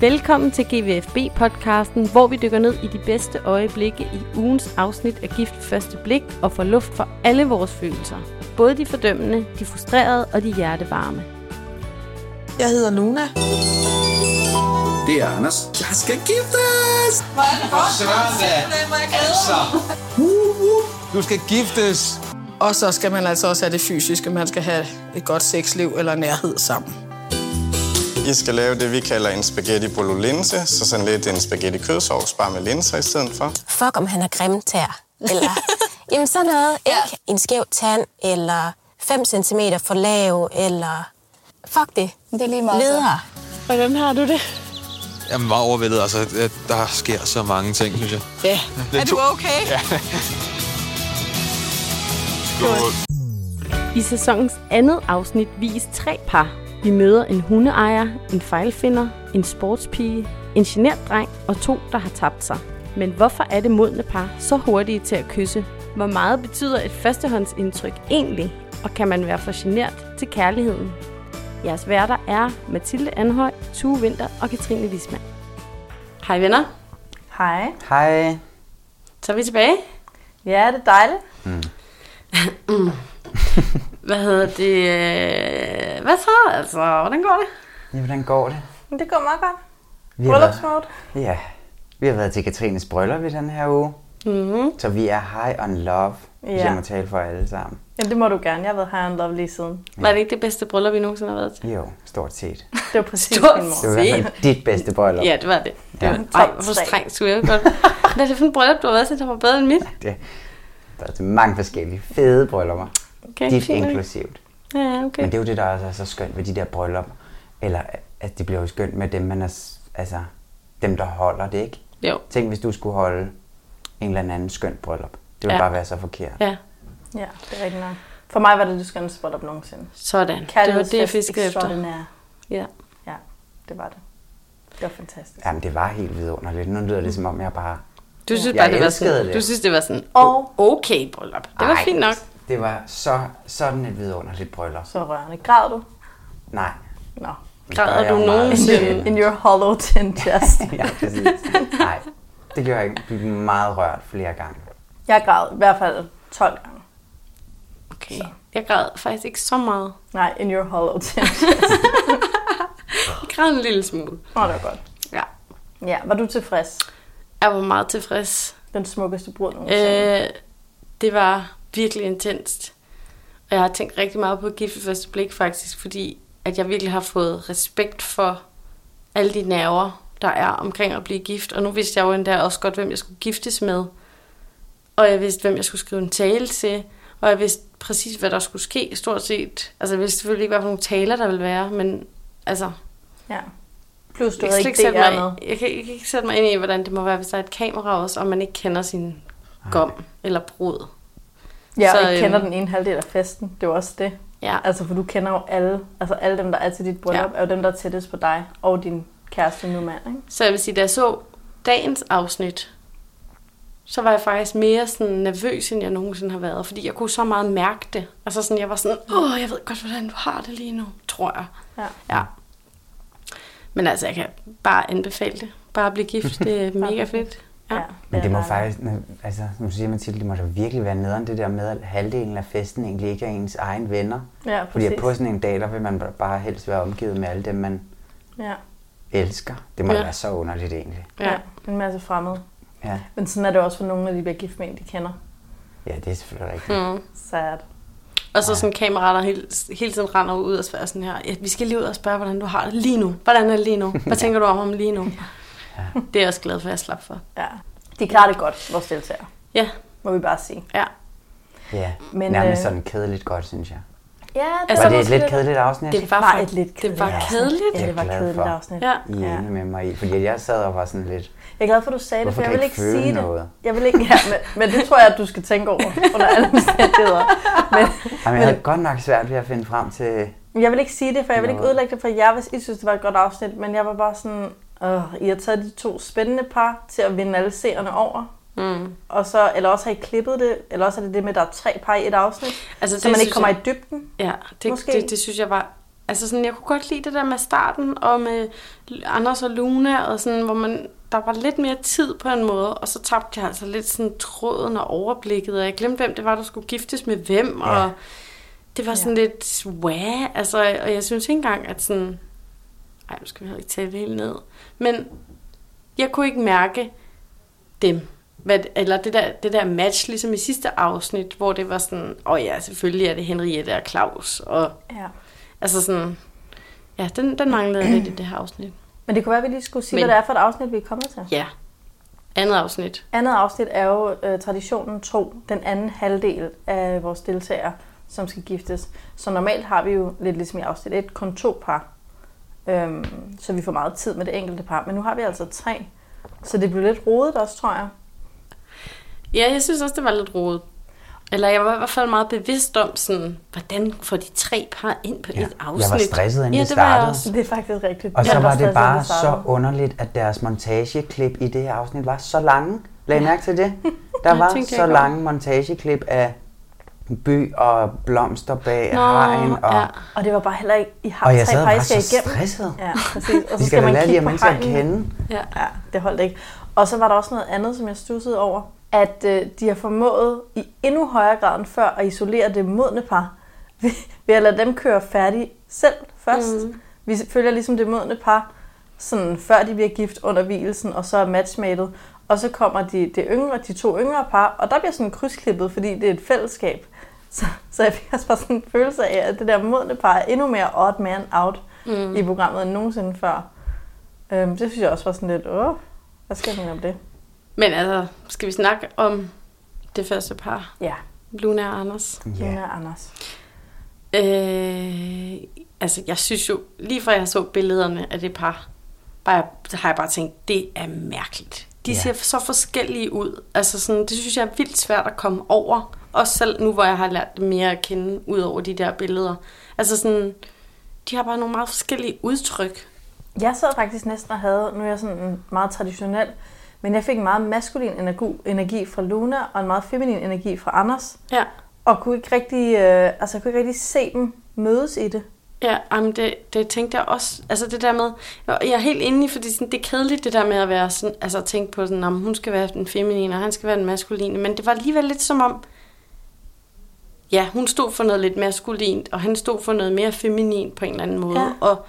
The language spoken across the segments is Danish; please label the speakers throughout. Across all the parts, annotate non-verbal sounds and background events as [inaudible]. Speaker 1: Velkommen til GVFB-podcasten, hvor vi dykker ned i de bedste øjeblikke i ugens afsnit af Gift Første Blik og får luft for alle vores følelser. Både de fordømmende, de frustrerede og de hjertevarme.
Speaker 2: Jeg hedder Nuna.
Speaker 3: Det er Anders. Jeg skal giftes!
Speaker 4: Du skal giftes.
Speaker 2: Og så skal man altså også have det fysiske. Man skal have et godt sexliv eller nærhed sammen.
Speaker 5: I skal lave det, vi kalder en spaghetti bolognese, så sådan lidt en spaghetti kødsovs, bare med linser i stedet for.
Speaker 6: fuck om han har grimme tær. Eller, [laughs] jamen sådan noget, ikke? En skæv tand, eller 5 cm for lav, eller... Fuck det. Det er lige meget. Videre.
Speaker 4: Jeg er meget overvældet. Altså, at der sker så mange ting, synes jeg.
Speaker 1: I sæsonens andet afsnit vises tre par. Vi møder en hundeejer, en fejlfinder, en sportspige, en generdreng og to, der har tabt sig. Men hvorfor er det modne par så hurtige til at kysse? Hvor meget betyder et førstehåndsindtryk egentlig? Og kan man være for genert til kærligheden? Jeres værter er Mathilde Anhøj, Tue Vinter og Katrine Wismann. Hej venner,
Speaker 7: Hej.
Speaker 8: Hej.
Speaker 1: så er vi tilbage.
Speaker 7: Ja, det er dejligt.
Speaker 1: Hvad hedder det? øh, Hvad så? Altså, hvordan går det?
Speaker 8: Ja, hvordan går det?
Speaker 7: Men det går meget godt.
Speaker 8: Vi har været,
Speaker 7: Bryllupsmode.
Speaker 8: ja, vi har været til Katrines bryllup i den her uge. Mm-hmm. Så vi er high on love, ja. hvis
Speaker 7: Ja.
Speaker 8: jeg må tale for alle sammen.
Speaker 7: Ja, det må du gerne. Jeg har været high on love lige siden.
Speaker 1: Var det ikke det bedste bryllup, vi nogensinde har været til?
Speaker 8: Jo, stort set.
Speaker 7: Det var præcis
Speaker 1: Stort
Speaker 7: min mor.
Speaker 8: Det var i hvert fald dit bedste bryllup.
Speaker 1: Ja, det var det. Det
Speaker 8: Ja.
Speaker 1: var
Speaker 7: Top
Speaker 1: Ej, hvor
Speaker 7: tre.
Speaker 1: strengt skulle jeg jo godt. Hvad er det for en bryllup, du har været til, der var bedre end mit?
Speaker 8: Det, der er til mange forskellige fede bryllupper.
Speaker 1: Okay,
Speaker 8: dit
Speaker 1: fint nok.
Speaker 8: inklusivt.
Speaker 1: Ja, okay.
Speaker 8: Men det er jo det, der også er så skønt ved de der bryllup. Eller at det bliver jo skønt med dem, man er, s- altså, dem der holder det, ikke?
Speaker 1: Jo,
Speaker 8: Tænk, hvis du skulle holde en eller anden skønt bryllup. Det ville
Speaker 1: Ja.
Speaker 8: ja. bare være så forkert.
Speaker 1: ja,
Speaker 7: Ja, det er rigtigt nok. For mig var det det skønne spot op nogensinde.
Speaker 1: sådan. Det var det, jeg
Speaker 7: Kærlighedsfest
Speaker 1: fiskede efter.
Speaker 7: extraordinaire.
Speaker 1: Ja.
Speaker 7: Ja, det var det. Det var fantastisk.
Speaker 8: Jamen, det var helt vidunderligt. Nu lyder det, som om jeg bare...
Speaker 1: Mm. Du synes
Speaker 8: Jeg
Speaker 1: bare, det var
Speaker 8: elskede
Speaker 1: sådan,
Speaker 8: det.
Speaker 1: du synes, det var sådan,
Speaker 7: Og-
Speaker 1: okay bryllup. Det var
Speaker 8: Ej,
Speaker 1: fint nok.
Speaker 8: Det var så, sådan et vidunderligt bryllup.
Speaker 7: Så rørende. Græd du?
Speaker 8: Nej.
Speaker 7: Nå.
Speaker 1: Græder
Speaker 8: Der er
Speaker 1: du
Speaker 8: jo meget
Speaker 1: nogensinde?
Speaker 8: sjældent.
Speaker 7: [laughs] In your hollow
Speaker 1: [laughs]
Speaker 7: tin chest.
Speaker 8: [laughs] Ja, præcis. Nej, det gjorde jeg ikke. Jeg blev meget rørt flere gange.
Speaker 7: Jeg græd i hvert fald 12 gange.
Speaker 1: Okay. Jeg græd faktisk ikke så meget.
Speaker 7: Nej, in your hollow tin.
Speaker 1: [laughs] Jeg græd en lille smule.
Speaker 7: Åh, det var godt.
Speaker 1: Ja.
Speaker 7: Ja, var du tilfreds?
Speaker 1: Jeg var meget tilfreds.
Speaker 7: Den smukkeste brud nogensinde. Øh.
Speaker 1: Øh, det var virkelig intenst. Og jeg har tænkt rigtig meget på gift ved første blik faktisk, fordi at jeg virkelig har fået respekt for alle de nerver, der er omkring at blive gift. Og nu vidste jeg jo endda også godt, hvem jeg skulle giftes med. Og jeg vidste, hvem jeg skulle skrive en tale til. Og jeg vidste præcis, hvad der skulle ske, stort set. Altså, jeg vidste selvfølgelig ikke, hvad for nogle taler der ville være, men altså,
Speaker 7: Ja. Plus, du
Speaker 1: jeg
Speaker 7: havde
Speaker 1: kan, slet
Speaker 7: ikke
Speaker 1: ikke sætte
Speaker 7: DR med.
Speaker 1: mig, jeg, kan, jeg kan ikke sætte mig ind i, hvordan det må være, hvis der er et kamera også, og man ikke kender sin gom eller brud.
Speaker 7: Ja,
Speaker 1: Så,
Speaker 7: og ikke kender
Speaker 1: øhm,
Speaker 7: den ene halvdel af festen. Det er jo også det.
Speaker 1: Ja.
Speaker 7: Altså, for du kender jo alle. Altså, alle dem, der er til dit bryllup,
Speaker 1: Ja.
Speaker 7: ja. er jo dem, der er tættest på dig og din kæreste nu mand, ikke?
Speaker 1: Så jeg vil sige, da jeg så dagens afsnit, så var jeg faktisk mere sådan nervøs, end jeg nogensinde har været. Fordi jeg kunne så meget mærke det. Altså sådan, jeg var sådan, åh, jeg ved godt, hvordan du har det lige nu, tror jeg.
Speaker 7: Ja.
Speaker 1: Ja. Men altså, jeg kan bare anbefale det. Bare at blive gift, det er mega fedt. Ja.
Speaker 8: Men det må
Speaker 7: er dejligt.
Speaker 8: faktisk, altså, som du siger, Mathilde, det må da virkelig være nederen, det der med, at halvdelen af festen egentlig ikke er ens egen venner.
Speaker 7: Ja,
Speaker 8: Fordi at
Speaker 7: præcis.
Speaker 8: på sådan en dag, der vil man bare helst være omgivet med alle dem, man
Speaker 7: Ja.
Speaker 8: elsker. Det må da
Speaker 1: Ja.
Speaker 8: være så underligt egentlig.
Speaker 1: Ja.
Speaker 7: ja. En masse fremmede.
Speaker 8: Ja,
Speaker 7: Men sådan er det også for nogle, når de bliver gift med en, de kender.
Speaker 8: ja det er selvfølgelig rigtigt. Mm.
Speaker 7: Sad.
Speaker 1: Og så sådan kameraet, der hele, hele tiden render ud og spørger sådan her, ja, vi skal lige ud og spørge, hvordan du har det lige nu. Hvordan er det lige nu? Hvad tænker du om ham lige nu? Det er jeg også glad for, at jeg slap for.
Speaker 7: Ja. De klarer det godt, vores deltagere.
Speaker 1: Ja,
Speaker 7: Må vi bare sige.
Speaker 1: ja.
Speaker 8: Ja,
Speaker 7: Men,
Speaker 8: Men, nærmest
Speaker 7: øh,
Speaker 8: sådan kedeligt godt, synes jeg.
Speaker 7: Ja,
Speaker 1: Altså,
Speaker 8: Var
Speaker 1: der
Speaker 8: det et lidt kedeligt afsnit?
Speaker 1: Det var,
Speaker 7: var
Speaker 1: for-
Speaker 7: et lidt
Speaker 1: Det var
Speaker 7: kedeligt
Speaker 1: kedeligt.
Speaker 7: Ja,
Speaker 8: Jeg
Speaker 7: det
Speaker 8: er
Speaker 7: var
Speaker 8: glad
Speaker 7: kedeligt
Speaker 8: for.
Speaker 7: afsnit.
Speaker 1: Ja.
Speaker 8: I er
Speaker 7: Ja.
Speaker 8: enige med mig i, fordi jeg sad og var sådan lidt,
Speaker 7: Jeg er glad for, at du sagde det,
Speaker 8: Hvorfor
Speaker 7: for jeg
Speaker 8: kan
Speaker 7: vil
Speaker 8: jeg
Speaker 7: ikke
Speaker 8: ikke føle
Speaker 7: sige
Speaker 8: noget?
Speaker 7: det. Jeg vil ikke, ja, men, men, det tror jeg, at du skal tænke over under alle
Speaker 1: [laughs]
Speaker 7: omstændigheder. Men,
Speaker 8: Jamen, jeg havde godt nok svært ved at finde frem til...
Speaker 7: Men Jeg vil ikke sige det, for jeg vil
Speaker 8: Nå.
Speaker 7: ikke ødelægge det for jer, hvis I synes, det var et godt afsnit. Men jeg var bare sådan, øh, I har taget de to spændende par til at vinde alle seerne over. Mm. Og så, eller også har I klippet det, eller også er det det med, at der er tre par i et afsnit,
Speaker 1: Altså,
Speaker 7: så
Speaker 1: det
Speaker 7: man
Speaker 1: synes
Speaker 7: ikke kommer
Speaker 1: jeg-
Speaker 7: i dybden.
Speaker 1: Ja, det,
Speaker 7: Måske.
Speaker 1: det, det synes jeg var Altså sådan, jeg kunne godt lide det der med starten, og med Anders og Luna, og sådan, hvor man, der var lidt mere tid på en måde, og så tabte jeg altså lidt sådan tråden og overblikket, og jeg glemte, hvem det var, der skulle giftes med hvem, ja. og det var sådan ja. lidt, wow, altså, og jeg synes ikke engang, at sådan, ej, nu skal vi heller ikke tale det helt ned, men jeg kunne ikke mærke dem, hvad, eller det der, det der match, ligesom i sidste afsnit, hvor det var sådan, åh oh ja, selvfølgelig er det Henriette og Claus, og
Speaker 7: Ja.
Speaker 1: altså sådan, ja, den, den manglede jeg lidt i det her afsnit.
Speaker 7: Men det kunne være, at vi lige skulle sige,
Speaker 1: Men-
Speaker 7: Men... hvad det er for et afsnit, vi er kommet til.
Speaker 1: Ja, andet afsnit.
Speaker 7: Andet afsnit er jo øh, traditionen tro, den anden halvdel af vores deltagere, som skal giftes. Så normalt har vi jo lidt ligesom i afsnit 1 kun to par, øhm, så vi får meget tid med det enkelte par. Men nu har vi altså tre, så det blev lidt rodet også, tror jeg.
Speaker 1: Ja, jeg synes også, det var lidt rodet. Eller jeg var i hvert fald meget bevidst om, sådan, hvordan får de tre par ind på ja,
Speaker 8: Ja,
Speaker 1: et
Speaker 8: jeg var
Speaker 1: afsnit.
Speaker 8: stresset, inden
Speaker 1: ja,
Speaker 8: det
Speaker 1: det var jeg
Speaker 8: startede.
Speaker 1: også.
Speaker 7: Det er faktisk rigtigt.
Speaker 8: Og så
Speaker 7: Jeg
Speaker 8: var
Speaker 7: også
Speaker 8: det
Speaker 7: stresset, da
Speaker 8: bare
Speaker 7: vi
Speaker 8: så
Speaker 7: startede.
Speaker 8: underligt, at deres montageklip i det her afsnit var så lange. Lad I mærke til det? Der
Speaker 1: Det
Speaker 8: var
Speaker 1: tænkte jeg
Speaker 8: så
Speaker 1: ikke
Speaker 8: lange montageklip af by og blomster bag Nå, hajen. Og,
Speaker 1: ja.
Speaker 7: Og det var bare heller ikke, I har
Speaker 8: Og jeg
Speaker 7: tre
Speaker 8: sad
Speaker 7: par, I
Speaker 8: bare
Speaker 7: skal
Speaker 8: så
Speaker 7: igennem.
Speaker 8: stresset.
Speaker 7: Ja, præcis. Og
Speaker 8: vi
Speaker 7: så
Speaker 8: skal
Speaker 7: skal
Speaker 8: da
Speaker 7: man
Speaker 8: lære de her
Speaker 7: kigge på
Speaker 8: mennesker at
Speaker 7: hegnen.
Speaker 8: kende.
Speaker 1: Ja.
Speaker 7: Ja, det holdt ikke. Og så var der også noget andet, som jeg stussede over, at øh, de har formået i endnu højere grad end før at isolere det modne par, [laughs] ved, ved at lade dem køre færdig selv først. Mm. Vi følger ligesom det modne par, sådan, før de bliver gift under hvilesen, og så er matchmatet. Og så kommer de, det yngre, de to yngre par, og der bliver sådan krydsklippet, fordi det er et fællesskab. [laughs] Så, så jeg fik også bare sådan en følelse af, at det der modne par er endnu mere odd man out mm. i programmet end nogensinde før. Øhm, det synes jeg også var sådan lidt, åh, hvad skal jeg mene om det?
Speaker 1: Men altså, skal vi snakke om det første par,
Speaker 7: Ja,
Speaker 1: Luna og Anders?
Speaker 8: Ja.
Speaker 7: Luna og Anders.
Speaker 1: Øh, altså, jeg synes jo, lige fra jeg så billederne af det par, bare, så har jeg bare tænkt, det er mærkeligt. De
Speaker 8: Ja.
Speaker 1: ser så forskellige ud. Altså, sådan, det synes jeg er vildt svært at komme over. Også selv nu, hvor jeg har lært dem mere at kende, ud over de der billeder. Altså sådan, de har bare nogle meget forskellige udtryk.
Speaker 7: Jeg sad faktisk næsten og havde, nu er jeg sådan meget traditionel, men jeg fik en meget maskulin energi, energi fra Luna og en meget feminin energi fra Anders.
Speaker 1: Ja,
Speaker 7: Og kunne ikke rigtig, øh, altså jeg kunne ikke rigtig se dem mødes i det.
Speaker 1: ja jamen det, det tænkte jeg også. Altså det der med, jeg er helt inde i, fordi sådan, det er kedeligt det der med at være sådan, altså at tænke på sådan, om hun skal være den feminine, og han skal være den maskuline. Men det var alligevel lidt som om, ja, hun stod for noget lidt maskulint, og han stod for noget mere feminin på en eller anden måde.
Speaker 7: Ja.
Speaker 1: Ja. Og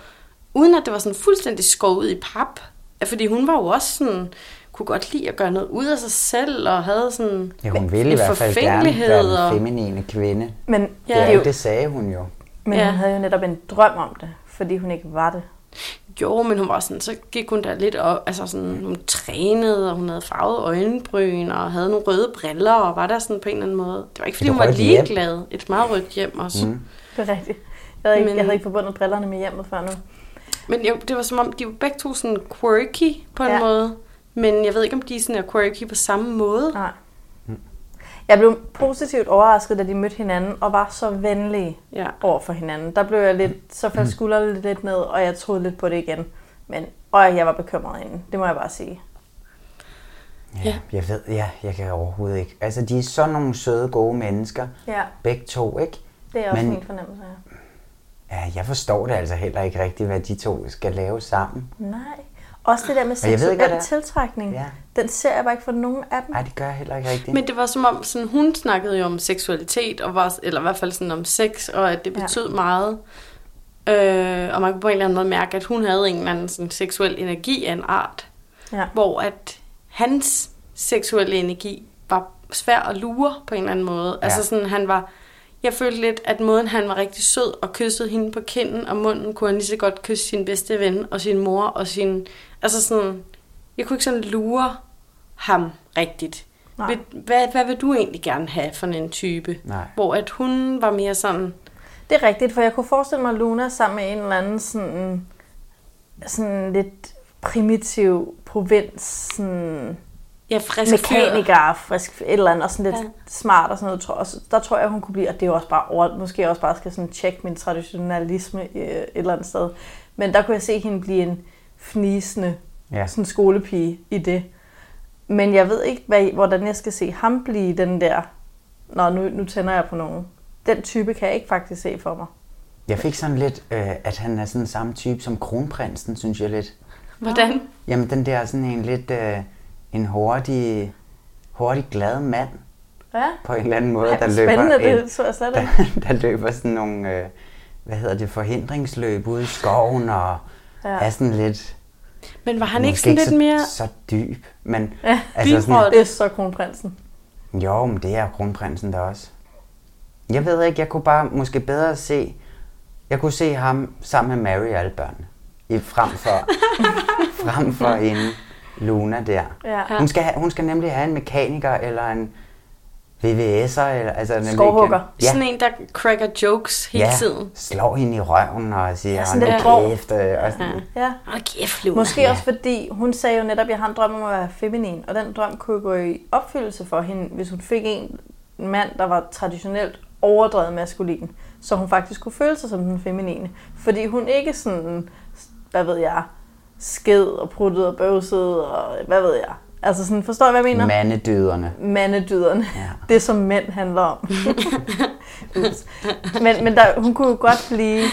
Speaker 1: uden at det var sådan fuldstændig skåret ud i pap, fordi hun var jo også sådan, kunne godt lide at gøre noget ud af sig selv, og havde sådan
Speaker 8: Ja, hun ville i
Speaker 1: en
Speaker 8: hvert fald gerne være
Speaker 1: forfængelighed, og-
Speaker 8: den feminine kvinde.
Speaker 7: Men,
Speaker 8: Ja. Det,
Speaker 7: det
Speaker 8: er
Speaker 7: er
Speaker 8: jo,
Speaker 7: jo,
Speaker 8: det sagde hun jo.
Speaker 7: men
Speaker 1: Ja.
Speaker 7: hun havde jo netop en drøm om det, fordi hun ikke var det.
Speaker 1: Jo, men hun var sådan, så gik hun der lidt op, altså sådan, hun trænede, og hun havde farvet øjenbryn, og havde nogle røde briller, og var der sådan på en eller anden måde. Det var ikke, fordi
Speaker 8: Et
Speaker 1: hun var
Speaker 8: rødt hjem.
Speaker 1: ligeglad. Et meget rødt hjem også. Mm.
Speaker 7: Det er rigtigt. Jeg havde, ikke,
Speaker 1: Men-
Speaker 7: jeg havde ikke forbundet brillerne med hjemmet før nu.
Speaker 1: Men jo, det var som om, de var begge to sådan quirky på en ja.
Speaker 7: Ja.
Speaker 1: måde. Men jeg ved ikke, om de sådan er quirky på samme måde.
Speaker 7: Nej.
Speaker 8: Mm.
Speaker 7: Jeg blev positivt overrasket, da de mødte hinanden og var så venlige
Speaker 1: Ja.
Speaker 7: over for hinanden. Der blev jeg lidt, så
Speaker 8: Mm.
Speaker 7: faldt skuldrene lidt ned, og jeg troede lidt på det igen. Men og jeg var bekymret inden, det må jeg bare sige.
Speaker 1: Ja.
Speaker 8: Ja. Jeg ved, ja, jeg kan overhovedet ikke. Altså, de er sådan nogle søde, gode mennesker.
Speaker 7: Ja.
Speaker 8: Begge to, ikke?
Speaker 7: Det er også
Speaker 8: Men-
Speaker 7: Men... min fornemmelse af.
Speaker 8: Ja, jeg forstår det altså heller ikke rigtigt, hvad de to skal lave sammen.
Speaker 7: Nej. Også det der med
Speaker 8: Og jeg ved ikke, hvad
Speaker 7: seksuel
Speaker 8: det er.
Speaker 7: tiltrækning.
Speaker 8: Ja.
Speaker 7: Den ser jeg bare ikke for nogen af dem.
Speaker 8: Nej, det gør jeg heller ikke rigtigt.
Speaker 1: Men det var som om, sådan, hun snakkede jo om seksualitet, og var, eller i hvert fald sådan om sex, og at det
Speaker 7: Ja.
Speaker 1: betød ja. meget. Øh, og man kunne på en eller anden måde mærke, at hun havde en eller anden sådan, seksuel energi af en art.
Speaker 7: Ja.
Speaker 1: hvor at hans seksuelle energi var svær at lure på en eller anden måde. Ja. Altså sådan, han var... Jeg følte lidt, at måden han var rigtig sød og kyssede hende på kinden og munden, kunne han lige så godt kysse sin bedste ven og sin mor og sin... Altså sådan... Jeg kunne ikke sådan lure ham rigtigt.
Speaker 7: Nej.
Speaker 1: Vil, hvad, hvad vil du egentlig gerne have for en type?
Speaker 8: Nej.
Speaker 1: Hvor at hun var mere sådan...
Speaker 7: Det er rigtigt, for jeg kunne forestille mig Luna sammen med en eller anden sådan, sådan lidt primitiv provins, sådan
Speaker 1: Ja, frisk Altså, fyr.
Speaker 7: mekaniker, frisk, et eller andet, og sådan lidt
Speaker 1: Ja.
Speaker 7: ja. smart og sådan noget. Tror, og så- der tror jeg, hun kunne blive, og det er jo også bare over, måske jeg også bare skal sådan tjekke min traditionalisme øh, et eller andet sted. Men der kunne jeg se hende blive en fnisende
Speaker 8: Ja.
Speaker 7: ja. sådan skolepige i det. Men jeg ved ikke, hvad, hvordan jeg skal se ham blive den der, nå, nu, nu tænder jeg på nogen. Den type kan jeg ikke faktisk se for mig.
Speaker 8: Jeg fik sådan lidt, øh, at han er sådan samme type som kronprinsen, synes jeg lidt.
Speaker 1: Hvordan?
Speaker 8: Jamen den der sådan en lidt, øh, en hurtig, hurtig glad mand
Speaker 7: Ja.
Speaker 8: på en eller anden måde,
Speaker 7: Ej,
Speaker 8: der
Speaker 7: hvor
Speaker 8: løber,
Speaker 7: spændende,
Speaker 8: en-
Speaker 7: det så jeg slet
Speaker 8: der,
Speaker 7: ikke.
Speaker 8: [laughs] der løber sådan nogle, øh, hvad hedder det, forhindringsløb ude i skoven og ja. er sådan lidt,
Speaker 1: Men var han ikke
Speaker 8: måske
Speaker 1: sådan lidt
Speaker 8: så,
Speaker 1: mere...
Speaker 8: så dyb, men
Speaker 7: Ja, altså,
Speaker 8: altså sådan,
Speaker 7: det er så kronprinsen.
Speaker 8: jo, men det er kronprinsen der også. Jeg ved ikke, jeg kunne bare måske bedre se, jeg kunne se ham sammen med Mary og alle børnene, i, frem
Speaker 1: [laughs]
Speaker 8: for, frem for en Luna der.
Speaker 7: Ja.
Speaker 8: Hun, skal have, hun skal nemlig have en mekaniker eller en VVS'er. Eller, altså nemlig
Speaker 7: Skovhugger.
Speaker 8: Ja.
Speaker 1: Sådan en, der cracker jokes hele
Speaker 8: ja,
Speaker 1: tiden.
Speaker 8: slår hende i røven og siger,
Speaker 7: sådan
Speaker 8: ja,
Speaker 7: lidt
Speaker 8: nu
Speaker 7: grov."
Speaker 8: kæft, øh, og sådan,
Speaker 7: Ja.
Speaker 1: Åh, kæft, Luna.
Speaker 7: Måske ja. også fordi, hun sagde jo netop, at jeg har en drøm om at være feminin, og den drøm kunne gå i opfyldelse for hende, hvis hun fik en mand, der var traditionelt overdrevet maskulin, så hun faktisk kunne føle sig som den feminine. Fordi hun ikke sådan, hvad ved jeg, sked og pruttet og bøvset og hvad ved jeg. Altså sådan, forstår jeg, hvad jeg mener?
Speaker 8: mandedyderne.
Speaker 7: mandedyderne.
Speaker 8: Ja.
Speaker 7: Ja. [laughs] Det, som mænd handler om. Ups. men men der, hun kunne jo godt blive...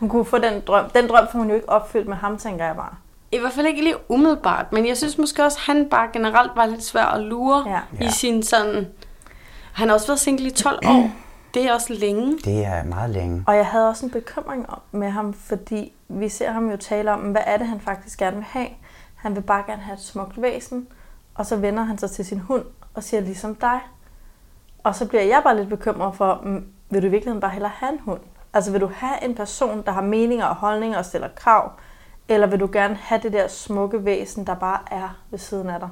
Speaker 7: Hun kunne få den drøm. Den drøm får hun jo ikke opfyldt med ham, tænker jeg bare.
Speaker 1: I hvert fald ikke lige umiddelbart, men jeg synes måske også, at han bare generelt var lidt svær at lure
Speaker 7: Ja.
Speaker 1: ja. i sin sådan... Han har også været single i 12
Speaker 8: [clears throat]
Speaker 1: år. Det er også længe.
Speaker 8: Det er meget længe.
Speaker 7: Og jeg havde også en bekymring om, med ham, fordi vi ser ham jo tale om, hvad er det, han faktisk gerne vil have. Han vil bare gerne have et smukt væsen, og så vender han sig til sin hund og siger, ligesom dig. Og så bliver jeg bare lidt bekymret for, mm, vil du i virkeligheden bare hellere have en hund? Altså vil du have en person, der har meninger og holdninger og stiller krav, eller vil du gerne have det der smukke væsen, der bare er ved siden af dig?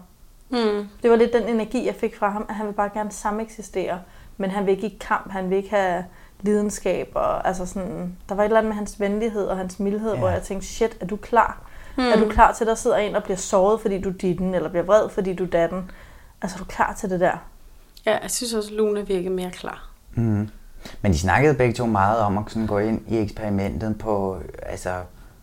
Speaker 7: Mm. Det var lidt den energi, jeg fik fra ham, at han vil bare gerne sameksistere, men han vil ikke i kamp, han vil ikke have lidenskab. Og, altså sådan, der var et eller andet med hans venlighed og hans mildhed,
Speaker 8: Ja.
Speaker 7: hvor jeg tænkte, shit, er du klar? Mm. Er du klar til, at der sidder en og bliver såret, fordi du er ditten, eller bliver vred, fordi du er datten? Altså, er du klar til det der?
Speaker 1: Ja, jeg synes også, Luna virker mere klar.
Speaker 8: Mm. Men de snakkede begge to meget om at sådan gå ind i eksperimentet på, øh, altså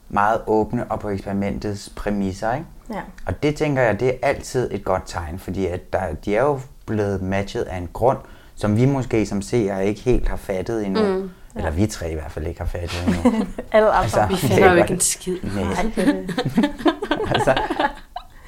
Speaker 8: meget åbne og på eksperimentets præmisser, ikke?
Speaker 7: Ja.
Speaker 8: Og det tænker jeg, det er altid et godt tegn, fordi at der, de er jo blevet matchet af en grund, som vi måske som seere ikke helt har fattet endnu. Mm, ja. Eller vi tre i hvert fald ikke har fattet [laughs] endnu.
Speaker 7: [laughs]
Speaker 8: Altså,
Speaker 7: Alle andre.
Speaker 8: vi
Speaker 1: fatter jo ikke en skid.
Speaker 8: Nej,
Speaker 7: Ej, det-
Speaker 8: [laughs] altså,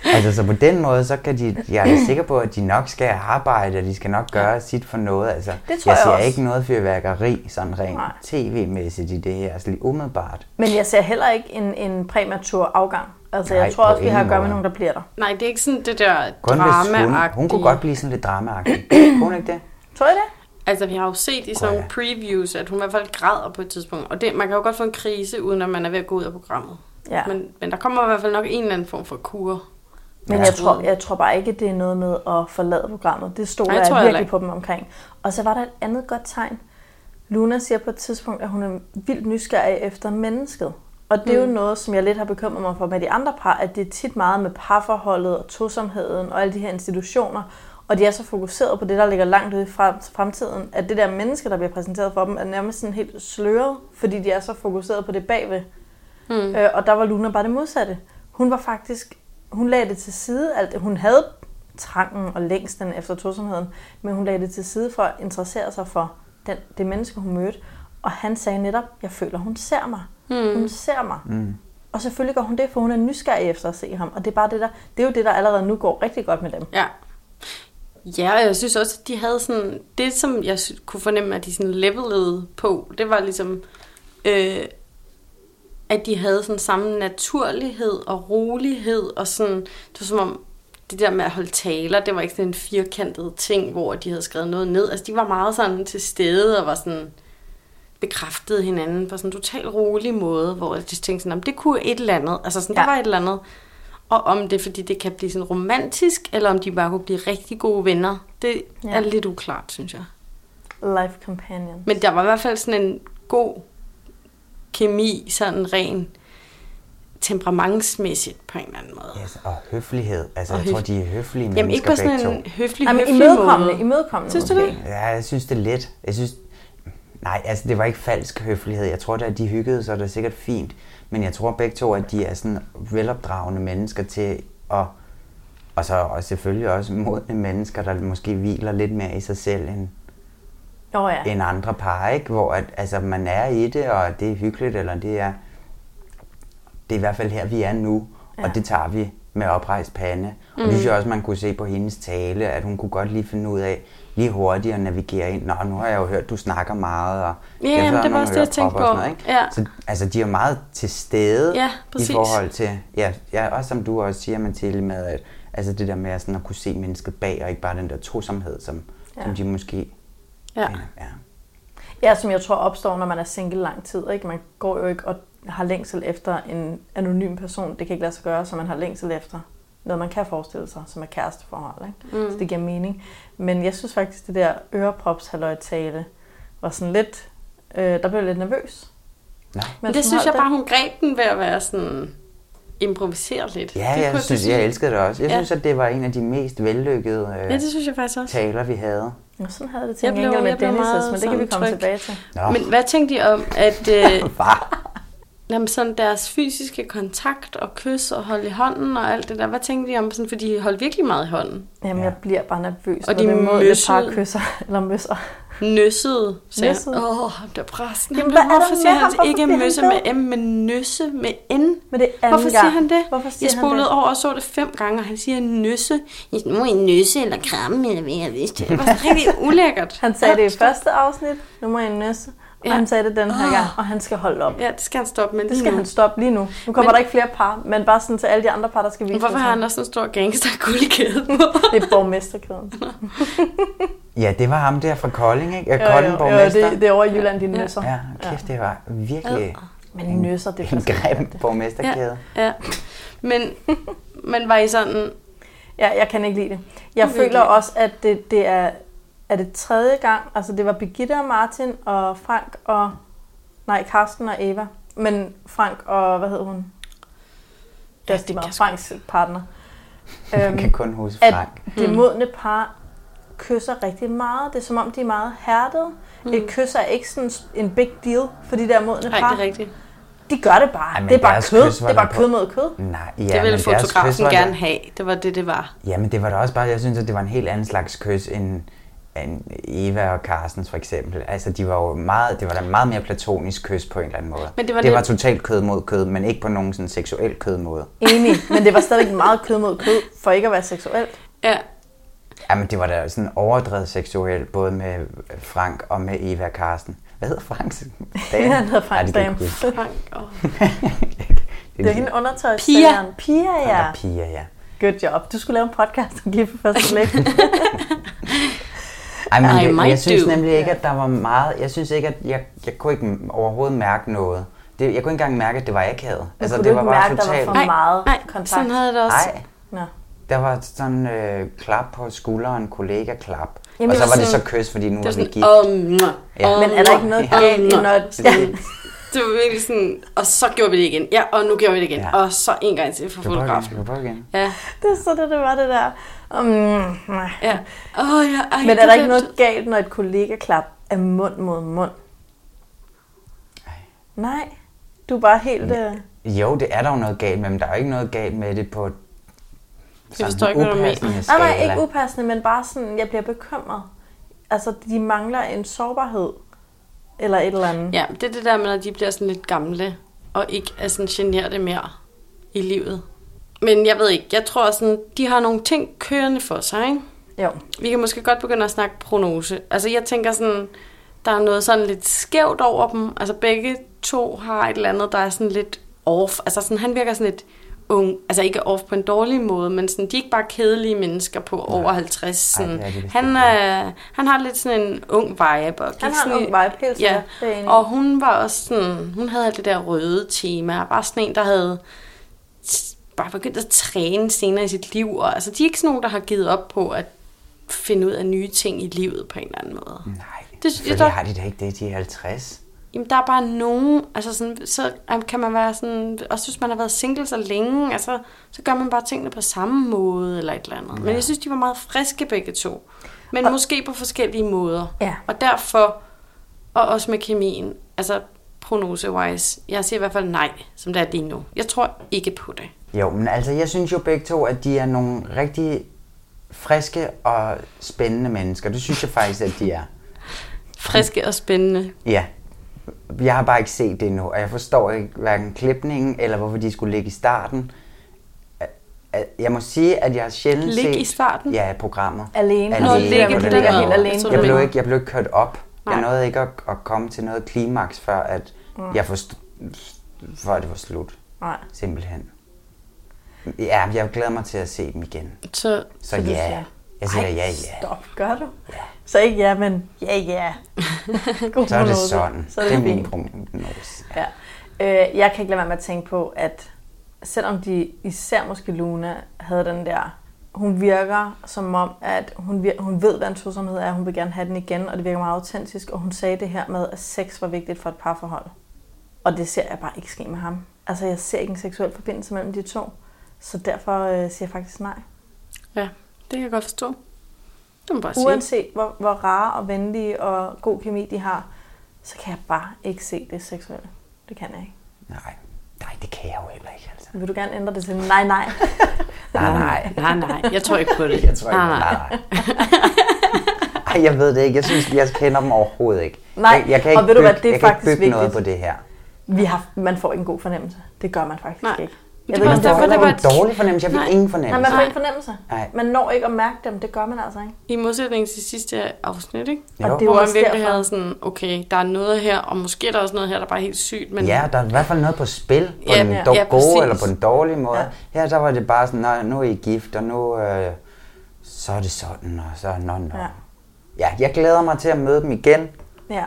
Speaker 8: altså, så på den måde, så kan de, jeg er sikker på, at de nok skal arbejde, og de skal nok gøre sit for noget. Altså,
Speaker 7: Det tror
Speaker 8: jeg
Speaker 7: jeg
Speaker 8: ser
Speaker 7: også.
Speaker 8: ikke noget fyrværkeri, sådan rent
Speaker 7: Nej.
Speaker 8: tv-mæssigt i det her, altså lige umiddelbart.
Speaker 7: Men jeg ser heller ikke en, en præmatur afgang. Altså,
Speaker 8: Nej,
Speaker 7: jeg tror
Speaker 8: på
Speaker 7: også, vi har at
Speaker 8: ingen
Speaker 7: gøre med
Speaker 8: måde.
Speaker 7: nogen, der bliver der.
Speaker 1: Nej, det er ikke sådan det der
Speaker 8: Kun hvis hun,
Speaker 1: drama
Speaker 8: hun kunne godt blive sådan lidt dramaagtig. kunne hun ikke det?
Speaker 7: Tror I det?
Speaker 1: Altså, vi har jo set i sådan nogle
Speaker 8: ja.
Speaker 1: previews, at hun i hvert fald græder på et tidspunkt. Og det, man kan jo godt få en krise, uden at man er ved at gå ud af programmet.
Speaker 7: Ja.
Speaker 1: Men, men der kommer i hvert fald nok en eller anden form for kur.
Speaker 7: Men
Speaker 1: Ja.
Speaker 7: jeg tror, jeg tror bare ikke, at det er noget med at forlade programmet. Det stoler
Speaker 1: Nej, jeg
Speaker 7: jeg,
Speaker 1: tror
Speaker 7: jeg
Speaker 1: heller
Speaker 7: virkelig
Speaker 1: ikke.
Speaker 7: på dem omkring. Og så var der et andet godt tegn. Luna siger på et tidspunkt, at hun er vildt nysgerrig efter mennesket. Og det er
Speaker 1: Mm.
Speaker 7: jo noget, som jeg lidt har bekymret mig for med de andre par, at det er tit meget med parforholdet og tosomheden og alle de her institutioner. Og de er så fokuseret på det, der ligger langt ude i frem- fremtiden, at det der menneske, der bliver præsenteret for dem, er nærmest sådan helt sløret, fordi de er så fokuseret på det bagved. Øh, og der var Luna bare det modsatte. Hun var faktisk, hun lagde det til side, alt det. hun havde trangen og længsten efter tosomheden, men hun lagde det til side for at interessere sig for den, det menneske, hun mødte. Og han sagde netop, jeg føler, hun ser mig. Mm. Hun ser mig. Mm. Og selvfølgelig gør hun det, for hun er nysgerrig efter at se ham. Og det er, bare det, der, det er jo det, der allerede nu går rigtig godt med dem.
Speaker 1: Ja. Ja, og jeg synes også, at de havde sådan... Det, som jeg sy- kunne fornemme, at de sådan levelede på, det var ligesom... Øh, at de havde sådan samme naturlighed og rolighed, og sådan... Det var som om, det der med at holde taler, det var ikke sådan en firkantet ting, hvor de havde skrevet noget ned. Altså, de var meget sådan til stede, og var sådan bekræftede hinanden på sådan en total rolig måde, hvor jeg just tænkte sådan, om det kunne et eller andet. Altså sådan, ja. der
Speaker 7: Ja.
Speaker 1: var et eller andet. Og om det er, fordi det kan blive sådan romantisk, eller om de bare kunne blive rigtig gode venner, det ja.
Speaker 7: Ja.
Speaker 1: er lidt uklart, synes jeg.
Speaker 7: Life companion.
Speaker 1: Men der var i hvert fald sådan en god kemi, sådan ren temperamentsmæssigt på en eller anden måde. Ja.
Speaker 8: Yes, og høflighed. Altså,
Speaker 1: Og
Speaker 8: jeg tror,
Speaker 1: høf-
Speaker 8: de er høflige
Speaker 1: Jamen ikke
Speaker 8: mennesker
Speaker 1: på sådan
Speaker 8: begge
Speaker 1: en
Speaker 8: to.
Speaker 1: høflig,
Speaker 7: Jamen,
Speaker 1: høflig
Speaker 7: imødekommende,
Speaker 1: måde.
Speaker 7: imødekommende
Speaker 1: Synes du
Speaker 7: måske.
Speaker 1: det?
Speaker 8: Ja, jeg synes, det er let. Jeg synes... Nej, altså, det var ikke falsk høflighed. Jeg tror, da at de hyggede sig, det er sikkert fint. Men jeg tror begge to, at de er sådan velopdragende mennesker til at... Og så og selvfølgelig også modne mennesker, der måske hviler lidt mere i sig selv, end,
Speaker 7: Nå ja.
Speaker 8: end andre par, ikke? hvor at, altså, man er i det, og det er hyggeligt, eller det er, det er i hvert fald her, vi er nu, ja. og det tager vi med oprejst pande. Mm. Og det synes jeg også, man kunne se på hendes tale, at hun kunne godt lige finde ud af, lige hurtigt at navigere ind. Nå, nu har jeg jo hørt, du snakker meget, og
Speaker 1: Ja,
Speaker 8: jeg
Speaker 1: jamen,
Speaker 8: hører
Speaker 1: det var
Speaker 8: nogle
Speaker 1: også det, jeg tænkte
Speaker 8: hørepropper og sådan
Speaker 1: på.
Speaker 8: noget, ikke?
Speaker 1: Ja.
Speaker 8: Så, altså, de er jo meget til stede
Speaker 1: Ja,
Speaker 8: i
Speaker 1: præcis.
Speaker 8: forhold til, ja, ja, også som du også siger, Mathilde, med at, altså det der med at, sådan, at kunne se mennesket bag, og ikke bare den der tosomhed, som, ja. som de måske...
Speaker 1: Ja.
Speaker 8: ja.
Speaker 7: Ja, som jeg tror opstår, når man er single lang tid. Ikke? Man går jo ikke og har længsel efter en anonym person. Det kan ikke lade sig gøre, så man har længsel efter noget, man kan forestille sig, som er kæresteforhold. Ikke? Mm. Så det giver mening. Men jeg synes faktisk, det der øreprops tale var sådan lidt... Øh, der blev jeg lidt nervøs.
Speaker 8: Nå.
Speaker 1: Men
Speaker 7: Men
Speaker 1: det synes jeg bare, hun greb den ved at være sådan improvisere lidt.
Speaker 8: Ja,
Speaker 1: det
Speaker 8: jeg synes, jeg elskede det også. Jeg
Speaker 1: Ja.
Speaker 8: ja. synes, at det var en af de mest vellykkede øh,
Speaker 1: Ja, det synes jeg faktisk også.
Speaker 8: taler, vi havde.
Speaker 7: Nå, sådan havde jeg det til
Speaker 1: Jeg
Speaker 7: jeg
Speaker 1: blev-
Speaker 7: blev, med
Speaker 1: jeg blev meget
Speaker 7: Dennis' men det kan vi
Speaker 1: sådan
Speaker 7: komme
Speaker 1: tryg.
Speaker 7: tilbage til.
Speaker 8: Nå,
Speaker 1: Men hvad tænkte I om, at
Speaker 7: [laughs]
Speaker 1: øh,
Speaker 8: var
Speaker 1: jamen, sådan deres fysiske kontakt og kys og holde i hånden og alt det der, hvad tænkte I om, sådan, fordi de holdt virkelig meget i hånden?
Speaker 7: Jamen, jeg bliver bare nervøs,
Speaker 1: Og
Speaker 7: og
Speaker 1: de
Speaker 7: de når det mod et
Speaker 1: møssede.
Speaker 7: par kysser, [laughs] eller møsser.
Speaker 1: Nøssede, sagde
Speaker 7: Nøssede?
Speaker 1: jeg. Åh, ham der præsten. ham
Speaker 7: Jamen, hvad er der
Speaker 1: hvorfor
Speaker 7: med
Speaker 1: siger
Speaker 7: ham?
Speaker 1: han
Speaker 7: Hvorfor
Speaker 1: ikke
Speaker 7: bliver han
Speaker 1: møsse
Speaker 7: ved?
Speaker 1: med M, men nøsse med N?
Speaker 7: Men det er anden
Speaker 1: Hvorfor siger
Speaker 7: gang.
Speaker 1: han det?
Speaker 7: Hvorfor siger
Speaker 1: jeg
Speaker 7: han
Speaker 1: spolede
Speaker 7: det?
Speaker 1: over og så det fem gange, og han siger nøsse. Jeg siger, Nu er I nøsse eller kramme, eller hvad jeg vidste. Det var sådan rigtig ulækkert.
Speaker 7: Han sagde det i første afsnit, nu må jeg næste, og
Speaker 1: Ja.
Speaker 7: ja. han sagde det den her
Speaker 1: Åh.
Speaker 7: gang, og han skal holde op.
Speaker 1: Ja, det skal han stoppe med.
Speaker 7: Det skal han stoppe lige nu. Nu kommer
Speaker 1: Men-
Speaker 7: men, der ikke flere par, men bare sådan til alle de andre par, der skal vise
Speaker 1: Hvorfor
Speaker 7: sig.
Speaker 1: har han også en stor gangsterguldkæde på?
Speaker 7: Det er
Speaker 1: [laughs]
Speaker 7: borgmesterkæden.
Speaker 8: Ja, det var ham der fra Kolding, ikke? Ja,
Speaker 7: Jo, jo,
Speaker 8: Kolding
Speaker 7: jo,
Speaker 8: borgmester.
Speaker 7: det, det er over i Jylland, de nøsser.
Speaker 8: Ja, kæft, det var virkelig
Speaker 7: Men nøsser, det er altså-
Speaker 8: en
Speaker 7: faktisk
Speaker 8: grim
Speaker 7: det.
Speaker 8: borgmesterkæde.
Speaker 1: [laughs] Ja, men, men var I sådan...
Speaker 7: Ja, jeg kan ikke lide det. Jeg
Speaker 1: Du kan ikke
Speaker 7: føler
Speaker 1: lide det.
Speaker 7: også, at det, det er, er det tredje gang. Altså, det var Birgitte og Martin og Frank og... Nej, Karsten og Eva. Men Frank og... Hvad hed hun? Det er også lige meget. Franks partner. Øhm,
Speaker 8: Man kan kun huske
Speaker 7: at
Speaker 8: Frank.
Speaker 7: det modne par kysser rigtig meget. Det er som om, de er meget hærdede. Mm. Et kys er ikke sådan en big deal for de der modne
Speaker 1: Nej,
Speaker 7: par.
Speaker 1: det er rigtigt.
Speaker 7: De gør det bare.
Speaker 8: Ej, men
Speaker 7: det er bare
Speaker 8: deres
Speaker 7: kød.
Speaker 8: kys var
Speaker 7: Det er bare
Speaker 8: der på-
Speaker 7: kød mod kød.
Speaker 8: Nej, ja,
Speaker 1: Det ville
Speaker 8: men deres kys
Speaker 1: fotografen
Speaker 8: var da-
Speaker 1: gerne have. Det var det, det var.
Speaker 8: Jamen, det var da også bare, jeg synes, at det var en helt anden slags kys end, end Eva og Carstens for eksempel. Altså, de var jo meget, det var da en meget mere platonisk kys på en eller anden måde.
Speaker 1: Men det var
Speaker 8: det var
Speaker 1: lidt-
Speaker 8: totalt kød mod kød, men ikke på nogen sådan seksuel kød måde.
Speaker 7: Enig. Men det var stadig meget kød mod kød, for ikke at være seksuelt.
Speaker 1: Ja,
Speaker 8: Jamen, det var da sådan overdrevet seksuelt, både med Frank og med Eva og Carsten. Hvad hedder Franks dame?
Speaker 7: Han hedder Franks
Speaker 8: Nej, det kan jeg
Speaker 7: dame.
Speaker 8: ikke
Speaker 1: [laughs]
Speaker 8: [laughs] huske.
Speaker 1: Frank og...
Speaker 8: Det
Speaker 7: Det
Speaker 8: er
Speaker 7: er hende
Speaker 8: lige-
Speaker 7: undertøjssælgeren. Pia.
Speaker 8: Ja.
Speaker 7: ja.
Speaker 8: Pia, ja.
Speaker 7: Good job. Du skulle lave en podcast og give for første blik.
Speaker 8: Ej, men
Speaker 1: I
Speaker 8: jeg,
Speaker 1: might
Speaker 8: jeg synes
Speaker 1: do.
Speaker 8: nemlig ikke, at der var meget... Jeg synes ikke, at jeg, jeg kunne ikke overhovedet mærke noget. Det, jeg kunne ikke engang mærke, at det var akavet. Altså,
Speaker 7: kunne
Speaker 8: det
Speaker 7: du
Speaker 8: var
Speaker 7: ikke
Speaker 8: bare
Speaker 7: mærke, der var
Speaker 8: totalt...
Speaker 7: for meget?
Speaker 1: nej,
Speaker 7: kontakt.
Speaker 1: sådan havde jeg det også.
Speaker 8: Nej,
Speaker 7: Nå.
Speaker 8: der var sådan øh, klap på skulderen, kollega-klap.
Speaker 7: Jamen,
Speaker 8: og
Speaker 7: det
Speaker 8: så
Speaker 7: var
Speaker 8: var det så
Speaker 1: sådan-
Speaker 8: kys, fordi
Speaker 1: Det
Speaker 8: nu var
Speaker 1: var
Speaker 8: vi
Speaker 1: sådan...
Speaker 8: gift.
Speaker 1: Åh, mwah,
Speaker 8: Ja.
Speaker 1: åh,
Speaker 7: Men er der ikke noget
Speaker 1: mwah,
Speaker 7: galt i,
Speaker 1: åh,
Speaker 7: når...
Speaker 1: mwah.
Speaker 7: Ja.
Speaker 1: Det var virkelig sådan... Og så gjorde vi det igen. Ja, og nu gjorde vi det igen.
Speaker 8: Ja.
Speaker 1: Og så en gang til for
Speaker 8: Du prøver igen,
Speaker 1: fotografen.
Speaker 8: du prøver igen.
Speaker 1: Ja,
Speaker 7: [laughs] Det er så det, det var det der. Um, nej.
Speaker 1: ja. Åh, ja, ej,
Speaker 7: Men er
Speaker 1: det
Speaker 7: der ikke
Speaker 1: var-
Speaker 7: noget galt, når et kollega-klap er mund mod mund? Nej. Du er bare helt... Øh,
Speaker 8: Jo, det er der jo noget galt med, men der er jo ikke noget galt med det på sådan
Speaker 1: forstår ikke, hvad du mener.
Speaker 8: upassende
Speaker 7: Ah, nej,
Speaker 8: skala.
Speaker 7: nej, ikke upassende, men bare sådan, jeg bliver bekymret. Altså, de mangler en sårbarhed. Eller et eller andet.
Speaker 1: Ja, det er det der med, at de bliver sådan lidt gamle, og ikke er sådan generede mere i livet. Men jeg ved ikke, jeg tror sådan, de har nogle ting kørende for sig, ikke?
Speaker 7: Jo.
Speaker 1: Vi kan måske godt begynde at snakke prognose. Altså jeg tænker sådan, der er noget sådan lidt skævt over dem. Altså begge to har et eller andet, der er sådan lidt off. Altså sådan, han virker sådan lidt ung. Altså ikke off på en dårlig måde, men sådan, de er ikke bare kedelige mennesker på over 50. Sådan.
Speaker 8: Ej, det er de bestemt
Speaker 1: han, øh, han har lidt sådan en ung vibe. Og gik
Speaker 7: har en
Speaker 1: sådan
Speaker 7: ung
Speaker 1: i-
Speaker 7: vibe, helt sikkert.
Speaker 1: ja.
Speaker 7: Det er jeg enig i.
Speaker 1: Og hun var også sådan, hun havde alt det der røde tema. Bare sådan en, der havde t- bare begyndt at træne senere i sit liv. Og, altså, de er ikke sådan nogen, der har givet op på at finde ud af nye ting i livet på en eller anden måde.
Speaker 8: Nej,
Speaker 1: Det-
Speaker 8: det,
Speaker 1: jeg
Speaker 8: selvfølgelig
Speaker 1: tror-
Speaker 8: har de da ikke det, de er 50.
Speaker 1: Jamen, der er bare nogen, altså sådan, så um, kan man være sådan, også hvis man har været single så længe, altså, så gør man bare tingene på samme måde, eller et eller andet. Ja. Men jeg synes, de var meget friske begge to. Men og, måske på forskellige måder.
Speaker 7: Ja.
Speaker 1: Og derfor, og også med kemien, altså prognose-wise, jeg siger i hvert fald nej, som det er lige nu. Jeg tror ikke på det.
Speaker 8: Jo, men altså, jeg synes jo begge to, at de er nogle rigtig friske og spændende mennesker. Det synes jeg faktisk, at de er.
Speaker 1: Friske og spændende.
Speaker 8: Ja. Jeg har bare ikke set det endnu, og jeg forstår ikke hverken klipningen, eller hvorfor de skulle ligge i starten. Al- al- Jeg må sige, at jeg har sjældent set...
Speaker 1: Ligge i starten?
Speaker 8: Ja, programmet.
Speaker 7: Alene.
Speaker 8: alene.
Speaker 7: Nå,
Speaker 1: ligge
Speaker 8: på
Speaker 1: på den
Speaker 8: den der
Speaker 1: måde.
Speaker 8: måde.
Speaker 1: Jeg
Speaker 7: alene.
Speaker 1: tror,
Speaker 8: Jeg
Speaker 1: du
Speaker 8: blev
Speaker 1: mener.
Speaker 8: ikke, jeg blev ikke kørt op. Nej. Jeg
Speaker 1: Nej.
Speaker 8: nåede ikke at, at komme til noget klimaks, før, at jeg forstod, før det var slut.
Speaker 7: Mm. Nej.
Speaker 8: Simpelthen. Ja, jeg glæder mig til at se dem igen.
Speaker 1: Så,
Speaker 8: Så
Speaker 1: du
Speaker 8: ja,
Speaker 1: siger,
Speaker 8: jeg siger ja, ja.
Speaker 7: Stop, gør du? Så ikke ja, men ja,
Speaker 8: [laughs]
Speaker 7: ja. God
Speaker 8: Så er det
Speaker 7: prognose.
Speaker 8: sådan.
Speaker 7: Så er
Speaker 8: Det er
Speaker 7: det,
Speaker 8: min
Speaker 7: fint.
Speaker 8: prognose.
Speaker 7: Ja. Øh, jeg kan ikke lade være med at tænke på, at selvom de, især måske Luna, havde den der, hun virker som om, at hun, vir- hun ved, hvad en tosomhed er, hun vil gerne have den igen, og det virker meget autentisk, og hun sagde det her med, at sex var vigtigt for et parforhold. Og det ser jeg bare ikke ske med ham. Altså, jeg ser ikke en seksuel forbindelse mellem de to, så derfor øh, siger jeg faktisk nej.
Speaker 1: Ja, det kan jeg godt forstå. Det må jeg bare sige.
Speaker 7: Uanset hvor, hvor rare og venlige og god kemi de har, så kan jeg bare ikke se det seksuelle. Det kan jeg ikke.
Speaker 8: Nej, nej, det kan jeg jo heller ikke, altså.
Speaker 7: Vil du gerne ændre det til nej,
Speaker 1: [laughs]
Speaker 7: nej?
Speaker 8: Nej, nej.
Speaker 1: Nej, nej, jeg tror ikke på det.
Speaker 8: [laughs] [laughs] Jeg tror ikke,
Speaker 7: Ah.
Speaker 1: nej, nej.
Speaker 7: [laughs]
Speaker 8: nej, nej. Ej, jeg ved det ikke. Jeg synes, jeg kender dem overhovedet ikke.
Speaker 7: Nej,
Speaker 8: jeg, jeg kan ikke
Speaker 7: og ved du
Speaker 8: bygge,
Speaker 7: hvad, det er
Speaker 8: jeg kan ikke
Speaker 7: faktisk
Speaker 8: bygge noget på
Speaker 7: vigtigt.
Speaker 8: det her.
Speaker 7: Vi har, man får ikke en god fornemmelse. Det gør man faktisk
Speaker 1: Nej.
Speaker 7: ikke.
Speaker 1: Men det var også
Speaker 7: om
Speaker 1: derfor,
Speaker 7: du-
Speaker 1: det
Speaker 8: Jeg
Speaker 1: var
Speaker 8: fik en dårlig fornemmelse. Jeg fik
Speaker 1: Nej.
Speaker 8: ingen
Speaker 7: Nej,
Speaker 8: fornemmelse.
Speaker 7: man får ikke en fornemmelse.
Speaker 8: Nej.
Speaker 7: Man når ikke at mærke dem. Det gør man altså ikke.
Speaker 1: I modsætning til sidste afsnit, ikke?
Speaker 8: Jo.
Speaker 7: Og
Speaker 1: Hvor
Speaker 7: det er jo
Speaker 1: man
Speaker 7: også
Speaker 1: virkelig
Speaker 7: derfor.
Speaker 1: havde sådan, okay, der er noget her, og måske er der også noget her, der bare er helt sygt, men
Speaker 8: Ja, der er i hvert fald noget på spil, på
Speaker 1: Ja,
Speaker 8: den
Speaker 1: ja.
Speaker 8: dog
Speaker 1: Ja,
Speaker 8: gode
Speaker 1: præcis.
Speaker 8: eller på den dårlige måde. Ja. Her der var det bare sådan, "Nå, nu er I gift, og nu øh, så er det sådan, og så nå, nå. Ja.
Speaker 7: Ja.
Speaker 8: ja, jeg glæder mig til at møde dem igen,
Speaker 7: Ja.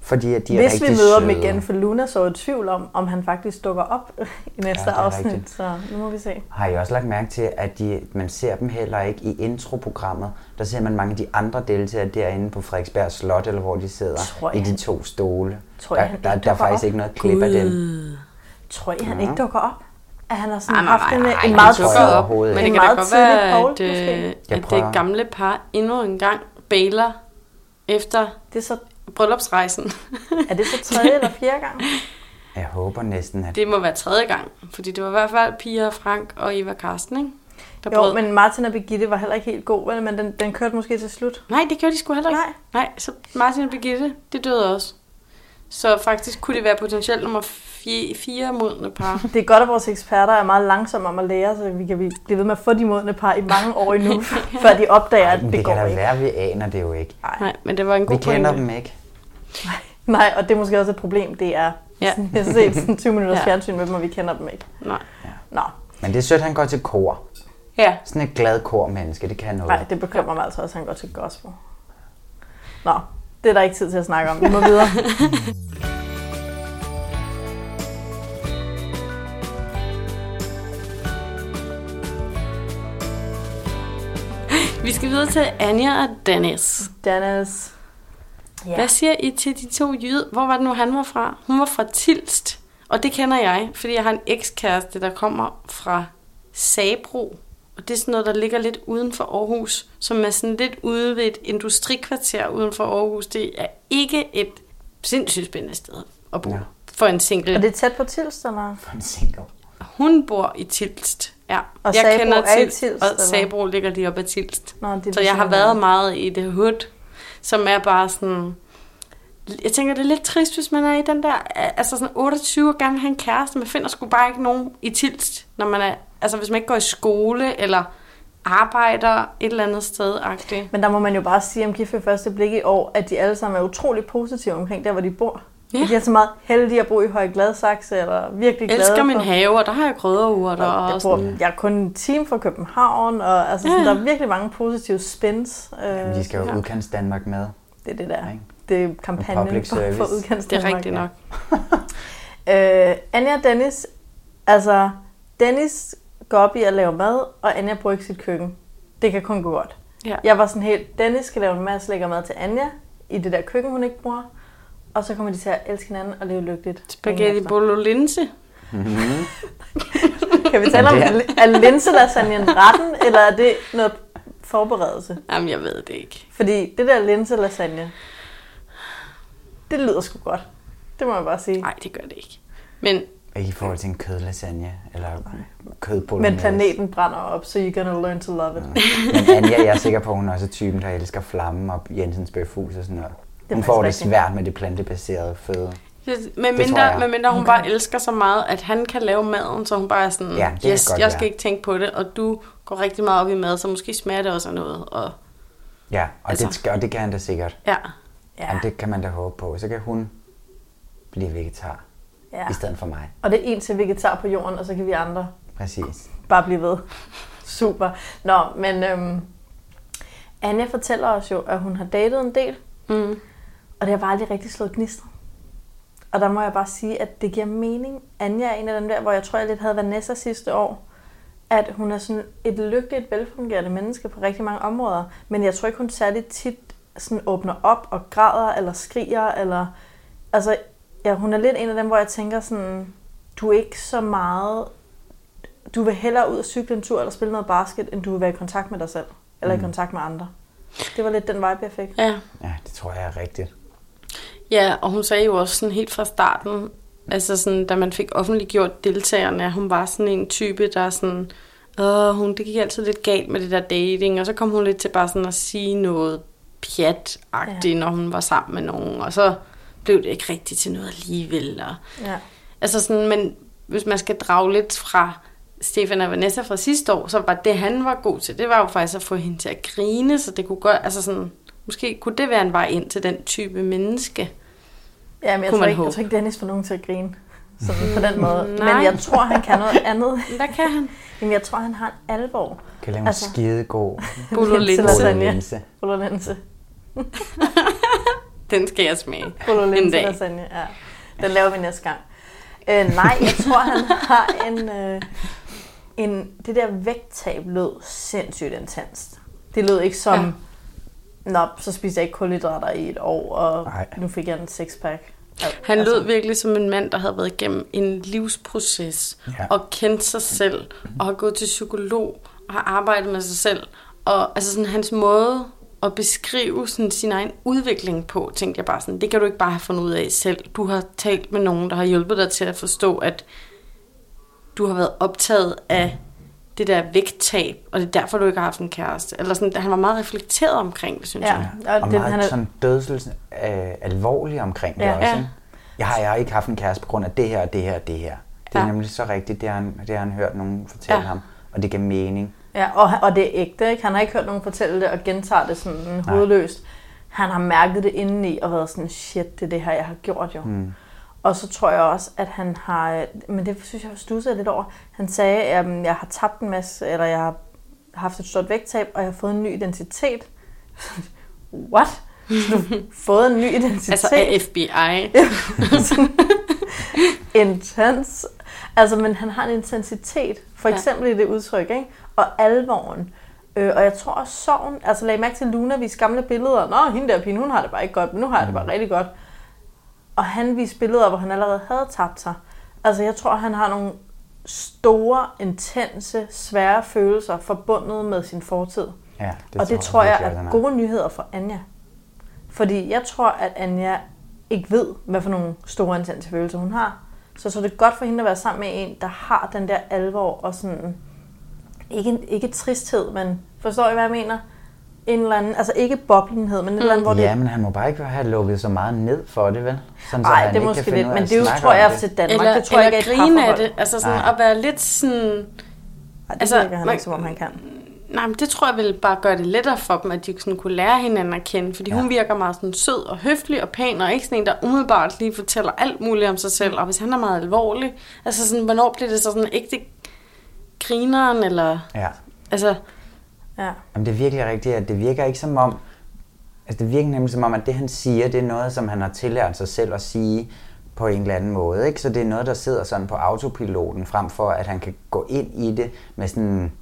Speaker 8: fordi at de er
Speaker 7: Hvis
Speaker 8: rigtig
Speaker 7: vi møder
Speaker 8: søde.
Speaker 7: dem igen, for Luna så i tvivl om, om han faktisk dukker op [laughs] i næste
Speaker 8: det
Speaker 7: ja,
Speaker 8: er
Speaker 7: afsnit.
Speaker 8: rigtigt.
Speaker 7: Så nu må vi se.
Speaker 8: Har jeg også lagt mærke til, at de, man ser dem heller ikke i introprogrammet. Der ser man mange af de andre deltagere derinde på Frederiksberg Slot, eller hvor de sidder
Speaker 7: Tror
Speaker 8: i
Speaker 7: jeg,
Speaker 8: de
Speaker 7: han-
Speaker 8: to stole.
Speaker 7: tror
Speaker 8: der,
Speaker 7: jeg, han
Speaker 8: der,
Speaker 7: ikke
Speaker 8: der er
Speaker 7: dukker
Speaker 8: faktisk
Speaker 7: op.
Speaker 8: ikke noget klip af dem.
Speaker 7: Tror I, han ikke dukker op? At han har sådan
Speaker 1: Ej, Ah, nej,
Speaker 7: haft en,
Speaker 1: nej,
Speaker 7: en
Speaker 1: han
Speaker 7: meget
Speaker 8: dukker
Speaker 7: tidlig-
Speaker 8: op.
Speaker 1: Men
Speaker 8: overhovedet
Speaker 1: det
Speaker 7: en
Speaker 1: kan da
Speaker 7: meget
Speaker 1: godt
Speaker 7: tidlig
Speaker 1: være,
Speaker 7: poll,
Speaker 1: at,
Speaker 7: måske.
Speaker 1: øh,
Speaker 8: Jeg
Speaker 1: at
Speaker 8: prøver.
Speaker 1: det gamle par endnu en gang bailer efter
Speaker 7: Det er, så,
Speaker 1: bryllupsrejsen.
Speaker 7: er det så
Speaker 1: [laughs]
Speaker 7: tredje eller fjerde gang?
Speaker 8: Jeg håber næsten, at...
Speaker 1: det må være tredje gang, fordi det var i hvert fald Pia, Frank og Eva Karsten, ikke? Der brød.
Speaker 7: Jo, men Martin og Birgitte var heller ikke helt god, vel? men den, den kørte måske til slut.
Speaker 1: Nej, det gjorde de sgu heller ikke.
Speaker 7: Nej.
Speaker 1: Nej, så Martin og Birgitte, det døde også. Så faktisk kunne det være potentielt nummer 4 modne par.
Speaker 7: [laughs] Det er godt, at vores eksperter er meget langsomme om at lære, så vi kan blive ved med at få de modne par i mange år [laughs] endnu, før de opdager, at
Speaker 8: Men
Speaker 7: det,
Speaker 8: det
Speaker 7: går
Speaker 8: kan da
Speaker 7: ikke.
Speaker 8: være, vi aner det jo ikke.
Speaker 1: Nej, men det var en god
Speaker 8: Vi kender
Speaker 1: pointe.
Speaker 8: dem ikke.
Speaker 7: Nej, og det er måske også et problem, det er.
Speaker 1: Ja.
Speaker 7: Ja. Jeg har set sådan [laughs] 20 minutters
Speaker 1: Ja.
Speaker 7: ja. fjernsyn med dem, og vi kender dem ikke.
Speaker 1: Nej.
Speaker 7: Nå,
Speaker 8: Men det er sødt, han går til kor.
Speaker 1: Ja,
Speaker 8: Sådan et glad kormenneske, det kan noget.
Speaker 7: nej, det bekymrer mig altså også, at han går til gospel. Nå, det er der ikke tid til at snakke [laughs] om. Vi må videre.
Speaker 1: [laughs] vi skal videre til Anja og Dennis.
Speaker 7: Dennis. Ja.
Speaker 1: Hvad siger I til de to jyde? Hvor var det nu, han var fra? Hun var fra Tilst, og det kender jeg, fordi jeg har en ekskæreste, der kommer fra Sabro. Og det er sådan noget, der ligger lidt uden for Aarhus, som er sådan lidt ude ved et industrikvarter uden for Aarhus. Det er ikke et sindssygt spændende sted at bo
Speaker 8: Ja.
Speaker 1: ja. for en single.
Speaker 7: Er det tæt på Tilst, eller?
Speaker 8: Han single.
Speaker 1: Hun bor i Tilst. Ja.
Speaker 7: Og Sabro er i
Speaker 1: Tilst,
Speaker 7: Tilst,
Speaker 1: og
Speaker 7: eller?
Speaker 1: Sabro ligger lige op ad Tilst.
Speaker 7: Nå, det er ligesom ved
Speaker 1: så jeg har
Speaker 7: siden af.
Speaker 1: været meget i det hood, som er bare sådan... Jeg tænker, det er lidt trist, hvis man er i den der... Altså sådan 28 år gammel, han kæreste. Man finder sgu bare ikke nogen i Tilst, når man er... Altså hvis man ikke går i skole, eller arbejder et eller andet sted -agtigt.
Speaker 7: Men der må man jo bare sige om gift ved første blik i år, at de alle sammen er utrolig positive omkring der, hvor de bor.
Speaker 1: Ja.
Speaker 7: Ja. De er så meget heldige at bo i Høje Gladsaxe, eller virkelig glade
Speaker 1: elsker
Speaker 7: for...
Speaker 1: min have, og der har jeg krydderurter og,
Speaker 7: Jeg,
Speaker 1: og
Speaker 7: bor,
Speaker 1: sådan.
Speaker 7: jeg er kun en time fra København, og altså, sådan,
Speaker 1: Ja.
Speaker 7: der er virkelig mange positive spins. Øh,
Speaker 8: Men de skal jo udkants Danmark med.
Speaker 7: Det er det der.
Speaker 8: Ikke?
Speaker 7: Det er kampagnen
Speaker 8: Public
Speaker 7: for, for
Speaker 8: service.
Speaker 7: udkants
Speaker 1: Det er rigtigt nok.
Speaker 7: Øh, Anja og Dennis, altså Dennis går op i at lave mad, og Anja bruger ikke sit køkken. Det kan kun gå godt.
Speaker 1: Ja.
Speaker 7: Jeg var sådan helt, Dennis skal lave en masse lækker mad til Anja, i det der køkken, hun ikke bruger. Og så kommer de til at elske hinanden og leve lykkeligt.
Speaker 1: Spaghetti
Speaker 7: altså-
Speaker 1: bolognese.
Speaker 7: Kan vi tale om, er linselasagnen retten, eller er det noget forberedelse?
Speaker 1: Jamen, jeg ved det ikke.
Speaker 7: Fordi det der linselasagne, det lyder sgu godt. Det må jeg bare sige.
Speaker 1: Nej, det gør det ikke. Men
Speaker 8: Ikke i forhold til en kødlasagne, eller kødbolognese.
Speaker 7: Men planeten brænder op, så so you're gonna learn to love it.
Speaker 8: Men Anja, jeg er sikker på, at hun også er typen, der elsker flammen og Jensens bøfhus og sådan noget. Hun
Speaker 7: faktisk
Speaker 8: får det
Speaker 7: rigtigt.
Speaker 8: svært med det plantebaserede føde.
Speaker 1: Med
Speaker 8: tror
Speaker 1: mindre,
Speaker 8: jeg.
Speaker 1: med mindre hun bare elsker så meget, at han kan lave maden, så hun bare er sådan,
Speaker 8: Ja,
Speaker 1: ja,
Speaker 8: det kan
Speaker 1: yes,
Speaker 8: godt
Speaker 1: jeg skal
Speaker 8: være."
Speaker 1: ikke tænke på det, og du går rigtig meget op i mad, så måske smager det også af noget. Og,
Speaker 8: Ja, og, altså.
Speaker 1: Altså.
Speaker 8: det, skal- og det kan han da sikkert.
Speaker 1: ja.
Speaker 8: Ja. Jamen, det kan man da håbe på. Så kan hun blive vegetar
Speaker 7: Ja.
Speaker 8: ja. i stedet for mig.
Speaker 7: Og det er en til vegetar på jorden, og så kan vi andre
Speaker 8: Præcis.
Speaker 7: bare blive ved. Super. Nå, men øhm, Anja fortæller os jo, at hun har datet en del,
Speaker 1: Mm.
Speaker 7: og det har bare aldrig rigtig slået gnister. Og der må jeg bare sige, at det giver mening. Anja er en af dem der, hvor jeg tror, jeg lidt havde Vanessa sidste år, at hun er sådan et lykkeligt, velfungerende menneske på rigtig mange områder, men jeg tror ikke, hun særlig tit sådan åbner op og græder eller skriger, eller altså, ja, hun er lidt en af dem, hvor jeg tænker sådan, du er ikke så meget du vil hellere ud og cykle en tur eller spille noget basket, end du vil være i kontakt med dig selv. Eller mm. i kontakt med andre. Det var lidt den vibe, jeg fik.
Speaker 1: Ja.
Speaker 8: Ja, det tror jeg er rigtigt.
Speaker 1: ja, og hun sagde jo også sådan helt fra starten, altså sådan, da man fik offentliggjort deltagerne, at hun var sådan en type, der er sådan, åh, hun, det gik altid lidt galt med det der dating, og så kom hun lidt til bare sådan at sige noget pjat ja. når hun var sammen med nogen, og så blev det ikke rigtigt til noget alligevel, og
Speaker 7: Ja.
Speaker 1: Altså sådan, men hvis man skal drage lidt fra Stefan og Vanessa fra sidste år, så var det, han var god til, det var jo faktisk at få hende til at grine, så det kunne godt, altså sådan, måske kunne det være en vej ind til den type menneske.
Speaker 7: ja men
Speaker 1: Kunne
Speaker 7: jeg tror,
Speaker 1: man
Speaker 7: ikke, jeg
Speaker 1: håbe. Mm,
Speaker 7: tror ikke, Dennis får nogen til at grine. Sådan på den måde.
Speaker 1: nej.
Speaker 7: Men jeg tror, han kan noget
Speaker 1: [laughs]
Speaker 7: andet.
Speaker 1: Men der kan han.
Speaker 7: Jamen, jeg tror, han har en alvor.
Speaker 8: Kan lave en
Speaker 7: Altså.
Speaker 8: altså. skidegod
Speaker 1: Bolo linse.
Speaker 8: linse.
Speaker 7: Bolognese.
Speaker 1: Den skal jeg smage en
Speaker 7: Bolognese
Speaker 1: dag.
Speaker 7: lasagne. Ja. Den laver vi næste gang. Øh, nej, jeg tror,
Speaker 1: [laughs]
Speaker 7: han har en, øh, en... Det der vægttab lød sindssygt intenst. Det lød ikke som... Ja. Nå, så spiste jeg ikke kulhydrater i et år, og
Speaker 8: Nej.
Speaker 7: nu fik jeg en sixpack. Altså, Al-
Speaker 1: Han lød virkelig som en mand, der havde været igennem en livsproces,
Speaker 8: Ja.
Speaker 1: ja. og kendt sig selv, og har gået til psykolog, og har arbejdet med sig selv. Og altså sådan, hans måde at beskrive sådan, sin egen udvikling på, tænkte jeg bare sådan, det kan du ikke bare have fundet ud af selv. Du har talt med nogen, der har hjulpet dig til at forstå, at du har været optaget af det der vægttab, og det er derfor, du ikke har haft en kæreste. Eller sådan, han var meget reflekteret omkring det, synes
Speaker 7: Ja.
Speaker 1: jeg.
Speaker 7: Og
Speaker 8: Og, og
Speaker 7: det-
Speaker 8: meget
Speaker 7: han
Speaker 8: han
Speaker 7: er-
Speaker 8: er... sådan dødsels øh, alvorlig omkring det
Speaker 7: Ja.
Speaker 8: ja, også.
Speaker 1: Ja.
Speaker 8: Ja. Jeg har, jeg har ikke haft en kæreste på grund af det her, og det her og det her. Det
Speaker 1: Ja.
Speaker 8: er ja. nemlig så rigtigt, det har, han, det har han hørt nogen fortælle
Speaker 1: Ja.
Speaker 8: ja. ham, og det giver mening.
Speaker 7: Ja, og, og det er ægte, ikke? Han har ikke hørt nogen fortælle det og gentager det sådan hovedløst. Han har mærket det indeni og været sådan, shit, det er det her, jeg har gjort jo. Mm. Og så tror jeg også, at han har, men det synes jeg, jeg stusset lidt over, han sagde, at jeg har tabt en masse, eller jeg har haft et stort vægttab, og jeg har fået en ny identitet. [laughs] What? [laughs] Så du har fået en ny identitet?
Speaker 1: Altså af [laughs] FBI.
Speaker 7: [laughs] intens. Altså, men han har en intensitet, for
Speaker 1: Ja.
Speaker 7: eksempel ja. i det udtryk, ikke? Og alvoren. Øh, og jeg tror også sorgen, altså lag mærke til Luna, vi gamle billeder. Nå, hende der pigen, hun har det bare ikke godt, men nu har jeg det
Speaker 8: Mm.
Speaker 7: bare rigtig godt. Og han viste billeder, hvor han allerede havde tabt sig. Altså, jeg tror, han har nogle store, intense, svære følelser forbundet med sin fortid.
Speaker 8: Ja,
Speaker 7: Det og det tror jeg,
Speaker 8: virkelig, at han
Speaker 7: er
Speaker 8: har.
Speaker 7: gode nyheder for Anja. Fordi jeg tror, at Anja ikke ved, hvad for nogle store intense følelser hun har. Så, så er det godt for hende at være sammen med en, der har den der alvor og sådan... Ikke, ikke tristhed, men forstår I, hvad jeg mener? En eller anden, altså ikke boblenhed, men en eller anden, hvor det
Speaker 8: Mm. Ja, men han må bare ikke have lukket så meget ned for det, vel? Sådan, så
Speaker 7: Nej,
Speaker 8: han
Speaker 7: det er
Speaker 8: ikke
Speaker 7: måske
Speaker 8: kan finde
Speaker 7: lidt,
Speaker 8: ud af
Speaker 7: men
Speaker 8: at
Speaker 7: det er jo,
Speaker 8: snakke
Speaker 7: tror
Speaker 8: om
Speaker 7: jeg,
Speaker 8: det.
Speaker 7: til Danmark.
Speaker 1: Eller,
Speaker 7: det tror jeg
Speaker 1: eller
Speaker 7: ikke er et
Speaker 1: grine af
Speaker 7: parforhold.
Speaker 1: det. Altså sådan
Speaker 8: Nej.
Speaker 1: at være lidt sådan...
Speaker 7: Ej, det
Speaker 1: altså,
Speaker 7: altså, virker han
Speaker 1: man-
Speaker 7: ikke, som om han kan.
Speaker 1: Nej, men det tror jeg vil bare gøre det lettere for dem, at de sådan kunne lære hinanden at kende. Fordi ja. hun virker meget sådan sød og høflig og pæn, og ikke sådan en, der umiddelbart lige fortæller alt muligt om sig selv. Og hvis han er meget alvorlig, altså sådan, hvornår bliver det så sådan ægte grineren, eller...
Speaker 8: Ja.
Speaker 1: Altså,
Speaker 7: Ja.
Speaker 8: Jamen, det er virkelig rigtigt, at det virker ikke som om... Altså, det virker nemlig som om, at det, han siger, det er noget, som han har tillært sig selv at sige på en eller anden måde, ikke? Så det er noget, der sidder sådan på autopiloten, frem for, at han kan gå ind i det med sådan,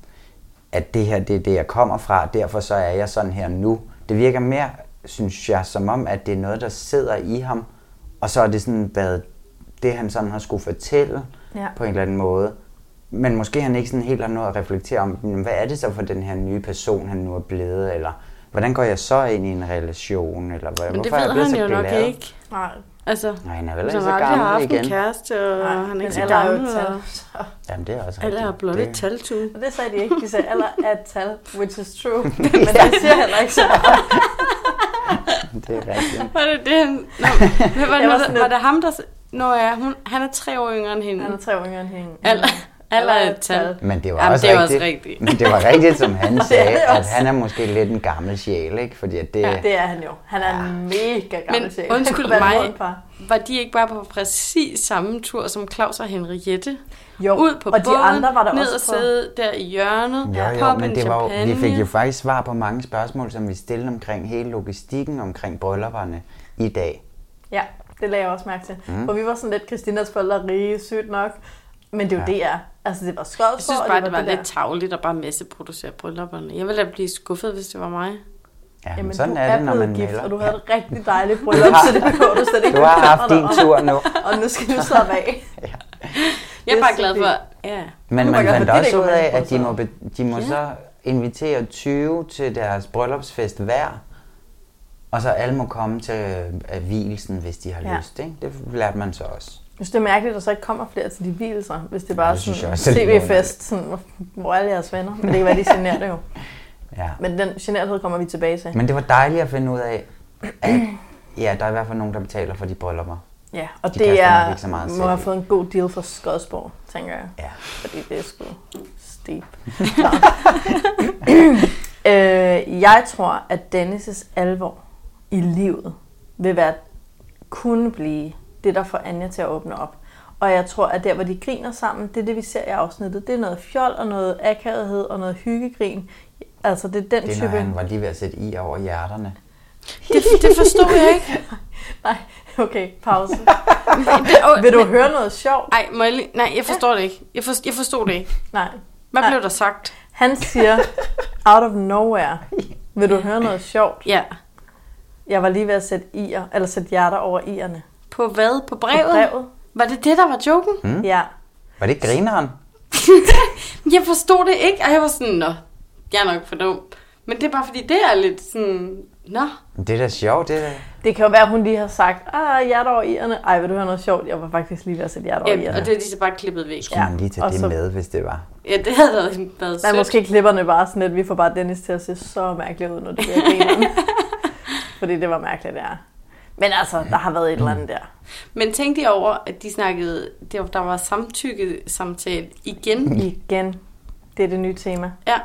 Speaker 8: at det her, det er det, jeg kommer fra, derfor så er jeg sådan her nu. Det virker mere, synes jeg, som om, at det er noget, der sidder i ham, og så er det sådan været det, han sådan har skulle fortælle
Speaker 7: Ja.
Speaker 8: ja. på en eller anden måde. Men måske han ikke sådan helt har nået at reflektere om, "Men hvad er det så for den her nye person, han nu er blevet, eller hvordan går jeg så ind i en relation, eller hvor,
Speaker 1: men det
Speaker 8: er jeg
Speaker 1: ved
Speaker 8: blevet
Speaker 1: han
Speaker 8: så
Speaker 1: jo nok
Speaker 8: glad?"
Speaker 1: ikke.
Speaker 7: Nej,
Speaker 1: Altså,
Speaker 8: Nej, han er vel
Speaker 1: hvis han
Speaker 8: ikke så
Speaker 1: har aldrig har haft
Speaker 8: gammel
Speaker 1: en
Speaker 8: igen.
Speaker 1: kæreste, og
Speaker 7: nej,
Speaker 1: han er
Speaker 7: men
Speaker 1: ikke så
Speaker 7: alder er jo
Speaker 1: gammel.
Speaker 7: et
Speaker 1: Og...
Speaker 7: tal. Så-
Speaker 8: Jamen, det er også
Speaker 1: Alle er
Speaker 8: rigtigt.
Speaker 1: blot
Speaker 8: Det-
Speaker 1: et taltue.
Speaker 7: Og det sagde de ikke. De
Speaker 8: [laughs]
Speaker 7: sagde, alder er et tal, which is true. Men det siger heller ikke så meget.
Speaker 8: det er rigtigt.
Speaker 1: Var det det,
Speaker 8: [laughs]
Speaker 1: han... Nå, men var,
Speaker 7: Jeg
Speaker 1: det,
Speaker 7: var
Speaker 1: var,
Speaker 7: sådan
Speaker 1: det, var det ham, der... s- Nå ja, hun, han er tre år yngre end hende.
Speaker 7: Han er tre år yngre end hende. Mm.
Speaker 1: Alder, [laughs] alder er et tal.
Speaker 8: Men det var
Speaker 1: Jamen,
Speaker 8: også
Speaker 1: det er også
Speaker 8: rigtigt.
Speaker 1: rigtigt.
Speaker 8: Men det var rigtigt, som
Speaker 1: [laughs]
Speaker 8: han sagde,
Speaker 7: det
Speaker 8: at
Speaker 7: også.
Speaker 8: han er måske lidt en gammel sjæl, ikke? Fordi at det, ja,
Speaker 7: Det er han jo. Han er en mega gammel
Speaker 1: Men
Speaker 7: [laughs] sjæl.
Speaker 1: undskyld
Speaker 7: Hvad er det
Speaker 1: mig.
Speaker 7: for et par?
Speaker 1: Var de ikke bare på præcis samme tur som Claus og Henriette?
Speaker 7: Jo,
Speaker 1: Ud på
Speaker 7: og de
Speaker 1: båden,
Speaker 7: andre var der
Speaker 1: ned
Speaker 7: også
Speaker 1: og
Speaker 7: på.
Speaker 1: sidde der i hjørnet,
Speaker 8: Jo, jo,
Speaker 1: poppe
Speaker 8: men
Speaker 1: en
Speaker 8: det var jo,
Speaker 1: champagne.
Speaker 8: vi fik jo faktisk svar på mange spørgsmål, som vi stillede omkring hele logistikken omkring bryllupperne i dag.
Speaker 7: Ja, det lagde jeg også mærke til. Mm. For vi var sådan lidt Christinas forældre rige, sygt nok. Men det er jo ja. DR. Altså, det var skødsfor,
Speaker 1: Jeg synes bare, det var lidt tavligt at bare masseproducere bryllupperne. Jeg ville da blive skuffet, hvis det var
Speaker 7: [laughs]
Speaker 1: mig.
Speaker 8: Ja,
Speaker 7: Jamen,
Speaker 8: Jamen,
Speaker 7: du
Speaker 8: sådan er det, når
Speaker 7: blevet
Speaker 8: man
Speaker 7: gift,
Speaker 8: melder.
Speaker 7: og du havde et
Speaker 8: [laughs]
Speaker 7: rigtig dejligt bryllup, så det behøver du slet ikke
Speaker 8: Du har
Speaker 7: bekymre
Speaker 8: haft
Speaker 7: dig
Speaker 8: din
Speaker 7: om.
Speaker 8: tur nu.
Speaker 7: [laughs] Og nu skal du slappe af.
Speaker 1: Jeg er
Speaker 7: Det er
Speaker 1: bare
Speaker 7: så
Speaker 1: glad for...
Speaker 7: fint.
Speaker 1: Ja.
Speaker 8: Men
Speaker 7: Du må
Speaker 8: man
Speaker 7: gøre
Speaker 8: fandt
Speaker 7: for dit
Speaker 8: også ud af,
Speaker 7: egoisme,
Speaker 8: at de
Speaker 7: så.
Speaker 8: må, be, de må så invitere 20 til deres bryllupsfest hver. Og så alle må komme til øh, hvilesen, hvis de har
Speaker 7: Ja.
Speaker 8: lyst. Ikke? Det lærte man så også.
Speaker 7: Jeg synes, det er mærkeligt, at der så ikke kommer flere til de hvilelser, hvis det bare
Speaker 8: Ja,
Speaker 7: er
Speaker 8: det synes
Speaker 7: sådan
Speaker 8: jeg
Speaker 7: en
Speaker 8: også er lidt
Speaker 7: tv-fest, sådan, hvor- hvor alle jeres venner. Men det kan være, de generer det jo.
Speaker 8: Ja.
Speaker 7: Men den generthed kommer vi tilbage til.
Speaker 8: Men det var dejligt at finde ud af, at ja, der er i hvert fald nogen, der betaler for de bryllupper.
Speaker 7: Ja, og
Speaker 8: De
Speaker 7: det
Speaker 8: kaster nok
Speaker 7: er,
Speaker 8: ikke så meget
Speaker 7: må
Speaker 8: selv
Speaker 7: have
Speaker 8: i.
Speaker 7: fået en god deal fra Skodsborg, tænker jeg.
Speaker 8: Ja.
Speaker 7: Fordi det er sgu steep. Nå. [laughs] øh, jeg tror, at Dennis' alvor i livet vil være, kunne blive det, der får Anja til at åbne op. Og jeg tror, at der, hvor de griner sammen, det er det, vi ser i afsnittet. Det er noget fjol og noget akavethed og noget hyggegrin. Altså, det er den
Speaker 8: Det er,
Speaker 7: type...
Speaker 8: når han var lige ved at sætte i over hjerterne.
Speaker 1: Det, det forstod jeg ikke.
Speaker 8: [laughs]
Speaker 7: Nej, okay, pause.
Speaker 1: Det, oh,
Speaker 7: Vil du høre noget sjovt?
Speaker 1: Ej, må jeg lige... Nej, jeg forstår det ikke. Jeg, for, jeg forstod det ikke.
Speaker 7: Nej.
Speaker 1: Hvad
Speaker 7: Nej.
Speaker 1: blev der sagt?
Speaker 7: Han siger, out of nowhere, vil du høre noget sjovt?
Speaker 1: Ja.
Speaker 7: Jeg var lige ved at sætte, i'er, eller sætte hjerter over i'erne.
Speaker 1: På hvad? På brevet?
Speaker 7: brevet?
Speaker 1: Var det det, der var joken? Hmm?
Speaker 7: Ja.
Speaker 8: Var det ikke grineren?
Speaker 1: [laughs] Jeg forstod det ikke, og jeg var sådan, nå, jeg er nok for dum. Men det er bare fordi, det er lidt sådan, nå.
Speaker 8: Det er da sjovt, det er da.
Speaker 7: Det kan jo være, at hun lige har sagt, ah, hjerter over i'erne. Ej, vil du høre noget sjovt? Jeg var faktisk lige ved at sætte hjerter over
Speaker 1: Ja, og
Speaker 7: i'erne.
Speaker 1: det er de så bare klippet væk.
Speaker 8: Kunne man lige tage
Speaker 7: og
Speaker 8: det
Speaker 7: så-
Speaker 8: med, hvis det var.
Speaker 1: Ja, det havde været, været
Speaker 7: Nej,
Speaker 1: sødt.
Speaker 7: måske klipperne bare sådan lidt. Vi får bare Dennis til at se så mærkeligt ud, når det bliver
Speaker 1: [laughs]
Speaker 7: grineren. Fordi det var mærkeligt, det er. Men altså, der har været et eller andet der.
Speaker 1: Men tænkte jeg over, at de snakkede, det var, der var samtykke samtale igen.
Speaker 7: Hmm. Igen. Det er det nye tema.
Speaker 1: Ja.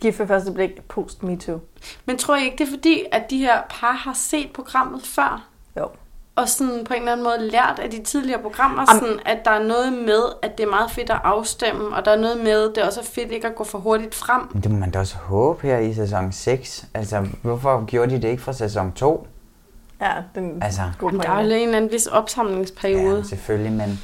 Speaker 7: Giv for første blik post MeToo.
Speaker 1: Men tror jeg ikke, det er fordi, at de her par har set programmet før?
Speaker 7: Jo.
Speaker 1: og sådan på en eller anden måde lært af de tidligere programmer,
Speaker 7: Am-
Speaker 1: sådan, at der er noget med, at det er meget fedt at afstemme, og der er noget med, at det også er fedt ikke at gå for hurtigt frem.
Speaker 8: Men det må man da også håbe her i sæson 6. Altså, hvorfor gjorde de det ikke fra sæson 2?
Speaker 7: Ja, den
Speaker 8: Altså,
Speaker 7: god
Speaker 1: Men der er jo
Speaker 7: pointe.
Speaker 1: lige en eller anden vis opsamlingsperiode.
Speaker 8: ja, selvfølgelig, men...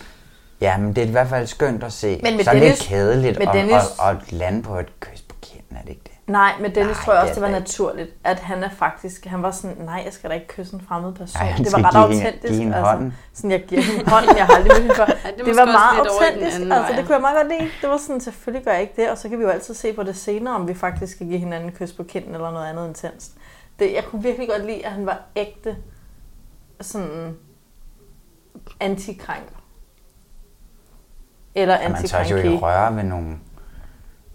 Speaker 8: Ja, men det er i hvert fald skønt at se.
Speaker 7: Men med
Speaker 8: så er det lidt
Speaker 7: Dennis-
Speaker 8: kedeligt
Speaker 7: med
Speaker 8: at,
Speaker 7: Dennis-
Speaker 8: at, at, lande på et kys på kinden, er det ikke det?
Speaker 7: Nej, men Dennis
Speaker 8: Nej,
Speaker 7: tror jeg også,
Speaker 8: det
Speaker 7: det
Speaker 8: er
Speaker 7: var
Speaker 8: det ikke.
Speaker 7: naturligt, at han er faktisk, han var sådan, nej, jeg skal da ikke kysse en fremmed person.
Speaker 8: Nej, han
Speaker 7: det
Speaker 8: skal
Speaker 7: var ret
Speaker 8: give hende-
Speaker 7: autentisk. altså.
Speaker 8: give hende hånden.
Speaker 7: Sådan, jeg giver hende hånden, jeg har aldrig mødt hende før.
Speaker 8: [laughs]
Speaker 1: er
Speaker 7: det, det
Speaker 1: måske
Speaker 7: var
Speaker 1: også
Speaker 7: meget
Speaker 1: lidt over i den
Speaker 7: autentisk,
Speaker 1: anden
Speaker 7: altså
Speaker 1: vej.
Speaker 7: det kunne jeg meget godt lide. Det var sådan, selvfølgelig gør jeg ikke det, og så kan vi jo altid se på det senere, om vi faktisk skal give hinanden kys på kinden eller noget andet intenst. Det, jeg kunne virkelig godt lide, at han var ægte sådan antikrænker. Eller
Speaker 8: Og man tør jo ikke
Speaker 7: antikrænke.
Speaker 8: røre ved nogen.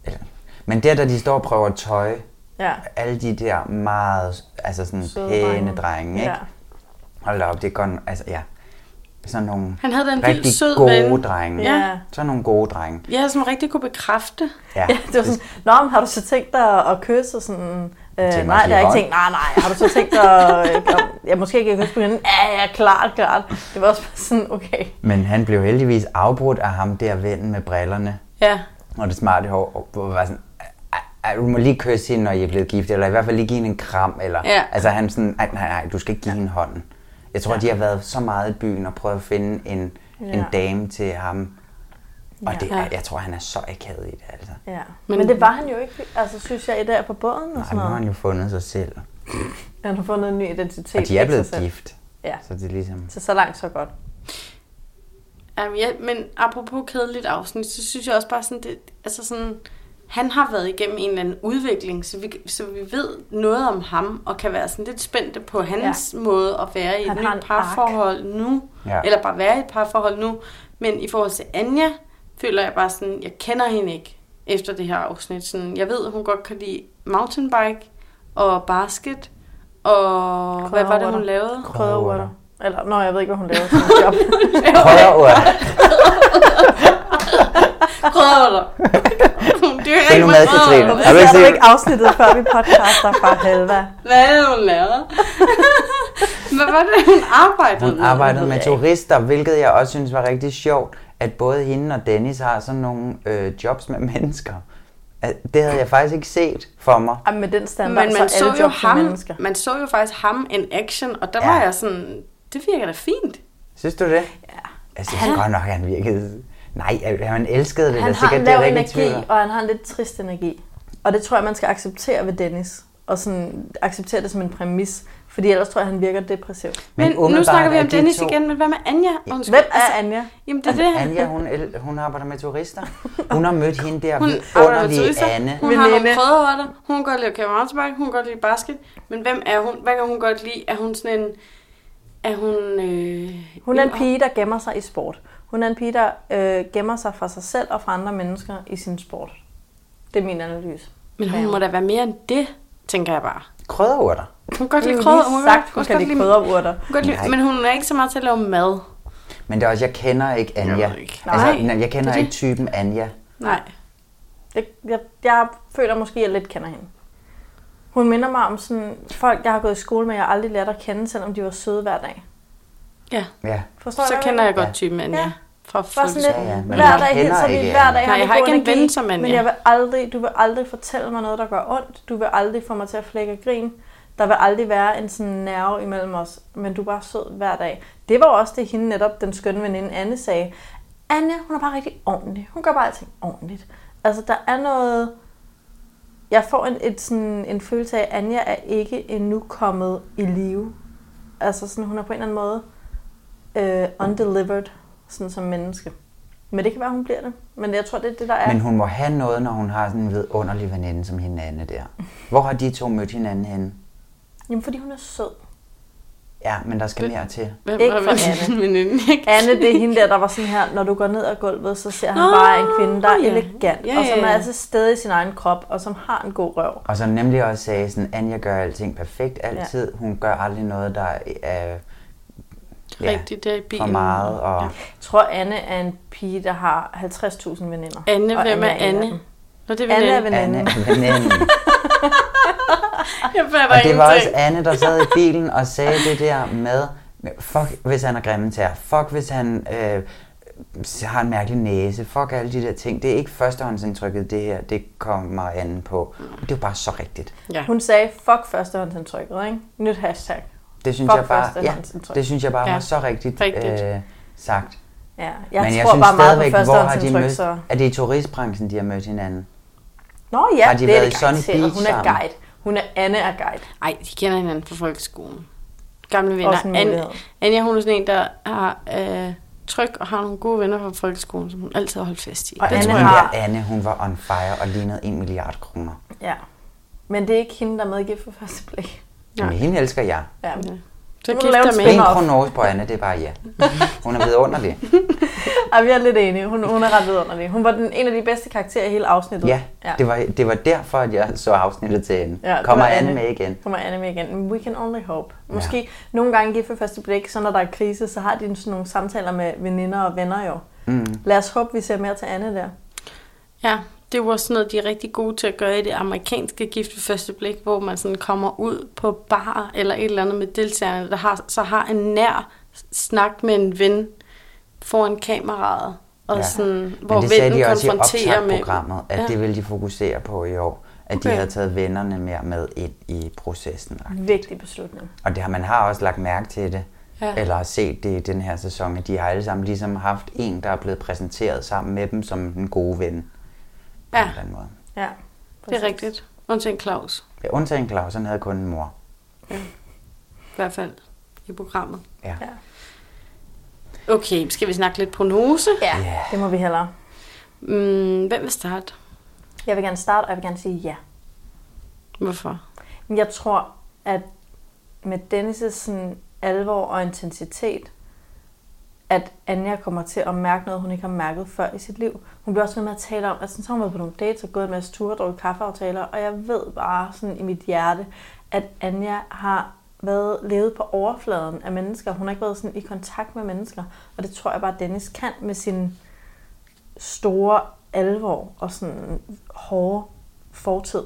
Speaker 8: Eller- Men der, da de står og prøver tøj,
Speaker 7: Ja.
Speaker 8: alle de der meget, altså sådan
Speaker 7: Søde
Speaker 8: pæne
Speaker 7: drenge.
Speaker 8: drenge, ikke?
Speaker 7: Ja.
Speaker 8: Hold da op, det er godt, altså ja. Sådan nogle
Speaker 1: Han havde da en vild
Speaker 8: rigtig
Speaker 1: sød
Speaker 8: gode
Speaker 1: ven.
Speaker 8: drenge.
Speaker 7: Ja.
Speaker 8: Sådan nogle gode drenge.
Speaker 1: Ja, som rigtig kunne bekræfte.
Speaker 8: Ja,
Speaker 7: Ja, det var sådan, Nå, men har du så tænkt dig at kysse? Og sådan, øh,
Speaker 8: Til
Speaker 7: nej,
Speaker 8: mig
Speaker 7: det har jeg ikke
Speaker 8: lige
Speaker 7: tænkt. Nej, nej, har du så tænkt dig [laughs] at... Øh, jeg måske ikke kan kysse på hinanden. Ja, ja, klart, klart. Det var også bare sådan, okay.
Speaker 8: Men han blev heldigvis afbrudt af ham der vennen med brillerne
Speaker 1: Ja.
Speaker 8: og det smarte hår, hvor var sådan, "Ej, ej, du må lige kysse hende, når I er blevet gift, eller i hvert fald lige give hende en kram, eller,
Speaker 1: Ja.
Speaker 8: altså han sådan, nej, nej, nej, du skal ikke give hende hånden. Jeg tror, de har været så meget i byen og prøvet at finde en,
Speaker 7: Ja.
Speaker 8: en dame til ham, og det,
Speaker 1: Ja.
Speaker 8: er- jeg tror, han er så akavet i det, altså.
Speaker 7: Ja. Men, men, det var han jo ikke, altså synes jeg, i dag på båden og
Speaker 8: Ej,
Speaker 7: sådan
Speaker 8: nu har
Speaker 7: noget.
Speaker 8: han jo fundet sig selv,
Speaker 7: Han har fundet en ny identitet.
Speaker 8: og de er
Speaker 7: ikke sig
Speaker 8: blevet
Speaker 7: selv.
Speaker 8: gift,
Speaker 7: Ja,
Speaker 8: så det er ligesom,
Speaker 7: så så langt, så godt.
Speaker 1: Jamen, ja, men apropos kedeligt afsnit, så synes jeg også bare sådan, det, altså sådan, han har været igennem en eller anden udvikling, så vi, så vi ved noget om ham, og kan være sådan lidt spændte på hans ja. måde at være i
Speaker 7: Han
Speaker 1: et
Speaker 7: har en
Speaker 1: nyt parforhold nu,
Speaker 8: Ja.
Speaker 1: ja. eller bare være i et parforhold nu. Men i forhold til Anja, føler jeg bare sådan, jeg kender hende ikke efter det her afsnit. Sådan, jeg ved, hun godt kan lide mountainbike og basket, Og hvad var det, hun
Speaker 7: [laughs]
Speaker 1: lavede?
Speaker 7: Krødderurter. Eller, nå, jeg ved ikke, hvad hun [laughs] laver som job.
Speaker 8: Krødderurter.
Speaker 1: Krødder. Hun dyrker
Speaker 8: Det er
Speaker 1: ikke
Speaker 8: nu
Speaker 1: med
Speaker 8: mad, Katrine.
Speaker 1: krødder.
Speaker 8: Er du ikke
Speaker 7: Det er du
Speaker 8: sikker?
Speaker 7: ikke afsnittet, før vi podcaster fra Halva.
Speaker 1: Hvad er det, hun
Speaker 7: [laughs]
Speaker 1: laver? Hvad var det, hun arbejdede
Speaker 8: Hun arbejdede med turister, hvilket jeg også synes var rigtig sjovt, at både hende og Dennis har sådan nogle øh, jobs med mennesker. At Det havde jeg faktisk ikke set for mig.
Speaker 7: Jamen, med den standard,
Speaker 1: Men man
Speaker 7: så er
Speaker 1: så,
Speaker 7: alle
Speaker 1: jo
Speaker 7: job for
Speaker 1: ham,
Speaker 7: mennesker.
Speaker 1: man så jo faktisk ham in action, og der
Speaker 8: Ja.
Speaker 1: var jeg sådan, det virker da fint.
Speaker 8: Synes du det? Ja. Jeg synes han... godt nok, at han virkede... Nej, at han elskede det.
Speaker 7: Han
Speaker 8: da
Speaker 7: har
Speaker 8: sikkert,
Speaker 7: en
Speaker 8: det er
Speaker 7: lav
Speaker 8: der ikke i
Speaker 7: energi,
Speaker 8: tvivl om.
Speaker 7: og han har en lidt trist energi. Og det tror jeg, man skal acceptere ved Dennis. Og sådan, acceptere det som en præmis. Fordi ellers tror jeg, han virker depressiv.
Speaker 1: Men, men nu
Speaker 8: umiddelbart
Speaker 1: snakker vi
Speaker 8: er
Speaker 1: om
Speaker 8: de
Speaker 1: Dennis
Speaker 8: to-
Speaker 1: igen, men hvad med Anja? Undskyld. Altså,
Speaker 7: Hvem er Anja?
Speaker 1: Jamen, det er det.
Speaker 8: Anja, hun, el- hun arbejder med turister. Hun har mødt hende
Speaker 1: [laughs]
Speaker 8: der
Speaker 1: Hun arbejder med
Speaker 8: underlige
Speaker 1: turister.
Speaker 8: Anne.
Speaker 1: Hun har nogle
Speaker 7: Veninde.
Speaker 1: krødderretter. Hun kan godt lide at køre mountainbike. Hun kan godt lide basket. Men hvem er hun? Hvad kan hun godt lide? Er hun sådan en... Er hun... Øh,
Speaker 7: Hun er en pige, der gemmer sig i sport. Hun er en pige, der øh, gemmer sig fra sig selv og fra andre mennesker i sin sport. Det er min analyse.
Speaker 1: Men hun må da være mere end det, tænker jeg bare.
Speaker 8: Krødderurter.
Speaker 1: Hun kan godt
Speaker 7: Jeg
Speaker 1: lide
Speaker 7: har
Speaker 1: krødder.
Speaker 7: lige
Speaker 1: kan-
Speaker 7: sagt, hun
Speaker 1: også
Speaker 7: kan
Speaker 1: godt
Speaker 7: lide krydderurter.
Speaker 1: hun kan godt lide-
Speaker 8: Nej.
Speaker 1: Men hun er ikke så meget til at lave mad.
Speaker 8: Men det er også, jeg kender ikke Anja.
Speaker 1: Jeg ved ikke.
Speaker 8: Altså,
Speaker 1: Nej,
Speaker 8: nej, jeg
Speaker 1: det
Speaker 8: kender
Speaker 1: er det.
Speaker 8: ikke typen Anja.
Speaker 1: Nej.
Speaker 7: Jeg, jeg, jeg føler måske, at jeg lidt kender hende. Hun minder mig om sådan folk, jeg har gået i skole med, jeg har aldrig lært at kende, selvom de var søde hver dag.
Speaker 1: Ja,
Speaker 8: Ja.
Speaker 7: Forstår
Speaker 1: så
Speaker 7: du, hvad
Speaker 1: kender jeg
Speaker 7: mener?
Speaker 1: godt typen Anja.
Speaker 7: Ja.
Speaker 1: Fra
Speaker 7: Bare sådan lidt,
Speaker 1: folkeskolen.
Speaker 8: Ja, ja, men
Speaker 7: hver
Speaker 8: jeg
Speaker 7: dag
Speaker 8: kender
Speaker 7: hilser vi,
Speaker 8: ikke
Speaker 7: hver
Speaker 8: Anne.
Speaker 7: dag
Speaker 1: Nej, jeg
Speaker 7: vi
Speaker 1: har
Speaker 7: god
Speaker 1: ikke en ven
Speaker 7: energi,
Speaker 1: som Anja.
Speaker 7: Men jeg vil aldrig, du vil aldrig fortælle mig noget, der gør ondt. Du vil aldrig få mig til at flække og grine. Der vil aldrig være en sådan nerve imellem os, men du er bare sød hver dag. Det var også det, hende netop, den skønne veninde Anne, sagde. Anne, hun er bare rigtig ordentlig. Hun gør bare alting ordentligt. Altså, der er noget... Jeg får en, et, sådan, en følelse af, at Anja er ikke endnu kommet i live. Altså, sådan, hun er på en eller anden måde øh, undelivered, sådan som menneske. Men det kan være, hun bliver det. Men jeg tror, det er det, der er.
Speaker 8: Men hun må have noget, når hun har sådan en vidunderlig veninde som hende Anne der. Hvor har de to mødt hinanden henne?
Speaker 7: Jamen, fordi hun er sød.
Speaker 8: Ja, men der skal mere til.
Speaker 1: Hvem
Speaker 7: Ikke
Speaker 1: er
Speaker 7: for
Speaker 1: [laughs] min
Speaker 7: Anne.
Speaker 1: veninde? Ikke?
Speaker 7: Anne, det er hende der, der var sådan her, når du går ned ad gulvet, så ser han
Speaker 1: Nå,
Speaker 7: bare en kvinde, der er
Speaker 1: ja.
Speaker 7: elegant,
Speaker 1: Ja,
Speaker 7: og som
Speaker 1: ja,
Speaker 7: er
Speaker 1: ja.
Speaker 7: altså stadig i sin egen krop, og som har en god røv.
Speaker 8: Og som nemlig også sagde, sådan, Anja gør alting perfekt altid. Ja. Hun gør aldrig noget, der er ja,
Speaker 1: Rigtigt, der i bilen.
Speaker 8: for meget. Og, ja.
Speaker 7: Jeg tror, Anne er en pige, der har 50.000 veninder.
Speaker 1: Anne,
Speaker 7: Og
Speaker 1: hvem er
Speaker 7: en af
Speaker 1: Anne?
Speaker 7: dem.
Speaker 1: Nå, det er
Speaker 7: Anne
Speaker 1: veninde.
Speaker 7: er
Speaker 8: Anne,
Speaker 7: veninde.
Speaker 8: veninde.
Speaker 1: Jeg fatter
Speaker 8: Og det var også
Speaker 1: ingenting.
Speaker 8: Anne, der
Speaker 7: [laughs]
Speaker 8: sad i bilen og sagde det der med, fuck hvis han har grimme tær, fuck hvis han øh, har en mærkelig næse, fuck alle de der ting. Det er ikke førstehåndsindtrykket, det her, det kommer an på. Det er jo bare så rigtigt.
Speaker 1: Ja.
Speaker 7: Hun sagde, fuck førstehåndsindtrykket, ikke? Nyt hashtag.
Speaker 8: Det synes
Speaker 7: Fuck
Speaker 8: jeg bare, ja,
Speaker 7: førstehåndsindtryk.
Speaker 8: det synes jeg bare
Speaker 1: Ja,
Speaker 8: var så rigtigt,
Speaker 1: rigtigt.
Speaker 8: Øh, sagt.
Speaker 7: Ja, jeg
Speaker 8: Men
Speaker 7: tror
Speaker 8: jeg synes
Speaker 7: bare meget
Speaker 8: stadigvæk,
Speaker 7: på
Speaker 8: hvor har de
Speaker 7: førstehåndsindtryk,
Speaker 8: mødt,
Speaker 7: så...
Speaker 8: er det i turistbranchen, de har mødt hinanden?
Speaker 7: Nå ja,
Speaker 8: Har de
Speaker 7: det er
Speaker 8: været
Speaker 7: det
Speaker 8: i Sunny
Speaker 7: garanteret.
Speaker 8: Beach
Speaker 7: Hun er
Speaker 8: sammen?
Speaker 7: guide. Hun er Anne er guide.
Speaker 1: Ej, de kender hinanden fra folkeskolen. Gamle
Speaker 7: Også en
Speaker 1: venner.
Speaker 7: mulighed.
Speaker 1: An, Anja, hun er sådan en, der har øh, tryk og har nogle gode venner fra folkeskolen, som hun altid har holdt fast i.
Speaker 7: Og
Speaker 1: det
Speaker 7: Anne
Speaker 1: tror
Speaker 8: Hun
Speaker 1: jeg.
Speaker 7: har-
Speaker 8: Altså, der Anne, hun var on fire og lignede en milliard kroner.
Speaker 7: Ja. Men det er ikke hende, der er medgift for første blik.
Speaker 1: Nej.
Speaker 8: Men hende elsker jeg.
Speaker 7: Ja.
Speaker 1: Så
Speaker 7: Hun laver
Speaker 1: gifter
Speaker 7: en
Speaker 1: med
Speaker 8: En
Speaker 1: hende.
Speaker 7: spin-off. op.
Speaker 8: prognose på Anne, det er bare
Speaker 7: [laughs]
Speaker 8: ja. Hun er vidunderlig.
Speaker 7: Ej, jeg er lidt enig. Hun, hun er ret vidunderlig. Hun var den, en af de bedste karakterer i hele afsnittet.
Speaker 8: Ja, det var, det var derfor, at jeg så afsnittet til ende.
Speaker 7: Ja, det
Speaker 8: Kommer
Speaker 7: var
Speaker 8: Anne
Speaker 7: Anne.
Speaker 8: med igen?
Speaker 7: Kommer Anne med igen. Men We can only hope. Måske nogle gange gift for første blik, så når der er krise, så har de sådan nogle samtaler med veninder og venner jo. Mm. Lad os håbe, vi ser mere til Anne der.
Speaker 1: Ja, det var sådan noget, de er rigtig gode til at gøre i det amerikanske gift ved første blik, hvor man sådan kommer ud på bar eller et eller andet med deltagerne, der har, så har en nær snak med en ven foran kameraet, og ja. sådan, hvor
Speaker 8: Men det sagde
Speaker 1: vennen
Speaker 8: de også i
Speaker 1: konfronterer med...
Speaker 8: optagprogrammet, at
Speaker 1: Ja.
Speaker 8: ja. det ville de fokusere på i år. At okay.
Speaker 1: Okay.
Speaker 8: de havde taget vennerne mere med ind i processen.
Speaker 7: Vigtig beslutning.
Speaker 8: Og det har man har også lagt mærke til det,
Speaker 1: Ja.
Speaker 8: ja. eller har set det i den her sæson, at de har alle sammen ligesom haft en, der er blevet præsenteret sammen med dem som den gode ven. På
Speaker 1: Ja.
Speaker 8: en eller anden måde.
Speaker 7: Ja.
Speaker 1: Det
Speaker 7: præcis.
Speaker 1: er rigtigt. Undtagen Claus,
Speaker 8: Ja, undtagen Claus, han havde kun en mor.
Speaker 1: i hvert fald i programmet.
Speaker 8: Ja.
Speaker 7: Ja.
Speaker 1: Okay, skal vi snakke lidt prognose?
Speaker 7: Ja, det må vi hellere.
Speaker 1: Mm, hvem vil starte?
Speaker 7: Jeg vil gerne starte, og jeg vil gerne sige ja.
Speaker 1: Hvorfor?
Speaker 7: Men Jeg tror, at med Dennis' sådan alvor og intensitet, at Anja kommer til at mærke noget, hun ikke har mærket før i sit liv. Hun bliver også ved med at tale om, at sådan, så har hun været på nogle dates og gået en masse ture og drukket kaffeaftaler, og jeg ved bare sådan i mit hjerte, at Anja har været levet på overfladen af mennesker. Hun har ikke været sådan i kontakt med mennesker. Og det tror jeg bare, Dennis kan med sin store alvor og sådan hårde fortid.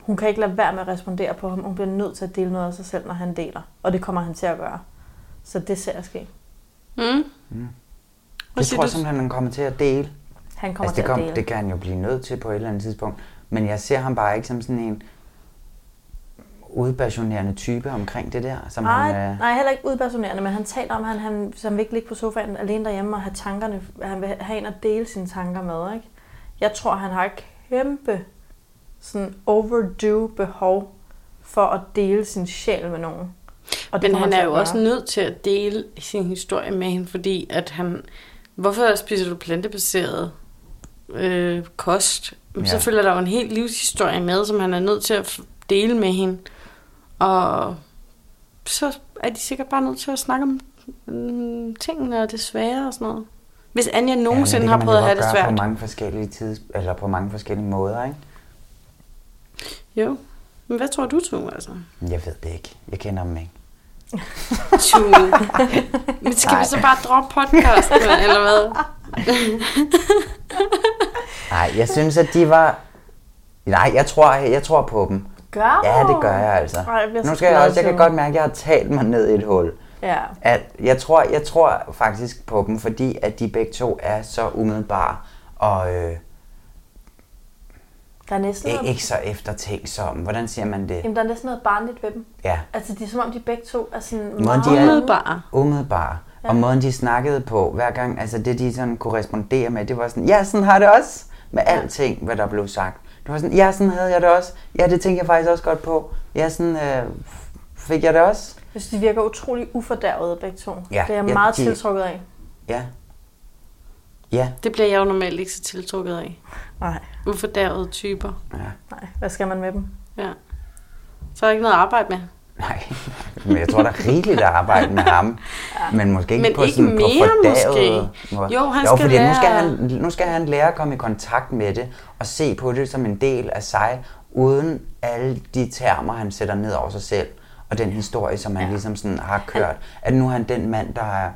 Speaker 7: Hun kan ikke lade være med at respondere på ham. Hun bliver nødt til at dele noget af sig selv, når han deler. Og det kommer han til at gøre. Så det ser jeg ske.
Speaker 1: Mm.
Speaker 8: Det
Speaker 1: siger
Speaker 8: tror
Speaker 1: du?
Speaker 8: jeg simpelthen, han kommer til at dele.
Speaker 7: Han kommer
Speaker 8: Altså, det,
Speaker 7: til at
Speaker 8: kom,
Speaker 7: dele.
Speaker 8: det kan han jo blive nødt til på et eller andet tidspunkt. Men jeg ser ham bare ikke som sådan en udpassionerende type omkring det der, som han øh,
Speaker 7: Nej,
Speaker 8: er...
Speaker 7: nej, heller ikke udpersonerende, men han taler om, at han, han, så han vil ikke ligge på sofaen alene derhjemme og have tankerne, han vil have en at dele sine tanker med. Ikke? Jeg tror, han har et kæmpe sådan overdue behov for at dele sin sjæl med nogen. Og
Speaker 1: Men
Speaker 7: kommer
Speaker 1: han
Speaker 7: til
Speaker 1: er
Speaker 7: at
Speaker 1: jo
Speaker 7: gøre.
Speaker 1: også nødt til at dele sin historie med hende, fordi at han... Hvorfor spiser du plantebaseret øh, kost? Ja. Så
Speaker 8: Ja.
Speaker 1: følger der jo en helt livshistorie med, som han er nødt til at f- dele med hende. Og så er de sikkert bare nødt til at snakke om mm, tingene og det svære og sådan noget. Hvis Anja
Speaker 8: Ja, men
Speaker 1: nogensinde ja,
Speaker 8: det kan
Speaker 1: har
Speaker 8: man
Speaker 1: prøvet
Speaker 8: jo
Speaker 1: at have
Speaker 8: godt
Speaker 1: det
Speaker 8: gøre
Speaker 1: svært.
Speaker 8: På mange forskellige tids, eller på mange forskellige måder, ikke?
Speaker 1: Jo. Men hvad tror du, Tue, altså?
Speaker 8: Jeg ved det ikke. Jeg kender ham ikke.
Speaker 1: Tue. Men skal vi så bare droppe podcasten, eller hvad? [laughs]
Speaker 8: Nej, jeg synes, at de var... Nej, jeg tror, jeg tror på dem.
Speaker 7: Gør
Speaker 8: Ja,
Speaker 7: du?
Speaker 8: det gør jeg altså.
Speaker 7: Ej, jeg bliver så
Speaker 8: nu skal jeg
Speaker 7: glad,
Speaker 8: også, jeg kan
Speaker 7: Simon.
Speaker 8: godt mærke, at jeg har talt mig ned i et hul.
Speaker 7: Ja.
Speaker 8: At jeg, tror, jeg tror faktisk på dem, fordi at de begge to er så umiddelbare og øh,
Speaker 7: Der er næsten
Speaker 8: ikke,
Speaker 7: noget,
Speaker 8: ikke så eftertænksomme. Hvordan siger man det?
Speaker 7: jamen, der er næsten noget barnligt ved dem.
Speaker 8: Ja.
Speaker 7: Altså, det er som om, de begge to er sådan
Speaker 8: Måden
Speaker 7: meget...
Speaker 8: de er
Speaker 1: Umiddelbare.
Speaker 8: umiddelbare. Ja. Og måden de snakkede på hver gang, altså det de sådan kunne respondere med, det var sådan, ja, sådan har jeg det også med alting, hvad der blev sagt. Det var sådan, ja, sådan havde jeg det også. Ja, det tænkte jeg faktisk også godt på. Ja, sådan øh, fik jeg det også.
Speaker 7: Jeg synes, de virker utrolig ufordærvede begge to. det er jeg
Speaker 8: ja,
Speaker 7: meget
Speaker 8: de-
Speaker 7: tiltrukket af.
Speaker 8: Ja. Ja.
Speaker 1: Det bliver jeg jo normalt ikke så tiltrukket af.
Speaker 7: Nej,
Speaker 1: Ufordærvede typer.
Speaker 8: ja.
Speaker 7: nej. Hvad skal man med dem?
Speaker 1: Ja. Så er der ikke noget at arbejde med.
Speaker 8: Nej, men jeg tror, der er rigeligt at arbejde med ham. Men måske ikke
Speaker 1: Men
Speaker 8: på
Speaker 1: ikke
Speaker 8: sådan på
Speaker 1: mere,
Speaker 8: fordavede
Speaker 1: måske.
Speaker 8: måde.
Speaker 1: Jo, han
Speaker 8: jo,
Speaker 1: skal
Speaker 8: fordi nu skal,
Speaker 1: lære-
Speaker 8: han, nu skal han lære at komme i kontakt med det, og se på det som en del af sig, uden alle de termer, han sætter ned over sig selv, og den historie, som han ja. ligesom sådan har kørt. At nu er han den mand, der er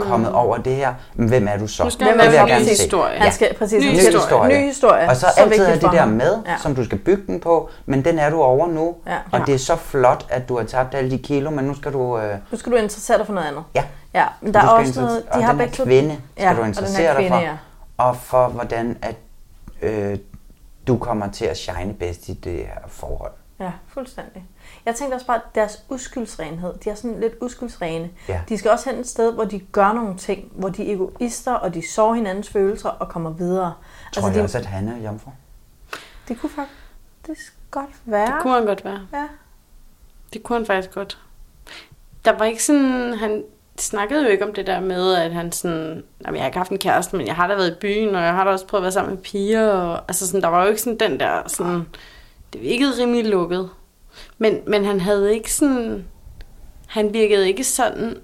Speaker 8: kommet mm. over det her. Men hvem er du så?
Speaker 1: Nu skal
Speaker 8: Det
Speaker 1: han
Speaker 8: vil
Speaker 1: lave
Speaker 8: jeg
Speaker 1: en
Speaker 8: gerne
Speaker 1: ny
Speaker 8: se.
Speaker 1: historie.
Speaker 7: Han skal, præcis,
Speaker 1: Ny
Speaker 7: han
Speaker 8: Ny
Speaker 7: skal-
Speaker 8: historie.
Speaker 7: Ny historie.
Speaker 8: Og så, så altid
Speaker 7: vigtigt
Speaker 8: er det
Speaker 7: for
Speaker 8: der
Speaker 7: ham.
Speaker 8: med,
Speaker 7: Ja.
Speaker 8: ja. som du skal bygge den på, men den er du over nu.
Speaker 7: Ja.
Speaker 8: Og det er så flot, at du har tabt alle de kilo, men nu skal du... Øh,
Speaker 7: Nu skal du interessere dig for noget andet.
Speaker 8: ja.
Speaker 7: Ja, men der
Speaker 8: du
Speaker 7: er
Speaker 8: skal
Speaker 7: også
Speaker 8: interesse-
Speaker 7: noget...
Speaker 8: og
Speaker 7: De har
Speaker 8: den her
Speaker 7: begge to-
Speaker 8: kvinde skal
Speaker 7: ja,
Speaker 8: du interessere
Speaker 7: og den her
Speaker 8: dig for.
Speaker 7: kvinde, Ja.
Speaker 8: Og for, hvordan at, øh, du kommer til at shine bedst i det her forhold.
Speaker 7: Ja, fuldstændig. Jeg tænkte også bare, at deres uskyldsrenhed, de er sådan lidt uskyldsrene.
Speaker 8: Ja.
Speaker 7: De skal også hen et sted, hvor de gør nogle ting, hvor de er egoister, og de sår hinandens følelser og kommer videre.
Speaker 8: Tror altså,
Speaker 7: det,
Speaker 8: jeg også, at han er jomfru?
Speaker 7: det kunne faktisk det skulle godt være.
Speaker 1: Det kunne han godt være.
Speaker 7: Ja.
Speaker 1: Det kunne han faktisk godt. Der var ikke sådan... Han snakkede jo ikke om det der med, at han sådan... Jamen, jeg har ikke haft en kæreste, men jeg har da været i byen, og jeg har da også prøvet at være sammen med piger. Og, altså sådan, der var jo ikke sådan den der sådan... Det virkede rimelig lukket. Men, men han havde ikke sådan... Han virkede ikke sådan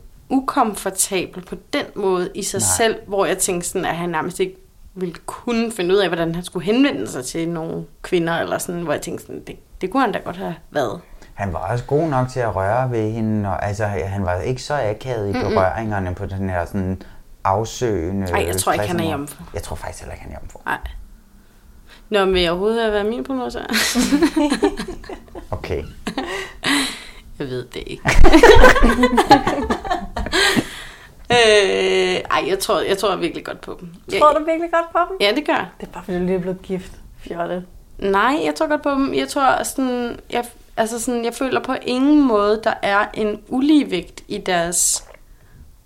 Speaker 1: ukomfortabel på den måde i sig Nej.
Speaker 8: Nej.
Speaker 1: selv, hvor jeg tænkte sådan, at han nærmest ikke ville kunne finde ud af, hvordan han skulle henvende sig til nogle kvinder, eller sådan, hvor jeg tænkte sådan, det, det kunne han da godt have været.
Speaker 8: Han var også god nok til at røre ved hende, og altså, han var ikke så akavet i berøringerne på den her sådan afsøgende...
Speaker 1: Ej, jeg tror ikke, han er
Speaker 8: stressende-
Speaker 1: jomfru.
Speaker 8: Jeg tror faktisk heller ikke, han er jomfru.
Speaker 1: Nej. Nå, men vil jeg overhovedet være min
Speaker 7: [laughs]
Speaker 1: prognose?
Speaker 8: Okay.
Speaker 1: Jeg ved det ikke. [laughs] øh, ej, jeg tror, jeg tror virkelig godt på dem. [laughs] Jeg,
Speaker 7: Tror du virkelig godt på dem?
Speaker 1: Ja, det gør jeg.
Speaker 7: Det er bare, fordi du lige er blevet gift. Fjolle.
Speaker 1: Nej, jeg tror godt på dem. Jeg tror sådan, jeg, altså sådan, jeg føler på ingen måde, der er en uligevægt i deres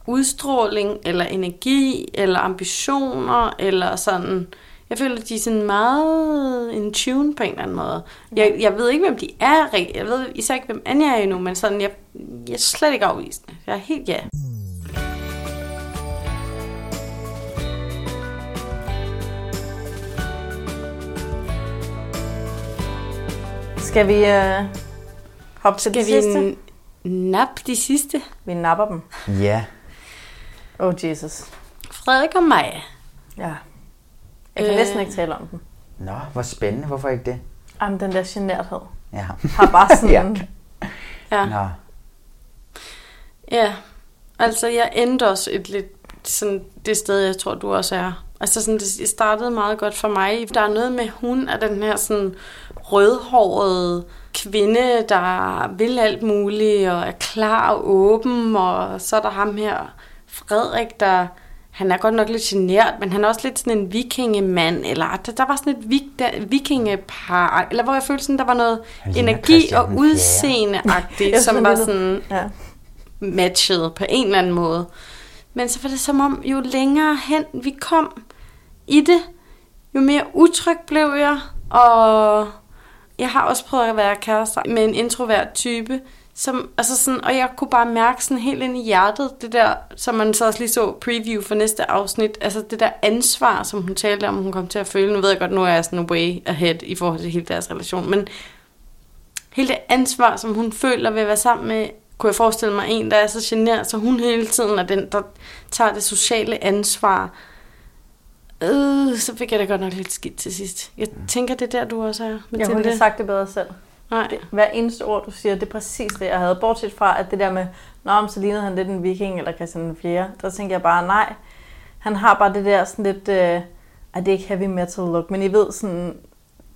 Speaker 1: udstråling, eller energi, eller ambitioner, eller sådan. Jeg føler, de er sådan meget in tune på en eller anden måde. Jeg, jeg ved ikke, hvem de er rigtigt. Jeg ved især ikke, hvem Anja er endnu, men sådan, jeg, jeg er slet ikke afvisende. Jeg er helt ja.
Speaker 7: Skal vi øh, hoppe til
Speaker 1: Skal
Speaker 7: det sidste?
Speaker 1: vi nap de sidste?
Speaker 7: Vi napper dem.
Speaker 8: Ja.
Speaker 7: Oh Jesus.
Speaker 1: Frederik og mig.
Speaker 7: Ja. Jeg kan
Speaker 1: Øh.
Speaker 7: næsten ikke tale om den.
Speaker 8: Nå, hvor spændende. Hvorfor ikke det?
Speaker 7: Jamen, den der generthed.
Speaker 8: Ja.
Speaker 7: har
Speaker 1: [laughs]
Speaker 8: [laughs]
Speaker 7: bare sådan...
Speaker 8: Ja.
Speaker 1: Ja.
Speaker 8: Nå.
Speaker 1: Ja, altså jeg endte også et lidt sådan det sted, jeg tror, du også er. Altså sådan, det startede meget godt for mig. Der er noget med, hun er den her sådan rødhårede kvinde, der vil alt muligt og er klar og åben. Og så er der ham her, Frederik, der han er godt nok lidt genert, men han er også lidt sådan en vikingemand, eller der, der var sådan et vik, der, vikingepar, eller hvor jeg følte sådan, der var noget
Speaker 8: Han ligner
Speaker 1: energi
Speaker 8: Christian
Speaker 1: og
Speaker 8: den fjerde.
Speaker 1: udseendeagtigt,
Speaker 8: [laughs]
Speaker 7: Jeg
Speaker 1: som
Speaker 7: synes,
Speaker 1: var
Speaker 7: det lyder-
Speaker 1: sådan,
Speaker 7: Ja.
Speaker 1: matchet på en eller anden måde. Men så var det som om, jo længere hen vi kom i det, jo mere utryg blev jeg, og jeg har også prøvet at være kærester med en introvert type, som, altså sådan, og jeg kunne bare mærke sådan helt ind i hjertet, det der, som man så også lige så preview for næste afsnit, altså det der ansvar, som hun talte om, hun kom til at føle. Nu ved jeg godt, nu er jeg sådan way ahead i forhold til hele deres relation, men hele det ansvar, som hun føler ved at være sammen med, kunne jeg forestille mig en, der er så generet, så hun hele tiden er den, der tager det sociale ansvar. Øh, så fik jeg det godt nok lidt skidt til sidst. Jeg tænker, det er der, du også er,
Speaker 7: Jeg kunne ikke have sagt det bedre selv.
Speaker 1: Nej.
Speaker 7: Hver eneste ord, du siger, det er præcis det, jeg havde. Bortset fra, at det der med, Nå, men så lignede han lidt en viking eller Christian den 4. Der tænkte jeg bare, nej. Han har bare det der sådan lidt, øh, ej, det er ikke heavy metal look, men I ved sådan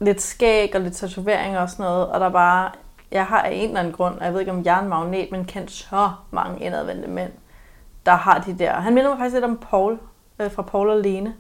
Speaker 7: lidt skæg og lidt tatoveringer og sådan noget, og der er bare, jeg har af en eller anden grund, og jeg ved ikke om jeg er en magnet, men kendt så mange indadvendte mænd, der har de der. Han minder mig faktisk lidt om Paul, øh, fra Paul og Lene,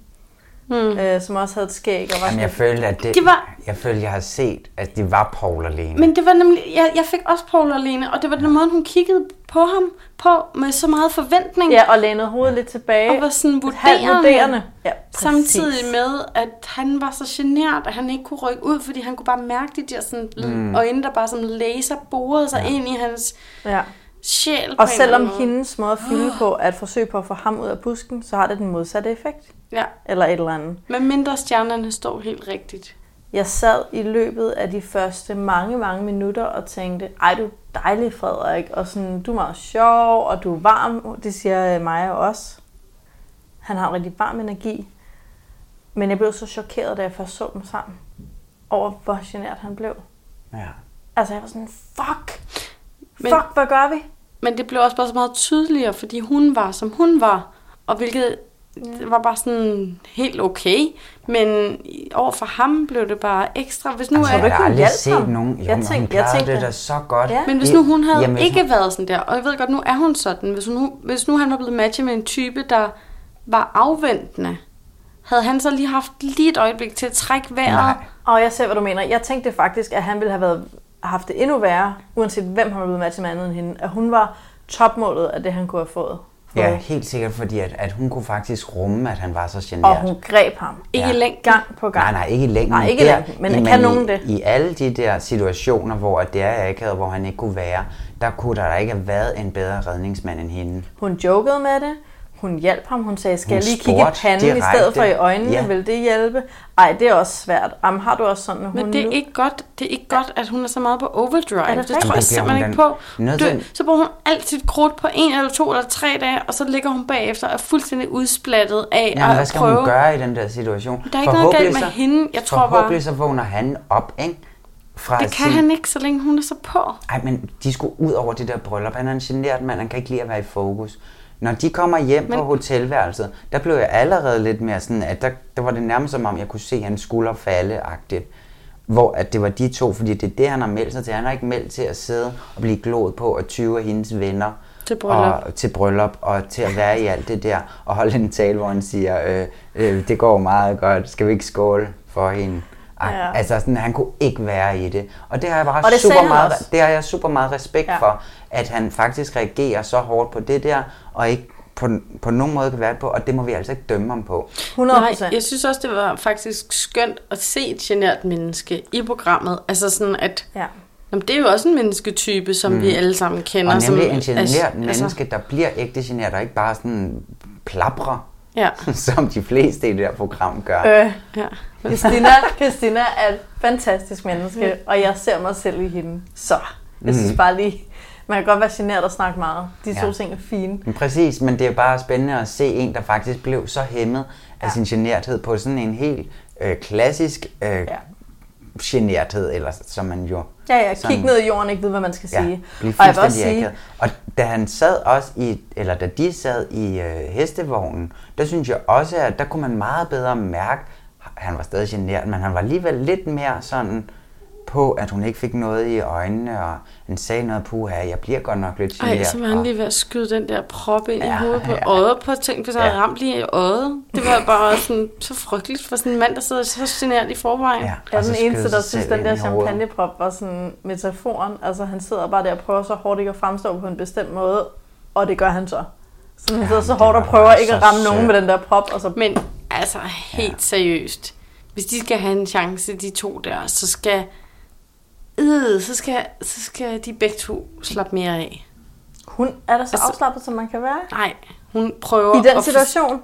Speaker 7: mm. øh, som også havde et skæg. Og var sådan
Speaker 8: Jamen, jeg følte, at det,
Speaker 1: De var-
Speaker 8: jeg følte, jeg har set, at de var Paul og Lene.
Speaker 1: Men det var nemlig, jeg, jeg fik også Paul og Lene, og det var den måde, hun kiggede på ham på med så meget forventning.
Speaker 7: [laughs] Ja, og lænede hovedet lidt tilbage.
Speaker 1: Og var sådan
Speaker 7: Halvt
Speaker 1: vurderende.
Speaker 7: Ja,
Speaker 1: Samtidig med, at han var så genert, at han ikke kunne rykke ud, fordi han kunne bare mærke de der sådan, mm. øjne, der bare som laser borede sig ja. ind i hans
Speaker 7: Ja.
Speaker 1: sjæl. på
Speaker 7: Og
Speaker 1: en eller
Speaker 7: selvom
Speaker 1: anden måde.
Speaker 7: hendes måde at
Speaker 1: [gasps]
Speaker 7: fylde på er et forsøg på at få ham ud af busken, så har det den modsatte effekt.
Speaker 1: Ja,
Speaker 7: Eller et eller andet.
Speaker 1: men mindre stjernerne står helt rigtigt.
Speaker 7: Jeg sad i løbet af de første mange, mange minutter og tænkte, ej du er dejlig Frederik, og sådan, du er meget sjov, og du er varm, det siger øh, Maja også. Han har en rigtig varm energi. Men jeg blev så chokeret, da jeg først så dem sammen, over hvor genert han blev.
Speaker 8: Ja.
Speaker 7: Altså jeg var sådan, fuck,
Speaker 1: Men-
Speaker 7: fuck, hvad gør vi?
Speaker 1: Men det blev også bare så meget tydeligere, fordi hun var, som hun var. Og hvilket
Speaker 7: Mm.
Speaker 1: var bare sådan helt okay. Men i- over for ham blev det bare ekstra. Hvis nu,
Speaker 8: Altså, jeg
Speaker 1: altså, er,
Speaker 8: har da
Speaker 7: hun
Speaker 8: aldrig
Speaker 7: hjalp
Speaker 8: set
Speaker 7: ham?
Speaker 8: nogen. Jo,
Speaker 7: Jeg
Speaker 8: jeg tænkte, hun
Speaker 7: tænkte- jeg
Speaker 8: klarede
Speaker 7: tænkte-
Speaker 8: det da så godt.
Speaker 7: Ja.
Speaker 1: men hvis nu hun havde
Speaker 8: Jamen,
Speaker 1: Jamen,
Speaker 8: hvis
Speaker 1: ikke
Speaker 8: hun-
Speaker 1: været sådan der, og jeg ved godt, nu er hun sådan. Hvis nu, hvis nu han var blevet matchet med en type, der var afventende, havde han så lige haft lige et øjeblik til at trække vejret?
Speaker 8: Nej.
Speaker 7: Og jeg ser, hvad du mener. Jeg tænkte faktisk, at han ville have været, haft det endnu værre, uanset hvem han var blevet matchet med andet end hende. At hun var topmålet af det, han kunne have fået.
Speaker 8: Ja, helt sikkert, fordi at, at hun kunne faktisk rumme, at han var så generet.
Speaker 7: Og hun greb ham
Speaker 1: Ikke
Speaker 8: Ja.
Speaker 1: i længden.
Speaker 7: gang på gang.
Speaker 8: Nej, nej, ikke i længden.
Speaker 7: Nej, ikke i
Speaker 8: Der-
Speaker 7: længden, men kan nogen
Speaker 8: i,
Speaker 7: det?
Speaker 8: I alle de der situationer, hvor at det er akavet, hvor han ikke kunne være, der kunne der da ikke have været en bedre redningsmand end hende.
Speaker 7: Hun jokede med det. Hun hjalp ham. Hun sagde, skal
Speaker 8: Hun
Speaker 7: jeg lige kigge i
Speaker 8: spurgte
Speaker 7: panden i
Speaker 8: direkte.
Speaker 7: stedet for i øjnene?
Speaker 8: Ja.
Speaker 7: Ja. Vil det hjælpe? Ej, det er også svært. Jamen, har du også sådan, at hun
Speaker 1: Men det er
Speaker 7: nu?
Speaker 1: ikke godt, det er ikke godt at hun er så meget på overdrive.
Speaker 7: Er det
Speaker 1: det, det
Speaker 7: rigtigt?
Speaker 1: tror
Speaker 8: Men
Speaker 1: jeg
Speaker 8: det bliver hun
Speaker 1: simpelthen ikke
Speaker 8: da
Speaker 1: på.
Speaker 8: nødt
Speaker 1: Du,
Speaker 8: til.
Speaker 1: så bruger hun alt sit krudt på en eller to eller tre dage, og så ligger hun bagefter og er fuldstændig udsplattet af
Speaker 8: Jamen,
Speaker 1: at
Speaker 8: hvad skal
Speaker 1: prøve.
Speaker 8: hun gøre i den der situation?
Speaker 1: Der er ikke noget galt med hende. Jeg tror bare-
Speaker 8: forhåbentlig så vågner han op, ikke? Fra
Speaker 1: Det kan
Speaker 8: sin-
Speaker 1: han ikke, så længe hun er så på.
Speaker 8: Ej, men de skulle ud over det der bryllup. Han er en generet mand, han kan ikke lide at være i fokus. Når de kommer hjem men... på hotelværelset, der blev jeg allerede lidt mere sådan, at der, der var det nærmest som om, jeg kunne se hans skulder falde-agtigt. Hvor at det var de to, fordi det er det, han har meldt sig til. Han har ikke meldt til at sidde og blive glået på og 20 af hendes venner.
Speaker 1: Til bryllup.
Speaker 8: Og, til bryllup og til at være i alt det der. Og holde en tale, hvor han siger, øh, øh, det går meget godt, skal vi ikke skåle for hende? Ej,
Speaker 7: Ja.
Speaker 8: ja. Altså, sådan, han kunne ikke være i det. Og det har jeg bare
Speaker 7: Og det sagde
Speaker 8: super
Speaker 7: han
Speaker 8: meget,
Speaker 7: også.
Speaker 8: det har jeg super meget respekt
Speaker 7: Ja.
Speaker 8: ja. for, at han faktisk reagerer så hårdt på det der, og ikke på, på nogen måde kan være det på, og det må vi altså ikke dømme ham på.
Speaker 7: 100
Speaker 1: Nej, jeg synes også, det var faktisk skønt at se et genert menneske i programmet. Altså sådan, at
Speaker 7: Ja.
Speaker 1: Jamen, det er jo også en mennesketype, som mm. vi alle sammen kender.
Speaker 8: Og nemlig
Speaker 1: som,
Speaker 8: en generet
Speaker 1: altså-
Speaker 8: menneske, der bliver ægte generet, og ikke bare sådan plaprer,
Speaker 1: Ja.
Speaker 8: [laughs] som de fleste i det der program gør.
Speaker 7: Øh,
Speaker 1: Ja.
Speaker 7: Christina, Christina er et fantastisk menneske, og jeg ser mig selv i hende. Så, jeg synes bare lige, man kan godt være generet og snakke meget. De to
Speaker 8: Mhm. Ja.
Speaker 7: ting er fine.
Speaker 8: Men Præcis, men det er bare spændende at se en, der faktisk blev så hæmmet af sin generthed på sådan en helt øh, klassisk øh, ja. generthed, eller som man jo...
Speaker 7: Ja, ja, kig
Speaker 8: sådan-
Speaker 7: ned i jorden og ikke vide, hvad man skal
Speaker 8: Ja,
Speaker 7: sige.
Speaker 8: blive
Speaker 7: og jeg vil
Speaker 8: fuldstændig
Speaker 7: også
Speaker 8: sige...
Speaker 7: sige,
Speaker 8: akavet. Og da han sad også i, eller da de sad i øh, hestevognen, der synes jeg også, at der kunne man meget bedre mærke, han var stadig generet, men han var alligevel lidt mere sådan på, at hun ikke fik noget i øjnene, og han sagde noget, puha, jeg bliver godt nok lidt generet.
Speaker 1: Ej, så var han
Speaker 8: og-
Speaker 1: lige ved at skyde den der prop ind ja, i
Speaker 8: Ja,
Speaker 1: hovedet på
Speaker 8: ja.
Speaker 1: øjet på ting, hvis jeg
Speaker 8: Ja.
Speaker 1: havde ramt lige i øjet. Det var bare sådan, så frygteligt for sådan en mand, der sidder så genert i forvejen. Ja.
Speaker 8: og
Speaker 7: jeg er
Speaker 8: så
Speaker 7: den
Speaker 8: skød
Speaker 7: eneste, der
Speaker 8: sig
Speaker 7: synes,
Speaker 8: selv
Speaker 7: den der
Speaker 8: ind i hovedet.
Speaker 7: champagneprop var sådan metaforen. Altså, han sidder bare der og prøver så hårdt ikke at fremstå på en bestemt måde, og det gør han så. Så han sidder så
Speaker 8: det
Speaker 7: hårdt og
Speaker 8: var
Speaker 7: prøver
Speaker 8: bare
Speaker 7: ikke at
Speaker 8: så
Speaker 7: ramme nogen
Speaker 8: sødt.
Speaker 7: med den der prop, og så
Speaker 1: Men altså, helt ja. seriøst. Hvis de skal have en chance, de to der, så skal... Øh, så skal, så skal de begge to slappe mere af.
Speaker 7: hun er da så
Speaker 1: Altså-
Speaker 7: afslappet, som man kan være.
Speaker 1: Nej, hun prøver...
Speaker 7: I den
Speaker 1: at- Mm,
Speaker 7: situation.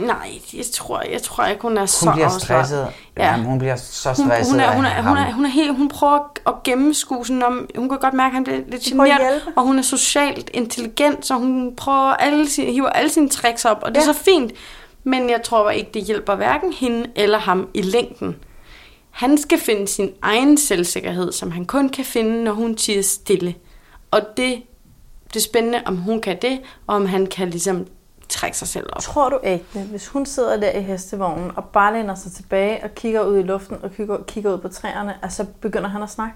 Speaker 1: Nej, jeg tror, jeg tror ikke, hun er så
Speaker 8: Hun bliver
Speaker 1: afslappet.
Speaker 8: stresset.
Speaker 1: Ja.
Speaker 8: Ja. Jamen, hun bliver så
Speaker 1: Hun,
Speaker 8: stresset
Speaker 1: hun, er,
Speaker 8: af
Speaker 1: hun, er,
Speaker 8: ham.
Speaker 1: hun, er, hun, er helt, hun prøver at gennemskue sådan om, hun kan godt mærke, at han bliver lidt
Speaker 7: prøver at
Speaker 1: generet,
Speaker 7: hjælpe.
Speaker 1: og hun er socialt intelligent, så hun prøver alle sine, hiver alle sine tricks op, og det ja. er så fint. Men jeg tror ikke, det hjælper hverken hende eller ham i længden. Han skal finde sin egen selvsikkerhed, som han kun kan finde, når hun tiger stille. Og det, det er spændende, om hun kan det, og om han kan ligesom trække sig selv op.
Speaker 7: Tror du ikke, at hvis hun sidder der i hestevognen og bare læner sig tilbage og kigger ud i luften og kigger, kigger ud på træerne, at så begynder han at snakke?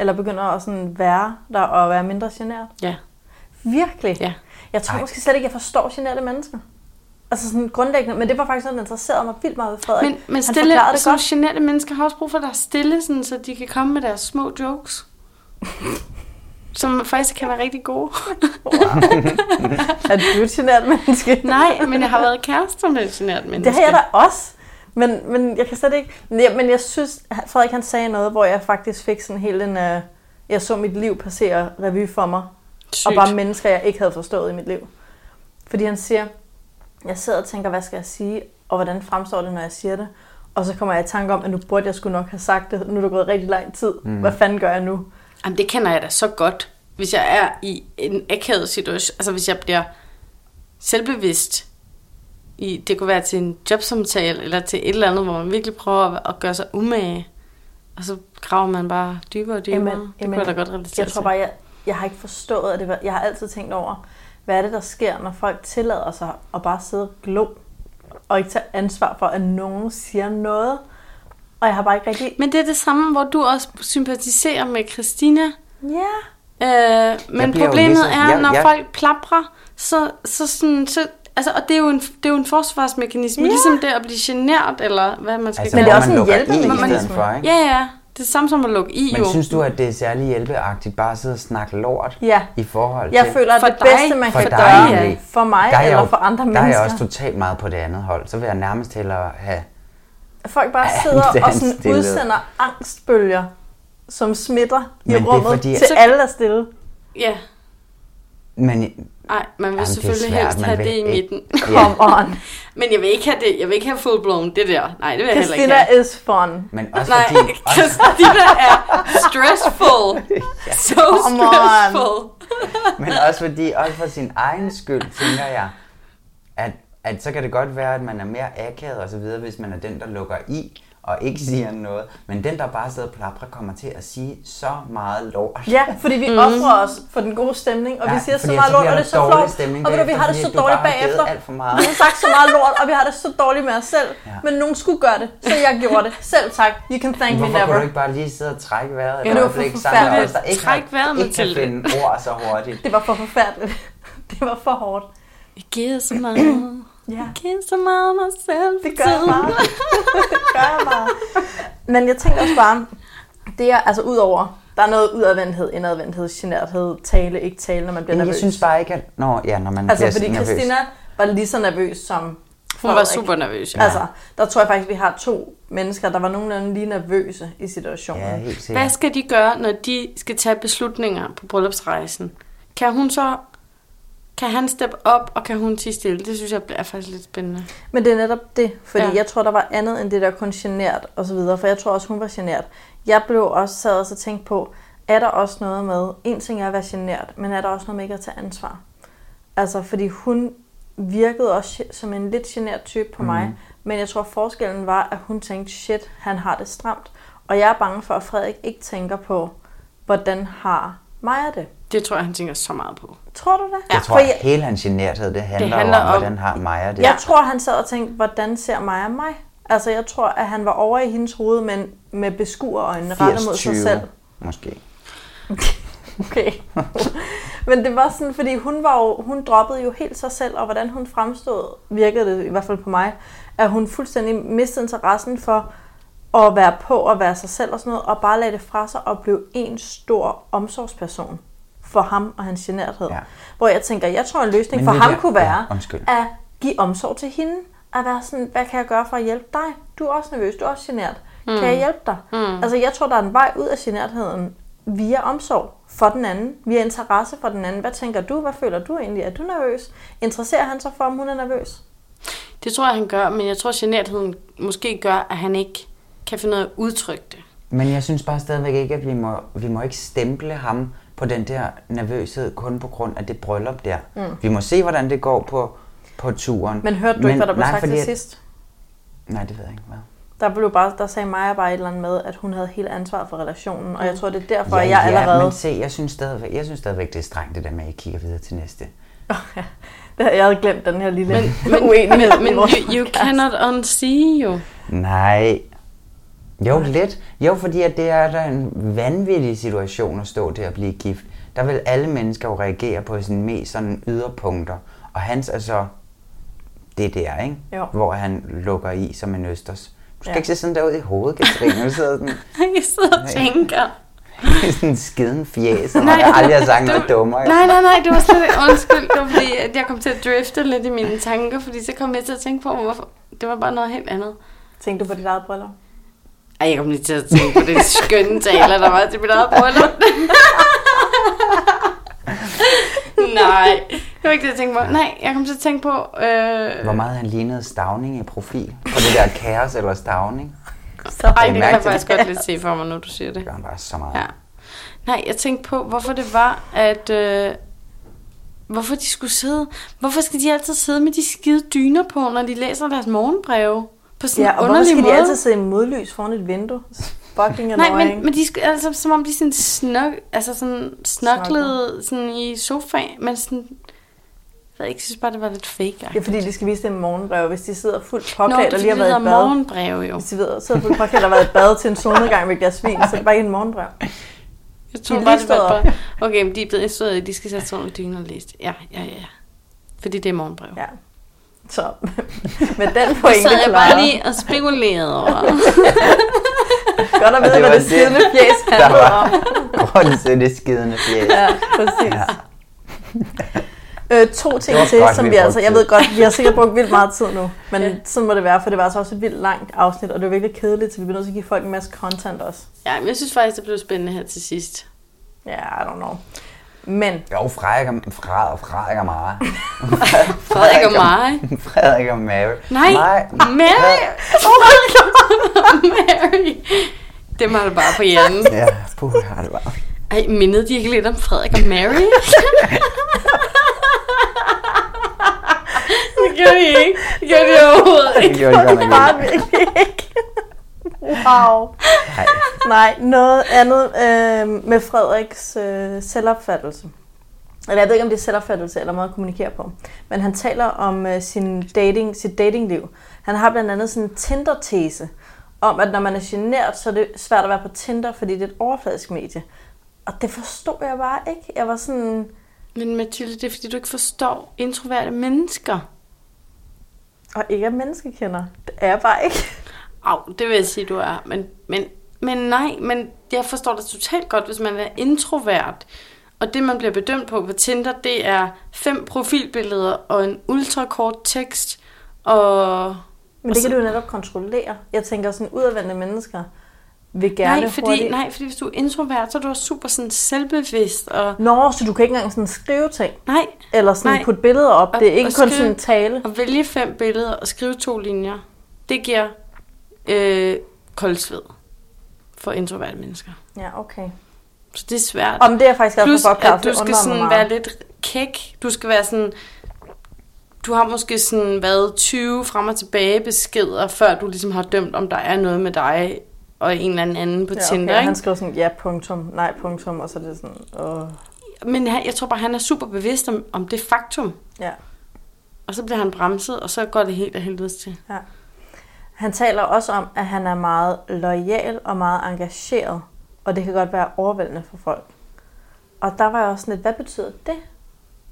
Speaker 7: Eller begynder at sådan være der og være mindre generet?
Speaker 1: Ja.
Speaker 7: Virkelig?
Speaker 1: Ja.
Speaker 7: Jeg tror
Speaker 8: Ej.
Speaker 7: måske slet ikke, jeg forstår generede mennesker. Altså sådan grundlæggende, men det var faktisk noget, der interesserede mig vildt meget ved Frederik.
Speaker 1: Men, men
Speaker 7: Han
Speaker 1: stille,
Speaker 7: forklarede det
Speaker 1: så
Speaker 7: godt.
Speaker 1: generte mennesker har også brug for, at der er stille, sådan, så de kan komme med deres små
Speaker 7: [laughs]
Speaker 1: jokes. som faktisk kan være rigtig gode. [laughs]
Speaker 7: Er du et generet menneske?
Speaker 1: Nej, men jeg
Speaker 7: [laughs]
Speaker 1: har været kærester med et genert menneske.
Speaker 7: Det har jeg da også. Men, men jeg kan slet ikke... Men jeg, men jeg synes, at Frederik han sagde noget, hvor jeg faktisk fik sådan helt en... Øh, jeg så mit liv passere revy for mig.
Speaker 1: Sygt.
Speaker 7: og bare mennesker, jeg ikke havde forstået i mit liv. Fordi han siger, jeg sidder og tænker, hvad skal jeg sige, og hvordan fremstår det, når jeg siger det? Og så kommer jeg i tanke om, at nu burde jeg sgu nok have sagt det. Nu er der gået rigtig lang tid. Mm. Hvad fanden gør jeg nu?
Speaker 1: Jamen, det kender jeg da så godt. Hvis jeg er i en akavet situation, altså hvis jeg bliver selvbevidst, i, det kunne være til en jobsamtale, eller til et eller andet, hvor man virkelig prøver at, at gøre sig umage, og så graver man bare dybere og dybere. det kunne jeg da godt relatere
Speaker 7: jeg tror
Speaker 1: til.
Speaker 7: bare, jeg, jeg har ikke forstået, at det var, jeg har altid tænkt over, hvad er det, der sker, når folk tillader sig at bare sidde og glo, og ikke tage ansvar for, at nogen siger noget. Og jeg har bare ikke rigtig...
Speaker 1: Men det er det samme, hvor du også sympatiserer med Christina.
Speaker 7: Ja,
Speaker 1: Øh, men
Speaker 8: bliver jo
Speaker 1: problemet
Speaker 8: lige så-
Speaker 1: er,
Speaker 8: jeg-
Speaker 1: når
Speaker 8: jeg-
Speaker 1: folk plaprer, så, så sådan... Så, altså, og det er jo en, det er jo en forsvarsmekanisme,
Speaker 7: Ja.
Speaker 1: ja. ligesom det at blive generet, eller hvad man skal altså,
Speaker 8: Altså,
Speaker 7: Men
Speaker 1: gøre.
Speaker 8: hvor
Speaker 7: det er
Speaker 8: man
Speaker 7: også en
Speaker 8: lukker
Speaker 7: hjælpemekanisme.
Speaker 8: i stedet for, ikke?
Speaker 1: Ja, ja. Det er samme som at lukke i,
Speaker 8: Men
Speaker 1: jo.
Speaker 8: synes du, at det er særlig hjælpeagtigt bare at sidde og snakke lort
Speaker 7: Ja.
Speaker 8: i forhold
Speaker 7: Jeg
Speaker 8: til...
Speaker 7: føler, at
Speaker 1: For
Speaker 7: det
Speaker 1: dig.
Speaker 7: bedste, man
Speaker 8: for
Speaker 7: kan
Speaker 8: dig,
Speaker 7: gøre
Speaker 8: Emily.
Speaker 7: for mig
Speaker 8: Der er jeg
Speaker 7: eller
Speaker 8: jo-
Speaker 7: for andre
Speaker 8: Der er jeg
Speaker 7: mennesker,
Speaker 8: også totalt meget på det andet hold. Så vil jeg nærmest hellere have...
Speaker 7: at folk
Speaker 8: [laughs]
Speaker 7: bare
Speaker 8: Ja, det
Speaker 7: sidder
Speaker 8: er
Speaker 7: og
Speaker 8: en
Speaker 7: sådan
Speaker 8: stillhed.
Speaker 7: udsender angstbølger, som smitter i
Speaker 8: Men det er
Speaker 7: rummet
Speaker 8: fordi-
Speaker 7: til
Speaker 8: Så-
Speaker 7: alle, der er stille.
Speaker 1: Ja.
Speaker 8: Men,
Speaker 1: Nej, man vil
Speaker 8: Jamen, det er
Speaker 1: selvfølgelig
Speaker 8: svært,
Speaker 1: helst
Speaker 8: man
Speaker 1: have
Speaker 8: vil
Speaker 1: det i
Speaker 8: ikke-
Speaker 1: midten. [laughs]
Speaker 7: Come on.
Speaker 1: men jeg vil ikke have det. Jeg vil ikke have full blown det der. Nej, det vil jeg heller ikke
Speaker 7: Christina
Speaker 1: have.
Speaker 7: is fun.
Speaker 8: men også
Speaker 1: Nej,
Speaker 8: fordi...
Speaker 1: [laughs]
Speaker 8: Også,
Speaker 1: Christina er
Speaker 8: [laughs]
Speaker 1: stressful. So
Speaker 7: Come on.
Speaker 1: stressful.
Speaker 8: men også fordi, også for sin egen skyld, tænker jeg, at, at så kan det godt være, at man er mere akavet og så videre, hvis man er den, der lukker i og ikke siger noget. Men den, der bare sidder og plaprer, kommer til at sige så meget lort.
Speaker 7: Ja, fordi vi mm. offrer os for den gode stemning, og vi
Speaker 8: Ja,
Speaker 7: siger så
Speaker 8: fordi altså,
Speaker 7: meget
Speaker 8: ellers
Speaker 7: lort,
Speaker 8: bliver
Speaker 7: og
Speaker 8: der
Speaker 7: det er
Speaker 8: dårlig
Speaker 7: så flot,
Speaker 8: stemning
Speaker 7: og ved du, vi har det
Speaker 8: bagefter,
Speaker 7: så
Speaker 8: fordi du
Speaker 7: dårligt
Speaker 8: bare har givet
Speaker 7: bagefter.
Speaker 8: alt for meget.
Speaker 7: Vi har sagt så meget lort, og vi har det så dårligt med os selv, men nogen skulle gøre det, så jeg gjorde det. Selv tak, you can thank me
Speaker 8: Hvorfor
Speaker 7: never.
Speaker 8: kunne du ikke bare lige sidde og trække vejret
Speaker 7: det
Speaker 8: et
Speaker 7: var
Speaker 8: øjeblik
Speaker 7: for
Speaker 8: sammen med os, der
Speaker 1: forfærdeligt.
Speaker 8: ikke,
Speaker 1: Træk
Speaker 8: har,
Speaker 1: vejret,
Speaker 8: ikke kan
Speaker 1: Mathilde.
Speaker 8: finde ord så hurtigt?
Speaker 7: Det var for forfærdeligt. [laughs] Det var for hårdt.
Speaker 1: Jeg gider så meget.
Speaker 7: [clears throat] Ja.
Speaker 1: giver så meget mig selv.
Speaker 7: Det gør jeg meget. det gør jeg meget. Men jeg tænker også bare, det er altså udover, der er noget udadvendthed, indadvendthed, generthed, tale, ikke tale, når man bliver
Speaker 8: Men jeg
Speaker 7: nervøs.
Speaker 8: synes bare ikke, at... Nå, ja, når man
Speaker 7: altså,
Speaker 8: bliver
Speaker 7: fordi
Speaker 8: nervøs.
Speaker 7: Christina var lige så nervøs som
Speaker 1: Hun
Speaker 7: Frederik.
Speaker 1: var super nervøs. Ja.
Speaker 7: Altså, der tror jeg faktisk, vi har to mennesker, der var nogenlunde lige nervøse i situationen.
Speaker 8: Ja, helt
Speaker 1: [laughs]
Speaker 8: sikkert.
Speaker 1: Hvad skal de gøre, når de skal tage beslutninger på bryllupsrejsen? Kan hun så... Kan han steppe op, og kan hun tige stille? Det synes jeg er faktisk lidt spændende.
Speaker 7: Men det er netop det, fordi
Speaker 1: Ja.
Speaker 7: ja. jeg tror, der var andet end det der kun genert og så videre, for jeg tror også, hun var genert. Jeg blev også sad og så tænkt på, er der også noget med, en ting er at være genert, men er der også noget med ikke at tage ansvar? Altså, fordi hun virkede også ge- som en lidt genert type på mm. mig, men jeg tror, forskellen var, at hun tænkte, shit, han har det stramt, Og jeg er bange for, at Frederik ikke tænker på, hvordan har Maja det.
Speaker 1: Det tror jeg, han tænker så meget på.
Speaker 7: Tror du det?
Speaker 8: Jeg tror,
Speaker 7: For
Speaker 8: at
Speaker 7: jeg,
Speaker 8: hele hans generthed, det handler, det
Speaker 1: handler
Speaker 8: handler om,
Speaker 1: om-
Speaker 8: hvordan har Maja det.
Speaker 7: jeg tror, han sad og tænkte, hvordan ser Maja mig? Altså, jeg tror, at han var over i hendes hoved, men med beskuerøjne rettet mod sig
Speaker 8: 80-20,
Speaker 7: selv. [laughs]
Speaker 8: Måske.
Speaker 7: Okay. Men det var sådan, fordi hun, var jo, hun droppede jo helt sig selv, og hvordan hun fremstod, virkede det i hvert fald på mig, at hun fuldstændig mistede interessen for at være på og være sig selv og sådan noget, og bare lagde det fra sig og blev en stor omsorgsperson for ham og hans generthed.
Speaker 8: Ja.
Speaker 7: Ja. Hvor jeg tænker, jeg tror en løsning
Speaker 8: Men
Speaker 7: for
Speaker 8: ved
Speaker 7: ham
Speaker 8: det-
Speaker 7: kunne
Speaker 8: ja,
Speaker 7: være
Speaker 8: undskyld.
Speaker 7: at give omsorg til hende, at være sådan, hvad kan jeg gøre for at hjælpe dig? Du er også nervøs, du er også genert. Mm. Kan jeg hjælpe dig? Mm. Altså jeg tror, der er en vej ud af genertheden via omsorg for den anden, via interesse for den anden. Hvad tænker du? Hvad føler du egentlig? Er du nervøs? Interesserer han sig for, om hun er nervøs?
Speaker 1: Det tror jeg, han gør, men jeg tror, genertheden måske gør, at han ikke kan finde ud af at udtrykke
Speaker 7: [laughs]
Speaker 1: det.
Speaker 8: Men jeg synes bare stadigvæk ikke, at vi må, vi må ikke stemple ham på den der nervøshed, kun på grund af det bryllup der. Mm. Vi må se, hvordan det går på, på turen.
Speaker 7: Men hørte du men, ikke, hvad der blev
Speaker 8: nej,
Speaker 7: nej, sagt
Speaker 8: fordi
Speaker 7: til
Speaker 8: at-
Speaker 7: sidst?
Speaker 8: Nej, det ved jeg ikke. Hvad?
Speaker 7: Der, blev bare, der sagde Maja bare et eller andet med, at hun havde hele ansvaret for relationen, og jeg tror, det er derfor, at jeg allerede...
Speaker 8: men se, jeg synes, stadigvæk, jeg synes stadigvæk, det er strengt, det der med, at I kigger videre til næste.
Speaker 7: [laughs] Jeg havde glemt den her lille
Speaker 1: Men,
Speaker 7: [laughs] uenighed. i
Speaker 1: men, men
Speaker 7: vores
Speaker 1: you, you
Speaker 7: podcast.
Speaker 1: cannot unsee
Speaker 7: [laughs]
Speaker 1: jo.
Speaker 8: Nej. Jo, lidt. Jo, fordi at det er da en vanvittig situation at stå til at blive gift. Der vil alle mennesker jo reagere på sine mest sådan yderpunkter. Og hans er så det der, ikke?
Speaker 7: Jo.
Speaker 8: Hvor han lukker i som en østers. Du skal
Speaker 7: Ja.
Speaker 8: ja. ikke se sådan der ud i hovedet, Katrine. Du sidder sådan,
Speaker 1: Jeg sidder og tænker.
Speaker 8: i sådan en skiden fjes, som jeg
Speaker 1: [laughs]
Speaker 8: aldrig har sagt noget dummere.
Speaker 1: Nej, nej, nej, det var slet ikke undskyld. Det var fordi, at jeg kom til at drifte lidt i mine tanker, fordi så kom jeg til at tænke på, hvorfor... Det var bare noget helt andet.
Speaker 7: Tænkte du på dit eget briller?
Speaker 1: Ej, jeg kom lige til at tænke på det skønne taler, der var til mit eget bryllup.
Speaker 8: [laughs]
Speaker 1: nej, det var ikke det, jeg tænkte på. Nej, jeg kom til at tænke på... Øh...
Speaker 8: Hvor meget han lignede Stavning i profil. På det der kaos eller Stavning.
Speaker 1: Ej, det kan
Speaker 8: mærke
Speaker 1: jeg
Speaker 8: til
Speaker 1: faktisk
Speaker 8: det.
Speaker 1: godt lidt se for mig, når du siger det.
Speaker 8: Det gør han bare så meget.
Speaker 1: Ja. Nej, jeg tænkte på, hvorfor det var, at... Øh, hvorfor de skulle sidde... Hvorfor skal de altid sidde med de skide dyner på, når de læser deres morgenbreve? På sådan
Speaker 7: Ja,
Speaker 1: en
Speaker 7: og hvorfor
Speaker 1: underlig
Speaker 7: skal
Speaker 1: måde.
Speaker 7: de altid sidde i modlys foran et vindue? Fucking
Speaker 1: Nej,
Speaker 7: annoying.
Speaker 1: men, men de skal, altså, som om de sådan snok, altså sådan snoklede sådan i sofaen, men sådan, jeg ved ikke, jeg synes bare, det var lidt fake.
Speaker 7: Det er fordi, de skal vise det med morgenbrev. Hvis de sidder fuldt
Speaker 1: Nå, det
Speaker 7: påklædt
Speaker 1: er
Speaker 7: og lige
Speaker 1: fordi,
Speaker 7: har
Speaker 1: det hedder
Speaker 7: været i bad. Morgen...
Speaker 1: morgenbreve jo.
Speaker 7: Hvis de ved- sidder fuldt påklædt og har været i bad til en solnedgang med et glas vin, så er det bare ikke en morgenbrev.
Speaker 1: Jeg
Speaker 7: De
Speaker 1: tror
Speaker 7: er
Speaker 1: bare, det
Speaker 7: lige
Speaker 1: var
Speaker 7: stået
Speaker 1: bare, okay, men de er blevet instrueret, i, at de skal sætte sig under dynen og læse det. Ja, ja, ja. ja. Fordi det er morgenbrev.
Speaker 7: Ja. Så [laughs] med den
Speaker 1: Så
Speaker 7: pointe,
Speaker 1: sad jeg
Speaker 7: Clara,
Speaker 1: bare lige og spekulerede over.
Speaker 7: godt at
Speaker 8: Og
Speaker 7: vide,
Speaker 8: det
Speaker 7: hvad
Speaker 8: var
Speaker 7: det
Speaker 8: det,
Speaker 7: skidende fjæs handlede
Speaker 8: var-
Speaker 7: om.
Speaker 8: Grunden til det skidende fjes.
Speaker 7: Ja, præcis. Ja. [laughs] Øh, to ting
Speaker 8: Det var
Speaker 7: til,
Speaker 8: godt,
Speaker 7: som
Speaker 8: vi
Speaker 7: vi altså, jeg
Speaker 8: brugte
Speaker 7: ved godt, vi har sikkert brugt vildt meget tid nu, men sådan må det være, for det var altså også et vildt langt afsnit, og det var virkelig kedeligt, så vi bliver nødt til at give folk en masse content også.
Speaker 1: ja, men jeg synes faktisk, det blev spændende her til sidst.
Speaker 7: Ja, yeah, I don't know. Men
Speaker 8: Jo, Frederik og, Frederik og, Frederik og Mara.
Speaker 1: Frederik og mig.
Speaker 8: [laughs] Frederik og Mary.
Speaker 1: Nej,
Speaker 8: Maj-
Speaker 7: Mm.
Speaker 1: Mary. Oh my god, Mary. Dem har du bare på hjernen.
Speaker 8: Ja, puh, har det bare.
Speaker 1: Ej, mindede de ikke lidt om Frederik og
Speaker 8: [laughs]
Speaker 1: Mary? det gjorde de ikke. Det gjorde de overhovedet
Speaker 8: Det
Speaker 1: ikke.
Speaker 8: gjorde
Speaker 7: [laughs]
Speaker 8: det godt nok
Speaker 7: bare
Speaker 8: ikke.
Speaker 7: virkelig ikke. Wow.
Speaker 8: Nej.
Speaker 7: Nej, noget andet øh, med Frederiks øh, selvopfattelse. Eller jeg ved ikke, om det er selvopfattelse eller måde at kommunikere på. Men han taler om øh, sin dating, sit datingliv. Han har blandt andet sådan en Tinder-tese om, at når man er genert, så er det svært at være på Tinder, fordi det er et overfladisk medie. Og det forstod jeg bare ikke. Jeg var sådan,
Speaker 1: Men Mathilde, det er fordi, du ikke forstår introverte mennesker.
Speaker 7: og ikke er menneskekender. Det er jeg bare ikke.
Speaker 1: Au, det vil jeg sige, du er. Men, men, men nej, men jeg forstår det totalt godt, hvis man er introvert. Og det, man bliver bedømt på på Tinder, det er fem profilbilleder og en ultrakort tekst. Og
Speaker 7: Men det kan du jo netop kontrollere. Jeg tænker sådan, udadvendte mennesker vil gerne
Speaker 1: nej, fordi,
Speaker 7: hurtigt...
Speaker 1: nej, fordi hvis du er introvert, så er du også super sådan selvbevidst. Og,
Speaker 7: Nå, så du kan ikke engang sådan skrive ting,
Speaker 1: nej,
Speaker 7: eller sådan
Speaker 1: Nej.
Speaker 7: putte billeder op.
Speaker 1: Og-
Speaker 7: det er ikke kun
Speaker 1: og skrive-
Speaker 7: sådan tale.
Speaker 1: at vælge fem billeder og skrive to linjer, det giver øh, koldsved for introverte mennesker.
Speaker 7: Ja, okay.
Speaker 1: Så det er svært.
Speaker 7: Om det er jeg faktisk også
Speaker 1: Plus,
Speaker 7: for opklaret,
Speaker 1: at
Speaker 7: for
Speaker 1: du
Speaker 7: det
Speaker 1: skal
Speaker 7: undrer mig
Speaker 1: sådan
Speaker 7: meget.
Speaker 1: være lidt kæk. Du skal være sådan... Du har måske sådan været 20 frem og tilbage beskeder, før du ligesom har dømt, om der er noget med dig og en eller anden anden på
Speaker 7: Ja,
Speaker 1: ja,
Speaker 7: okay.
Speaker 1: Tinder.
Speaker 7: Og
Speaker 1: Ikke?
Speaker 7: han skriver sådan, ja, punktum, nej, punktum, og så er det sådan, åh,
Speaker 1: Men han, jeg tror bare, han er super bevidst om, om det faktum.
Speaker 7: ja.
Speaker 1: Og så bliver han bremset, og så går det helt af helvede til.
Speaker 7: Han taler også om, at han er meget lojal og meget engageret, og det kan godt være overvældende for folk. Og der var jeg også sådan lidt, hvad betyder det?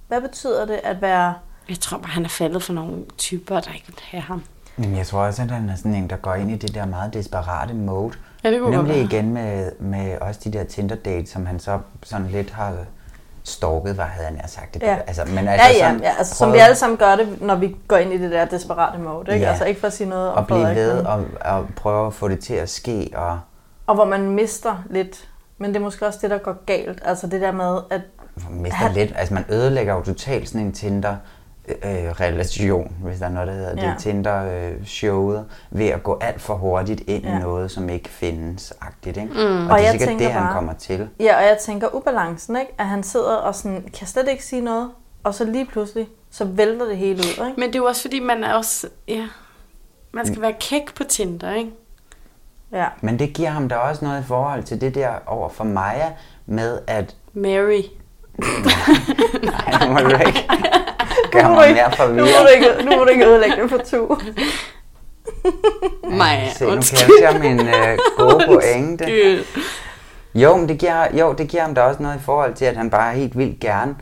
Speaker 7: Hvad betyder det at være...
Speaker 1: Jeg tror bare, han er faldet for nogle typer, der ikke vil have ham.
Speaker 8: Men jeg tror også, at han er sådan en, der går ind i det der meget desperate mode.
Speaker 1: Ja, det kunne godt
Speaker 8: Nemlig
Speaker 1: være.
Speaker 8: igen med, med også de der Tinder dates, som han så sådan lidt har stalket, hvad havde han nær sagt det. Altså, men altså
Speaker 7: ja, ja,
Speaker 8: sådan
Speaker 7: ja altså, som vi
Speaker 8: prøvet
Speaker 7: alle sammen gør det, når vi går ind i det der desperate mode. Ikke?
Speaker 8: Ja.
Speaker 7: Altså ikke for at sige noget om
Speaker 8: at blive
Speaker 7: Frederik,
Speaker 8: ved
Speaker 7: men-
Speaker 8: og, og prøve at få det til at ske. Og
Speaker 7: og hvor man mister lidt. Men det er måske også det, der går galt. Altså det der med, at
Speaker 8: mister
Speaker 7: Han-
Speaker 8: han... lidt. Altså man ødelægger jo totalt sådan en Tinder øh, relation, hvis der er noget, der hedder ja.
Speaker 7: Ja.
Speaker 8: det, Tinder-showet, ved at gå alt for hurtigt ind ja.
Speaker 7: Ja.
Speaker 8: i noget, som ikke findes, agtigt, ikke? Mm. Og,
Speaker 7: Og
Speaker 8: det er
Speaker 7: jeg
Speaker 8: sikkert
Speaker 7: tænker
Speaker 8: det, han
Speaker 7: bare-
Speaker 8: kommer til.
Speaker 7: Ja, og jeg tænker ubalancen, ikke? At han sidder og sådan, kan slet ikke sige noget, og så lige pludselig, så vælter det hele ud, ikke?
Speaker 1: Men det er jo også, fordi man er også... Ja, man
Speaker 8: Mm.
Speaker 1: skal være kæk på Tinder, ikke?
Speaker 7: Ja.
Speaker 8: Men det giver ham da også noget i forhold til det der over for Maja, med at...
Speaker 1: Mary.
Speaker 8: Ej, nu må du ikke
Speaker 7: [laughs] Nu
Speaker 8: gøre
Speaker 7: må du
Speaker 8: mig
Speaker 7: ikke,
Speaker 8: mere
Speaker 7: nu må du
Speaker 8: forvirret.
Speaker 7: ikke, nu må du ikke ødelægge det for to.
Speaker 1: Maja,
Speaker 8: Se, nu
Speaker 1: undskyld.
Speaker 8: catcher min øh,
Speaker 7: [laughs]
Speaker 8: gode pointe.
Speaker 1: Gud.
Speaker 8: Jo, men det giver, jo, det giver ham da også noget i forhold til, at han bare helt vildt gerne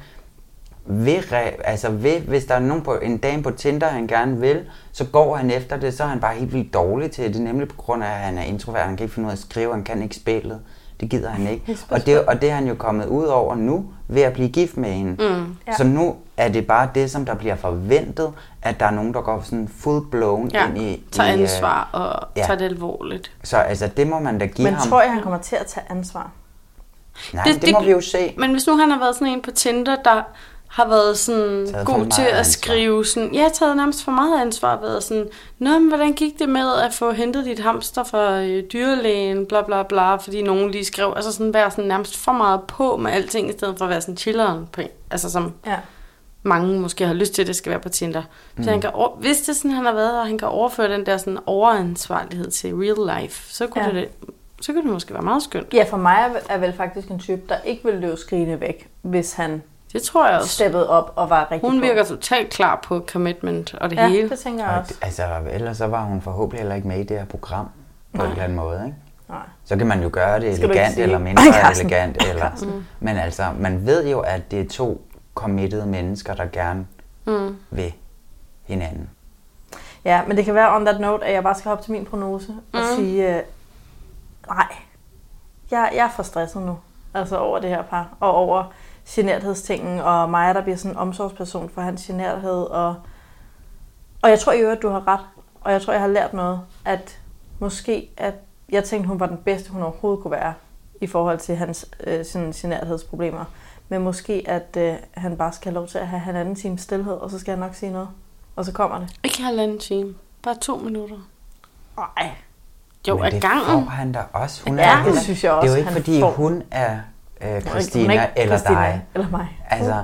Speaker 8: vil, re- altså vil, hvis der er nogen på, en dame på Tinder, han gerne vil, så går han efter det, så er han bare helt vildt dårlig til det, nemlig på grund af, at han er introvert, han kan ikke finde ud af at skrive, han kan ikke spillet, det gider han ikke. Og det, og det er han jo kommet ud over nu, ved at blive gift med hende. Mm, ja. Så nu er det bare det, som der bliver forventet, at der er nogen, der går sådan full blown
Speaker 1: Ja,
Speaker 8: ind i...
Speaker 1: tager
Speaker 8: i, øh,
Speaker 1: ansvar og
Speaker 8: ja.
Speaker 1: tager det alvorligt.
Speaker 8: Så altså, det må man da give
Speaker 7: Men
Speaker 8: ham.
Speaker 7: tror jeg, han kommer til at tage ansvar?
Speaker 8: Nej, det, det, det må vi jo se.
Speaker 1: Men hvis nu han har været sådan en på Tinder, der har været sådan
Speaker 8: Taget for
Speaker 1: god
Speaker 8: meget
Speaker 1: til at
Speaker 8: ansvar.
Speaker 1: skrive sådan, jeg har taget nærmest for meget ansvar og været sådan, Nå, men hvordan gik det med at få hentet dit hamster fra øh, dyrlægen, bla bla bla, fordi nogen lige skrev, altså sådan være sådan nærmest for meget på med alting, i stedet for at være sådan chilleren på en, altså som
Speaker 7: Ja.
Speaker 1: mange måske har lyst til, at det skal være på Tinder. Så
Speaker 8: Mm.
Speaker 1: han kan over, hvis det er sådan, han har været, og han kan overføre den der sådan overansvarlighed til real life, så kunne,
Speaker 7: Ja.
Speaker 1: ja. det, så kunne det måske være meget skønt.
Speaker 7: Ja, for mig er- er vel faktisk en type, der ikke ville løbe skrigende væk, hvis han
Speaker 1: Det tror jeg også.
Speaker 7: steppede op og var rigtig
Speaker 1: Hun
Speaker 7: på.
Speaker 1: virker totalt klar på commitment og det
Speaker 7: Ja,
Speaker 1: hele.
Speaker 7: det tænker jeg
Speaker 8: Og
Speaker 7: også.
Speaker 8: d- altså, ellers så var hun forhåbentlig heller ikke med i det her program på en eller anden måde, ikke?
Speaker 7: Nej.
Speaker 8: Så kan man jo gøre det
Speaker 7: Skal du ikke
Speaker 8: elegant
Speaker 7: sige-
Speaker 8: eller mindre
Speaker 7: Ej, Carsten.
Speaker 8: elegant. Eller, men altså, man ved jo, at det er to committed mennesker, der gerne mm. vil hinanden.
Speaker 7: Ja, men det kan være on that note, at jeg bare skal hoppe til min prognose og sige, øh, nej, jeg, jeg er for stresset nu, altså over det her par, og over generthedstingen, og mig, der bliver sådan en omsorgsperson for hans generthed, og, og jeg tror i øvrigt, du har ret, og jeg tror, jeg har lært noget, at måske, at jeg tænkte, hun var den bedste, hun overhovedet kunne være, i forhold til hans øh, sådan generthedsproblemer, men måske, at øh, han bare skal have lov til at have halvanden time stillhed, og så skal jeg nok sige noget, og så kommer det.
Speaker 1: Ikke halvanden time. Bare to minutter.
Speaker 7: Nej.
Speaker 1: Jo,
Speaker 8: men
Speaker 1: af
Speaker 8: det
Speaker 1: gangen.
Speaker 8: får han da også. Hun
Speaker 7: Ja,
Speaker 8: er
Speaker 7: det
Speaker 8: heller-
Speaker 7: synes jeg
Speaker 8: Det er
Speaker 7: også,
Speaker 8: jo ikke,
Speaker 7: han
Speaker 8: fordi
Speaker 7: får.
Speaker 8: hun er øh, Christina eller dig.
Speaker 7: Eller mig.
Speaker 8: Altså,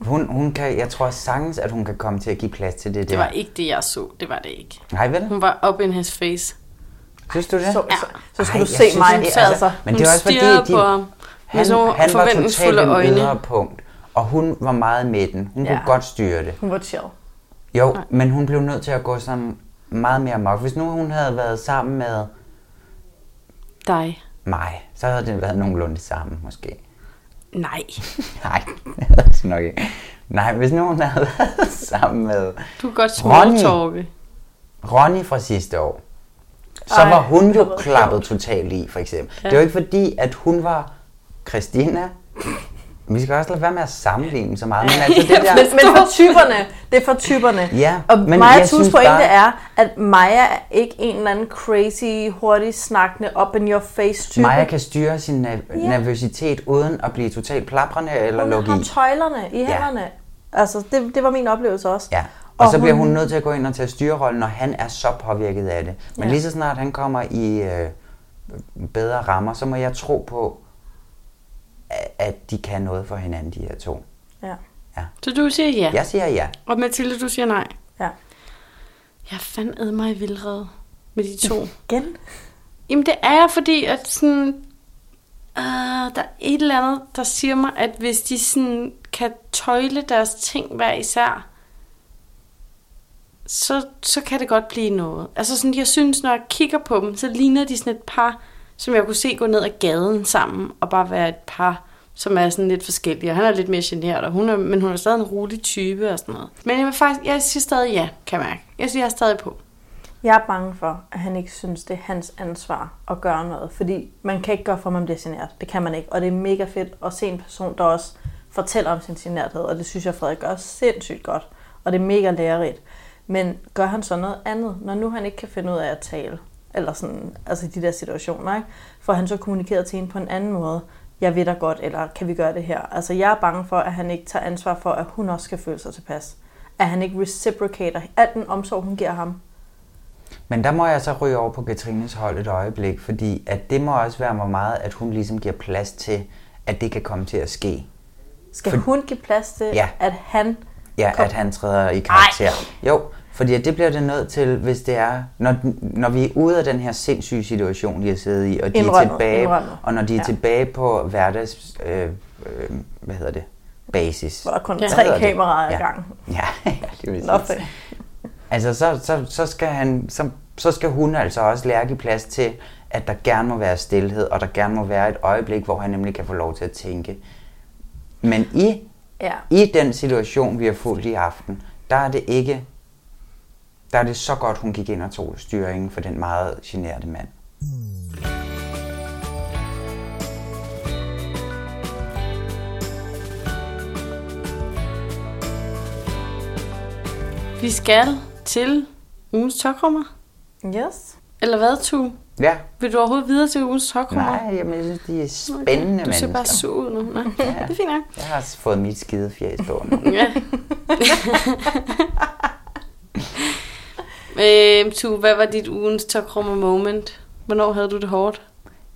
Speaker 8: hun, hun kan, jeg tror sagtens, at hun kan komme til at give plads til det der.
Speaker 1: Det var ikke Mm. det, jeg så. Det var det ikke.
Speaker 8: Nej, vel?
Speaker 1: Hun var up in his face.
Speaker 8: Synes du det?
Speaker 7: Så, så, så
Speaker 8: Ej,
Speaker 7: skulle du
Speaker 8: jeg
Speaker 7: se
Speaker 8: synes,
Speaker 7: mig.
Speaker 8: det
Speaker 7: så
Speaker 8: er-
Speaker 7: altså.
Speaker 8: Men
Speaker 1: Hun
Speaker 8: det er også fordi,
Speaker 1: stirrede
Speaker 8: de,
Speaker 1: på ham med
Speaker 8: han,
Speaker 1: sådan nogle
Speaker 8: han var totalt
Speaker 1: forventningsfulde
Speaker 8: en
Speaker 1: øjne.
Speaker 8: ydre punkt, og hun var meget midten. Hun ja.
Speaker 7: Ja.
Speaker 8: kunne godt styre det.
Speaker 7: Hun var chill.
Speaker 8: Jo, Nej. men hun blev nødt til at gå sådan meget mere mok. Hvis nu hun havde været sammen med
Speaker 1: Dig.
Speaker 8: mig, så havde det været nogenlunde sammen måske.
Speaker 1: Nej.
Speaker 8: Nej, [laughs] det havde det nok ikke. Nej, hvis nu hun havde [laughs] været sammen med
Speaker 1: Du kan godt
Speaker 8: Ronny.
Speaker 1: smalltalke.
Speaker 8: Ronny fra sidste år, så
Speaker 7: Ej,
Speaker 8: var hun
Speaker 7: det
Speaker 8: jo
Speaker 7: var
Speaker 8: klappet totalt i, for eksempel. Ja. Det var ikke fordi, at hun var Christina. Vi skal også lade være med at sammenligne så meget, men
Speaker 7: [laughs]
Speaker 8: altså det der...
Speaker 7: Men, men for typerne, det er for typerne.
Speaker 8: Ja,
Speaker 7: og
Speaker 8: men
Speaker 7: Maja
Speaker 8: jeg
Speaker 7: Tus
Speaker 8: synes
Speaker 7: pointe
Speaker 8: bare-
Speaker 7: er, at Maja er ikke en eller anden crazy, hurtigt snakkende, up in your face type.
Speaker 8: Maja kan styre sin na- nervøsitet uden at blive totalt plaprende eller
Speaker 7: hun
Speaker 8: lukke
Speaker 7: har
Speaker 8: i.
Speaker 7: tøjlerne i hænderne. Altså, det, det var min oplevelse også.
Speaker 8: Ja. Og, og så bliver hun nødt til at gå ind og tage styrerollen, når han er så påvirket af det. Men ja. lige så snart han kommer i øh, bedre rammer, så må jeg tro på, a- at de kan noget for hinanden, de her to.
Speaker 7: Ja,
Speaker 1: Så du siger ja.
Speaker 8: Jeg siger ja.
Speaker 1: Og Mathilde, du siger nej.
Speaker 7: ja.
Speaker 1: Jeg fandt mig i vildrede med de to.
Speaker 7: Igen?
Speaker 1: Jamen det er jeg, fordi at sådan, øh, der er et eller andet, der siger mig, at hvis de sådan kan tøjle deres ting hver især, så, så kan det godt blive noget. Altså sådan, jeg synes, når jeg kigger på dem, så ligner de sådan et par, som jeg kunne se gå ned ad gaden sammen, og bare være et par, som er sådan lidt forskellige. Og han er lidt mere generet, og hun er, men hun er stadig en rolig type og sådan noget. Men jeg vil faktisk, jeg siger stadig ja, kan jeg mærke. Jeg siger, jeg er stadig på.
Speaker 7: Jeg er bange for, at han ikke synes, det er hans ansvar at gøre noget. Fordi man kan ikke gøre for, om man bliver generet. Det kan man ikke. Og det er mega fedt at se en person, der også fortæller om sin generthed. Og det synes jeg, Frederik gør sindssygt godt. Og det er mega lærerigt. Men gør han så noget andet, når nu han ikke kan finde ud af at tale? Eller sådan, altså i de der situationer, ikke? For han så kommunikeret til hende på en anden måde. Jeg ved dig godt, eller kan vi gøre det her? Altså jeg er bange for, at han ikke tager ansvar for, at hun også skal føle sig tilpas. At han ikke reciprocater al den omsorg, hun giver ham.
Speaker 8: Men der må jeg så ryge over på Katrines hold et øjeblik, fordi at det må også være mig meget, at hun ligesom giver plads til, at det kan komme til at ske.
Speaker 7: Skal
Speaker 8: For-
Speaker 7: hun give plads til,
Speaker 8: Ja.
Speaker 7: at han...
Speaker 8: Ja,
Speaker 7: Kom.
Speaker 8: at han træder i karakter. Ej. Jo, fordi at det bliver det nødt til, hvis det er, når, når vi er ude af den her sindssyge situation, de har siddet i, og de er
Speaker 7: Indrømmet,
Speaker 8: tilbage,
Speaker 7: indrømmet.
Speaker 8: og når de er
Speaker 7: Ja.
Speaker 8: ja. tilbage på hverdags, øh, øh, hvad hedder det, basis.
Speaker 7: Hvor der kun er
Speaker 8: Hvad
Speaker 7: tre
Speaker 8: hedder det?
Speaker 7: kameraer ad
Speaker 8: ja.
Speaker 7: gangen.
Speaker 8: Ja, [laughs] det vil
Speaker 7: Nå,
Speaker 8: sige. Altså, så, så, så, skal han, så, så skal hun altså også lære at give plads til, at der gerne må være stillhed, og der gerne må være et øjeblik, hvor han nemlig kan få lov til at tænke. Men i,
Speaker 7: Ja.
Speaker 8: i den situation, vi har fulgt i aften, der er det ikke... Der er det så godt, hun gik ind og tog styringen for den meget generede mand.
Speaker 1: Vi skal til ugens tokrummer.
Speaker 7: Yes.
Speaker 1: Eller hvad, Tu?
Speaker 8: Ja,
Speaker 1: Vil du overhovedet videre til ugens tokrummer?
Speaker 8: nej, jamen, jeg synes, de er spændende
Speaker 1: Du ser
Speaker 8: mennesker.
Speaker 1: bare sur ud nu. Nej, ja. [laughs] det er fint nok.
Speaker 8: Jeg har s- fået mit skide fjæs på nu.
Speaker 1: Ja. [laughs] øhm, tu, hvad var dit ugens tokrummer moment? Hvornår havde du det hårdt?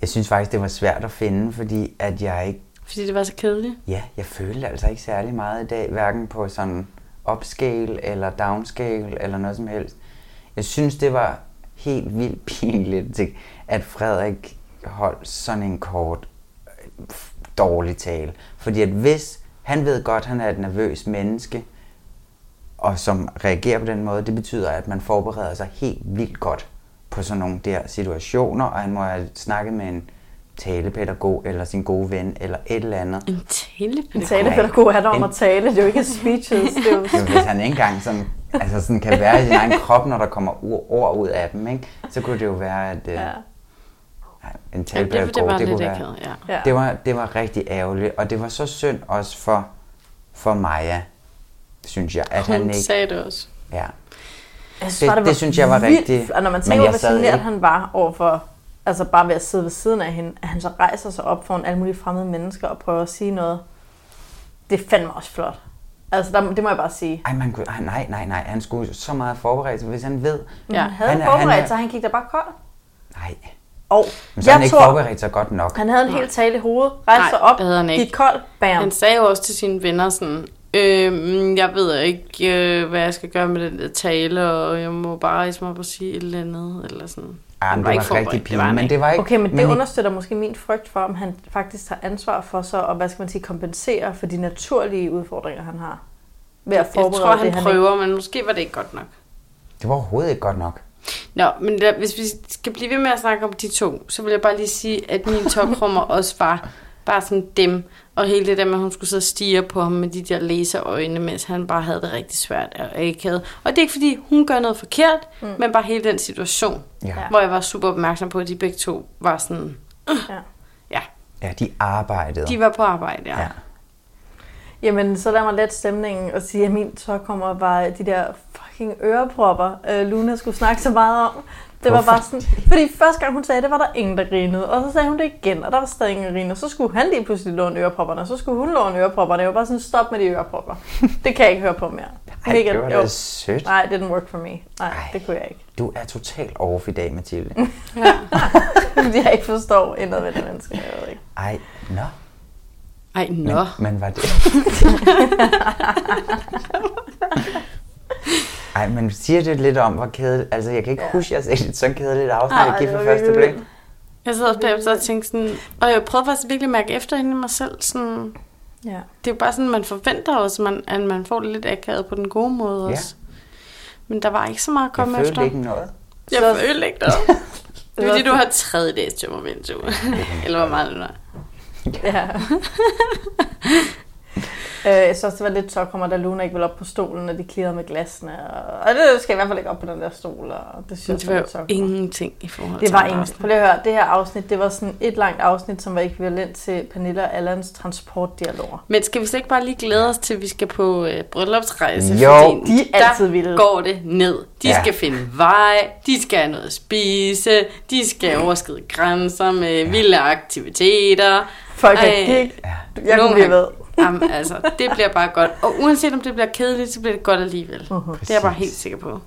Speaker 8: Jeg synes faktisk, det var svært at finde, fordi at jeg ikke
Speaker 1: Fordi det var så kedeligt.
Speaker 8: Ja, jeg følte altså ikke særlig meget i dag, hverken på sådan upscale eller downscale eller noget som helst. Jeg synes, det var helt vildt pinligt, til- at Frederik holdt sådan en kort, øh, f- dårlig tale. Fordi at hvis han ved godt, han er et nervøst menneske, og som reagerer på den måde, det betyder, at man forbereder sig helt vildt godt på sådan nogle der situationer, og han må have snakket med en talepædagog, eller sin gode ven, eller et eller andet.
Speaker 1: En telepædagog.
Speaker 7: En talepædagog er der om at tale. Det er jo ikke speeches. Det er
Speaker 8: [laughs]
Speaker 7: jo...
Speaker 8: Jo, hvis han ikke engang sådan, altså sådan kan være i sin egen krop, når der kommer u- ord ud af dem, ikke? så kunne det jo være, at øh, ja. en
Speaker 1: Ja, det, det,
Speaker 8: talepædagog,
Speaker 1: var
Speaker 8: det, det
Speaker 1: lidt
Speaker 8: kunne være...
Speaker 1: akavet, ja.
Speaker 7: Ja.
Speaker 8: Det var, det var rigtig ærgerligt, og det var så synd også for, for Maja, synes jeg, at han
Speaker 1: Hun
Speaker 8: ikke...
Speaker 1: sagde det også.
Speaker 8: Ja.
Speaker 7: Jeg synes
Speaker 8: Det-
Speaker 7: bare,
Speaker 8: det synes jeg var
Speaker 7: vildt.
Speaker 8: rigtig-
Speaker 7: Og når man
Speaker 8: men
Speaker 7: tænker,
Speaker 8: jeg
Speaker 7: hvor
Speaker 8: sad
Speaker 7: generet
Speaker 8: ikke.
Speaker 7: han var overfor, altså bare ved at sidde ved siden af hende, at han så rejser sig op foran alle mulige fremmede mennesker og prøver at sige noget. Det er fandme også flot. Altså, der, det må jeg bare sige.
Speaker 8: Ej, man kunne, ej, nej, nej, nej, han skulle så meget forberede sig, hvis han ved...
Speaker 1: Ja.
Speaker 7: Han havde
Speaker 8: Han
Speaker 7: han,
Speaker 8: er- han
Speaker 7: forberedt
Speaker 8: er-
Speaker 7: sig, han gik der bare kold.
Speaker 8: Nej,
Speaker 7: Og
Speaker 8: men så har han
Speaker 7: jeg
Speaker 8: ikke
Speaker 7: tror,
Speaker 8: forberedt sig godt nok.
Speaker 7: han havde en hel tale i hovedet, rejste
Speaker 1: Nej,
Speaker 7: sig op,
Speaker 1: det havde han ikke.
Speaker 7: gik kold, bam.
Speaker 1: Han sagde jo også til sine venner sådan, øhm, jeg ved ikke, øh, hvad jeg skal gøre med den der tale, og jeg må bare rejse mig op og sige et eller andet, eller sådan.
Speaker 8: Ej,
Speaker 1: Han
Speaker 8: Ah, men det
Speaker 1: ikke
Speaker 8: var rigtig
Speaker 1: forberedt, var
Speaker 8: pinligt,
Speaker 1: han
Speaker 8: men
Speaker 1: ikke.
Speaker 8: det var ikke...
Speaker 7: Okay, men det
Speaker 8: ikke-
Speaker 7: understøtter måske min frygt for, om han faktisk tager ansvar for så, og hvad skal man sige, kompensere for de naturlige udfordringer, han har. Ved at
Speaker 1: Jeg
Speaker 7: forberede
Speaker 1: tror, han,
Speaker 7: det,
Speaker 1: han
Speaker 7: han ikke...
Speaker 1: prøver, men måske var det ikke godt nok.
Speaker 8: det var overhovedet ikke godt nok.
Speaker 1: Nå, men lad, hvis vi skal blive ved med at snakke om de to, så vil jeg bare lige sige, at min [laughs] toprummer også var bare sådan dem, og hele det der med, at hun skulle sidde og stige på ham med de der laserøjne, mens han bare havde det rigtig svært og ikke havde. Og det er ikke fordi, hun gør noget forkert, mm. men bare hele den situation,
Speaker 8: Ja.
Speaker 1: hvor jeg var super opmærksom på, at de begge to var sådan, [clears throat]
Speaker 7: Ja.
Speaker 1: ja,
Speaker 8: Ja, de arbejdede.
Speaker 1: de var på arbejde, ja.
Speaker 8: Ja.
Speaker 1: ja.
Speaker 7: Jamen, så lad mig let stemningen og sige, at min så kommer bare de der fucking ørepropper, øh, Luna skulle snakke så meget om. Det var
Speaker 8: Hvorfor
Speaker 7: bare sådan, fordi første gang hun sagde det, var der ingen, der grinede. Og så sagde hun det igen, og der var stadig ingen der grinede. Og så skulle han lige pludselig låne ørepropperne, og så skulle hun låne ørepropperne. Jeg var bare sådan, stop med de
Speaker 8: [laughs]
Speaker 7: ørepropper. Det kan jeg ikke høre på mere.
Speaker 8: Ej,
Speaker 7: Mega-
Speaker 8: det var
Speaker 7: jo.
Speaker 8: da sødt.
Speaker 7: Nej, det didn't work for me. Nej,
Speaker 8: Ej.
Speaker 7: det kunne jeg ikke.
Speaker 8: Du er totalt off i dag, Mathilde.
Speaker 7: Mm. Fordi [laughs] jeg ikke forstår indadvendte mennesker, jeg ved
Speaker 8: [laughs]
Speaker 7: ikke.
Speaker 8: Ej, nå.
Speaker 1: Ej,
Speaker 8: Men,
Speaker 1: nå.
Speaker 8: men var det... [laughs] Ej, men siger det lidt om, hvor kedeligt... Altså, jeg kan ikke ja. huske, at jeg har set et så kedeligt afsnit,
Speaker 7: Ej,
Speaker 8: jeg
Speaker 7: det
Speaker 8: for
Speaker 7: var
Speaker 8: første
Speaker 7: virkelig
Speaker 8: blik.
Speaker 7: vildt.
Speaker 1: Jeg sidder også bagefter og tænker sådan... Og jeg prøvede faktisk virkelig at mærke efter inde i mig selv. Sådan,
Speaker 7: Ja.
Speaker 1: det er jo bare sådan, man forventer også, man, at man får det lidt akavet på den gode måde
Speaker 8: Ja.
Speaker 1: også. Men der var ikke så meget at
Speaker 8: Jeg
Speaker 1: komme efter.
Speaker 8: følte ikke noget.
Speaker 1: Jeg
Speaker 7: Så-
Speaker 1: følte ikke noget. Det er fordi, du har tredje dags
Speaker 8: [laughs]
Speaker 1: tømmervindsug. Eller hvor meget det er.
Speaker 7: Ja. [laughs] øh, jeg synes også, det var lidt tokkommer, da Luna ikke ville op på stolen, og de klirrede med glasene. Og, og det skal i hvert fald ikke op på den der stol, og det
Speaker 1: Men
Speaker 7: synes
Speaker 1: det
Speaker 7: jeg
Speaker 1: var
Speaker 7: var
Speaker 1: jo
Speaker 7: lidt tokkommer.
Speaker 1: ingenting i forhold
Speaker 7: Det
Speaker 1: til
Speaker 7: var
Speaker 1: andre
Speaker 7: engelsk.
Speaker 1: aftener.
Speaker 7: Prøv lige at høre, det her afsnit, det var sådan et langt afsnit, som var ekvivalent til Pernille og Allans transportdialoger.
Speaker 1: Men skal vi så ikke bare lige glæde os til, at vi skal på øh, bryllupsrejse?
Speaker 8: Jo.
Speaker 1: Fordi
Speaker 7: De er
Speaker 1: der
Speaker 7: altid vilde.
Speaker 1: går det ned. De
Speaker 8: Ja.
Speaker 1: ja. skal finde vej, de skal have noget at spise, de skal overskride grænser med vilde aktiviteter.
Speaker 7: Folk er
Speaker 1: Ej.
Speaker 7: gik. Jeg
Speaker 1: Nogle
Speaker 7: kunne blive ved.
Speaker 1: gange- Jamen, altså, det bliver bare godt. Og uanset om det bliver kedeligt, så bliver det godt alligevel. Uh-huh. Det er jeg bare helt sikker på.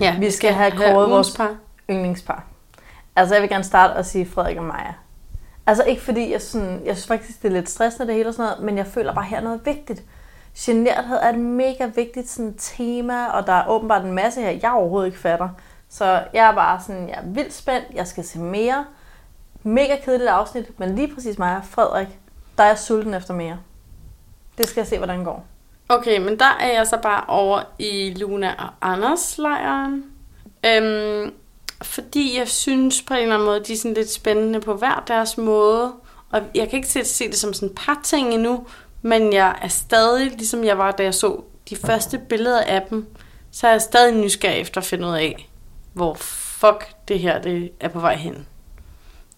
Speaker 1: Ja,
Speaker 7: Mhm. Vi skal have
Speaker 1: høre
Speaker 7: kåret
Speaker 1: ugens
Speaker 7: vores
Speaker 1: par.
Speaker 7: yndlingspar. Altså, jeg vil gerne starte og sige Frederik og Maja. Altså, ikke fordi jeg sådan... Jeg synes faktisk, det er lidt stressende det hele og sådan noget, men jeg føler bare, her er noget vigtigt. Generthed er et mega vigtigt sådan, tema, og der er åbenbart en masse her, jeg overhovedet ikke fatter. Så jeg er bare sådan, jeg er vildt spændt, jeg skal se mere. Mega kedeligt afsnit, men lige præcis mig og Frederik, der er jeg sulten efter mere. Det skal jeg se, hvordan det går.
Speaker 1: Okay, men der er jeg så bare over i Luna og Anders lejren. Øhm, fordi jeg synes på en eller anden måde, de er sådan lidt spændende på hver deres måde. Og jeg kan ikke se, se det som sådan et par ting endnu, men jeg er stadig, ligesom jeg var, da jeg så de første billeder af dem, så er jeg stadig nysgerrig efter at finde ud af, hvor fuck det her det er på vej hen.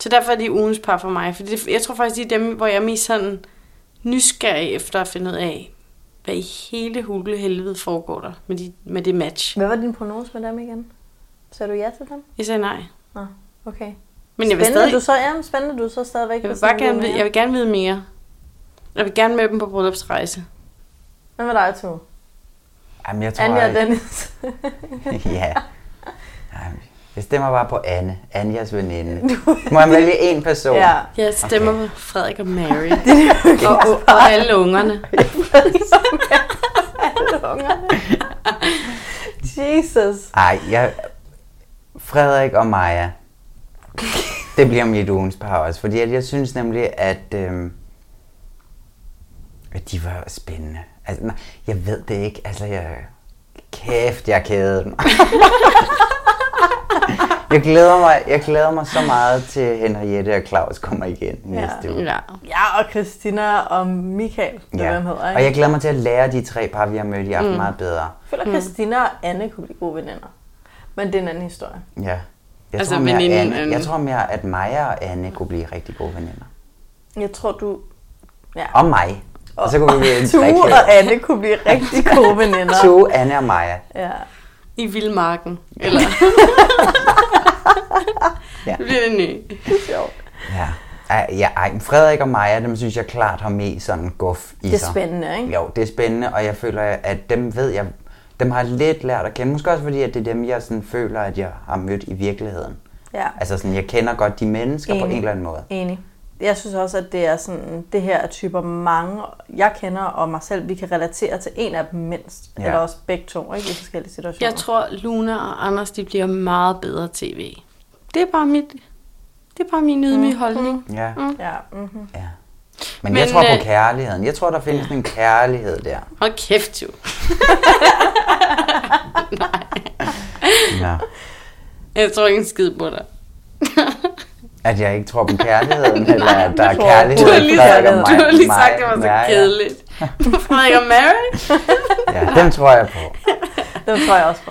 Speaker 1: Så derfor er de ugens par for mig. Fordi det, jeg tror faktisk, de er dem, hvor jeg er mest sådan nysgerrig efter at finde ud af, hvad i hele hulehelvede foregår der med, de, med det match.
Speaker 7: Hvad var din prognose med dem igen? Sagde du ja til dem?
Speaker 1: Jeg sagde nej.
Speaker 7: Nå, okay.
Speaker 1: Men jeg vil
Speaker 7: Spændende,
Speaker 1: stadig...
Speaker 7: du så, ja, men spændende, du så stadigvæk.
Speaker 1: Jeg vil
Speaker 7: hvis
Speaker 1: bare
Speaker 7: du
Speaker 1: gerne vide,
Speaker 7: mere.
Speaker 1: jeg vil gerne vide mere. Jeg vil gerne med dem på bryllupsrejse.
Speaker 7: Hvad med dig, to?
Speaker 8: Jamen, jeg tror,
Speaker 7: Anja og
Speaker 8: jeg...
Speaker 1: [laughs]
Speaker 7: Dennis.
Speaker 8: ja. Jamen, Jeg stemmer bare på Anne. Anjas
Speaker 7: [laughs]
Speaker 8: veninde. Må jeg vælge én person?
Speaker 7: ja.
Speaker 1: Jeg stemmer
Speaker 8: Okay.
Speaker 1: okay. på Frederik og Mary. og, og, og alle ungerne.
Speaker 7: Jesus.
Speaker 8: Ej, jeg... Frederik og Maja. Det bliver mit ugens par også, fordi at jeg synes nemlig, at, øhm, at de var spændende. Altså, nej, jeg ved det ikke. Altså, jeg... Kæft, jeg kædede mig. jeg, glæder mig, jeg glæder mig så meget til Henriette og Claus kommer igen næste uge.
Speaker 1: Ja.
Speaker 7: Ja, og Christina og Michael, ja. hvad han hedder. Ikke?
Speaker 8: Og jeg glæder mig til at lære de tre par, vi har mødt i aften mm. meget bedre.
Speaker 7: jeg føler, at Christina og Anne kunne blive gode veninder. Men det er en anden historie.
Speaker 8: Ja. Jeg,
Speaker 1: Altså,
Speaker 8: tror mere,
Speaker 1: veninden,
Speaker 8: Anne,
Speaker 7: øhm.
Speaker 1: Anne.
Speaker 8: jeg tror mere, at Maja og Anne kunne blive rigtig gode veninder.
Speaker 7: Jeg tror, du... Ja.
Speaker 8: Og mig. Og, så kunne vi
Speaker 7: [laughs]
Speaker 8: blive en
Speaker 7: Tue
Speaker 8: trekant.
Speaker 7: og Anne kunne blive rigtig gode veninder.
Speaker 8: Tue, Anne og Maja.
Speaker 7: Ja.
Speaker 1: I Vildmarken. Eller...
Speaker 8: Ja.
Speaker 1: ja. Det bliver det nye.
Speaker 8: Ja. Ej, ja, ej, men Frederik og Maja, dem synes jeg klart har mest sådan guf i sig.
Speaker 7: Det er spændende, ikke?
Speaker 8: Jo, det er spændende, og jeg føler, at dem ved jeg, dem har jeg lidt lært at kende. Måske også fordi, at det er dem, jeg sådan føler, at jeg har mødt i virkeligheden.
Speaker 7: Ja.
Speaker 8: Altså sådan, jeg kender godt de mennesker på
Speaker 7: Enig.
Speaker 8: en eller anden måde.
Speaker 7: Enig. Jeg synes også, at det er sådan, det her er typer mange, jeg kender, og mig selv, vi kan relatere til en af dem mindst.
Speaker 8: Ja.
Speaker 7: Ja. Eller også begge to, ikke? I forskellige situationer.
Speaker 1: Jeg tror, Luna og Anders de bliver meget bedre tv. Det er bare mit... Det er bare min ydmyge holdning.
Speaker 8: Ja. Mm.
Speaker 7: Ja,
Speaker 1: [laughs]
Speaker 7: [laughs] mm-hmm.
Speaker 8: ja. Men, Men jeg tror
Speaker 1: Men,
Speaker 8: på
Speaker 1: øh,
Speaker 8: kærligheden. Jeg tror, der findes en kærlighed der.
Speaker 1: Hold kæft, jo. [laughs]
Speaker 8: Ja.
Speaker 1: Jeg tror ikke en skid på dig.
Speaker 8: At jeg ikke tror på
Speaker 1: [laughs]
Speaker 8: kærligheden, eller at der er
Speaker 7: tror-
Speaker 8: kærlighed.
Speaker 1: Du har lige,
Speaker 8: Frederik
Speaker 1: sagt,
Speaker 8: og
Speaker 1: du
Speaker 8: mig-
Speaker 1: har lige
Speaker 8: mig-
Speaker 1: sagt, det var så
Speaker 8: ja, ja. [laughs]
Speaker 1: kedeligt. Frederik og Mary?
Speaker 8: Ja, dem tror jeg på.
Speaker 7: Det tror jeg også på.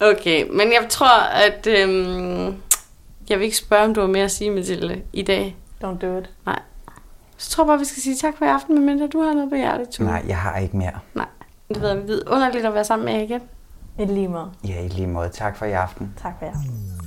Speaker 1: Okay, men jeg tror, at... Øhm, jeg vil ikke spørge, om du har mere at sige, Mathilde, i dag.
Speaker 7: Don't do it.
Speaker 1: Nej. Så tror jeg bare, vi skal sige tak for i aften, medmindre du har noget på hjertet, Tue.
Speaker 8: Nej, jeg har ikke mere.
Speaker 1: Nej. Det ved jeg vidunderligt at være sammen med jer igen.
Speaker 7: Et lige måde.
Speaker 8: Ja, i lige måde. Tak for i aften.
Speaker 7: Tak for jer.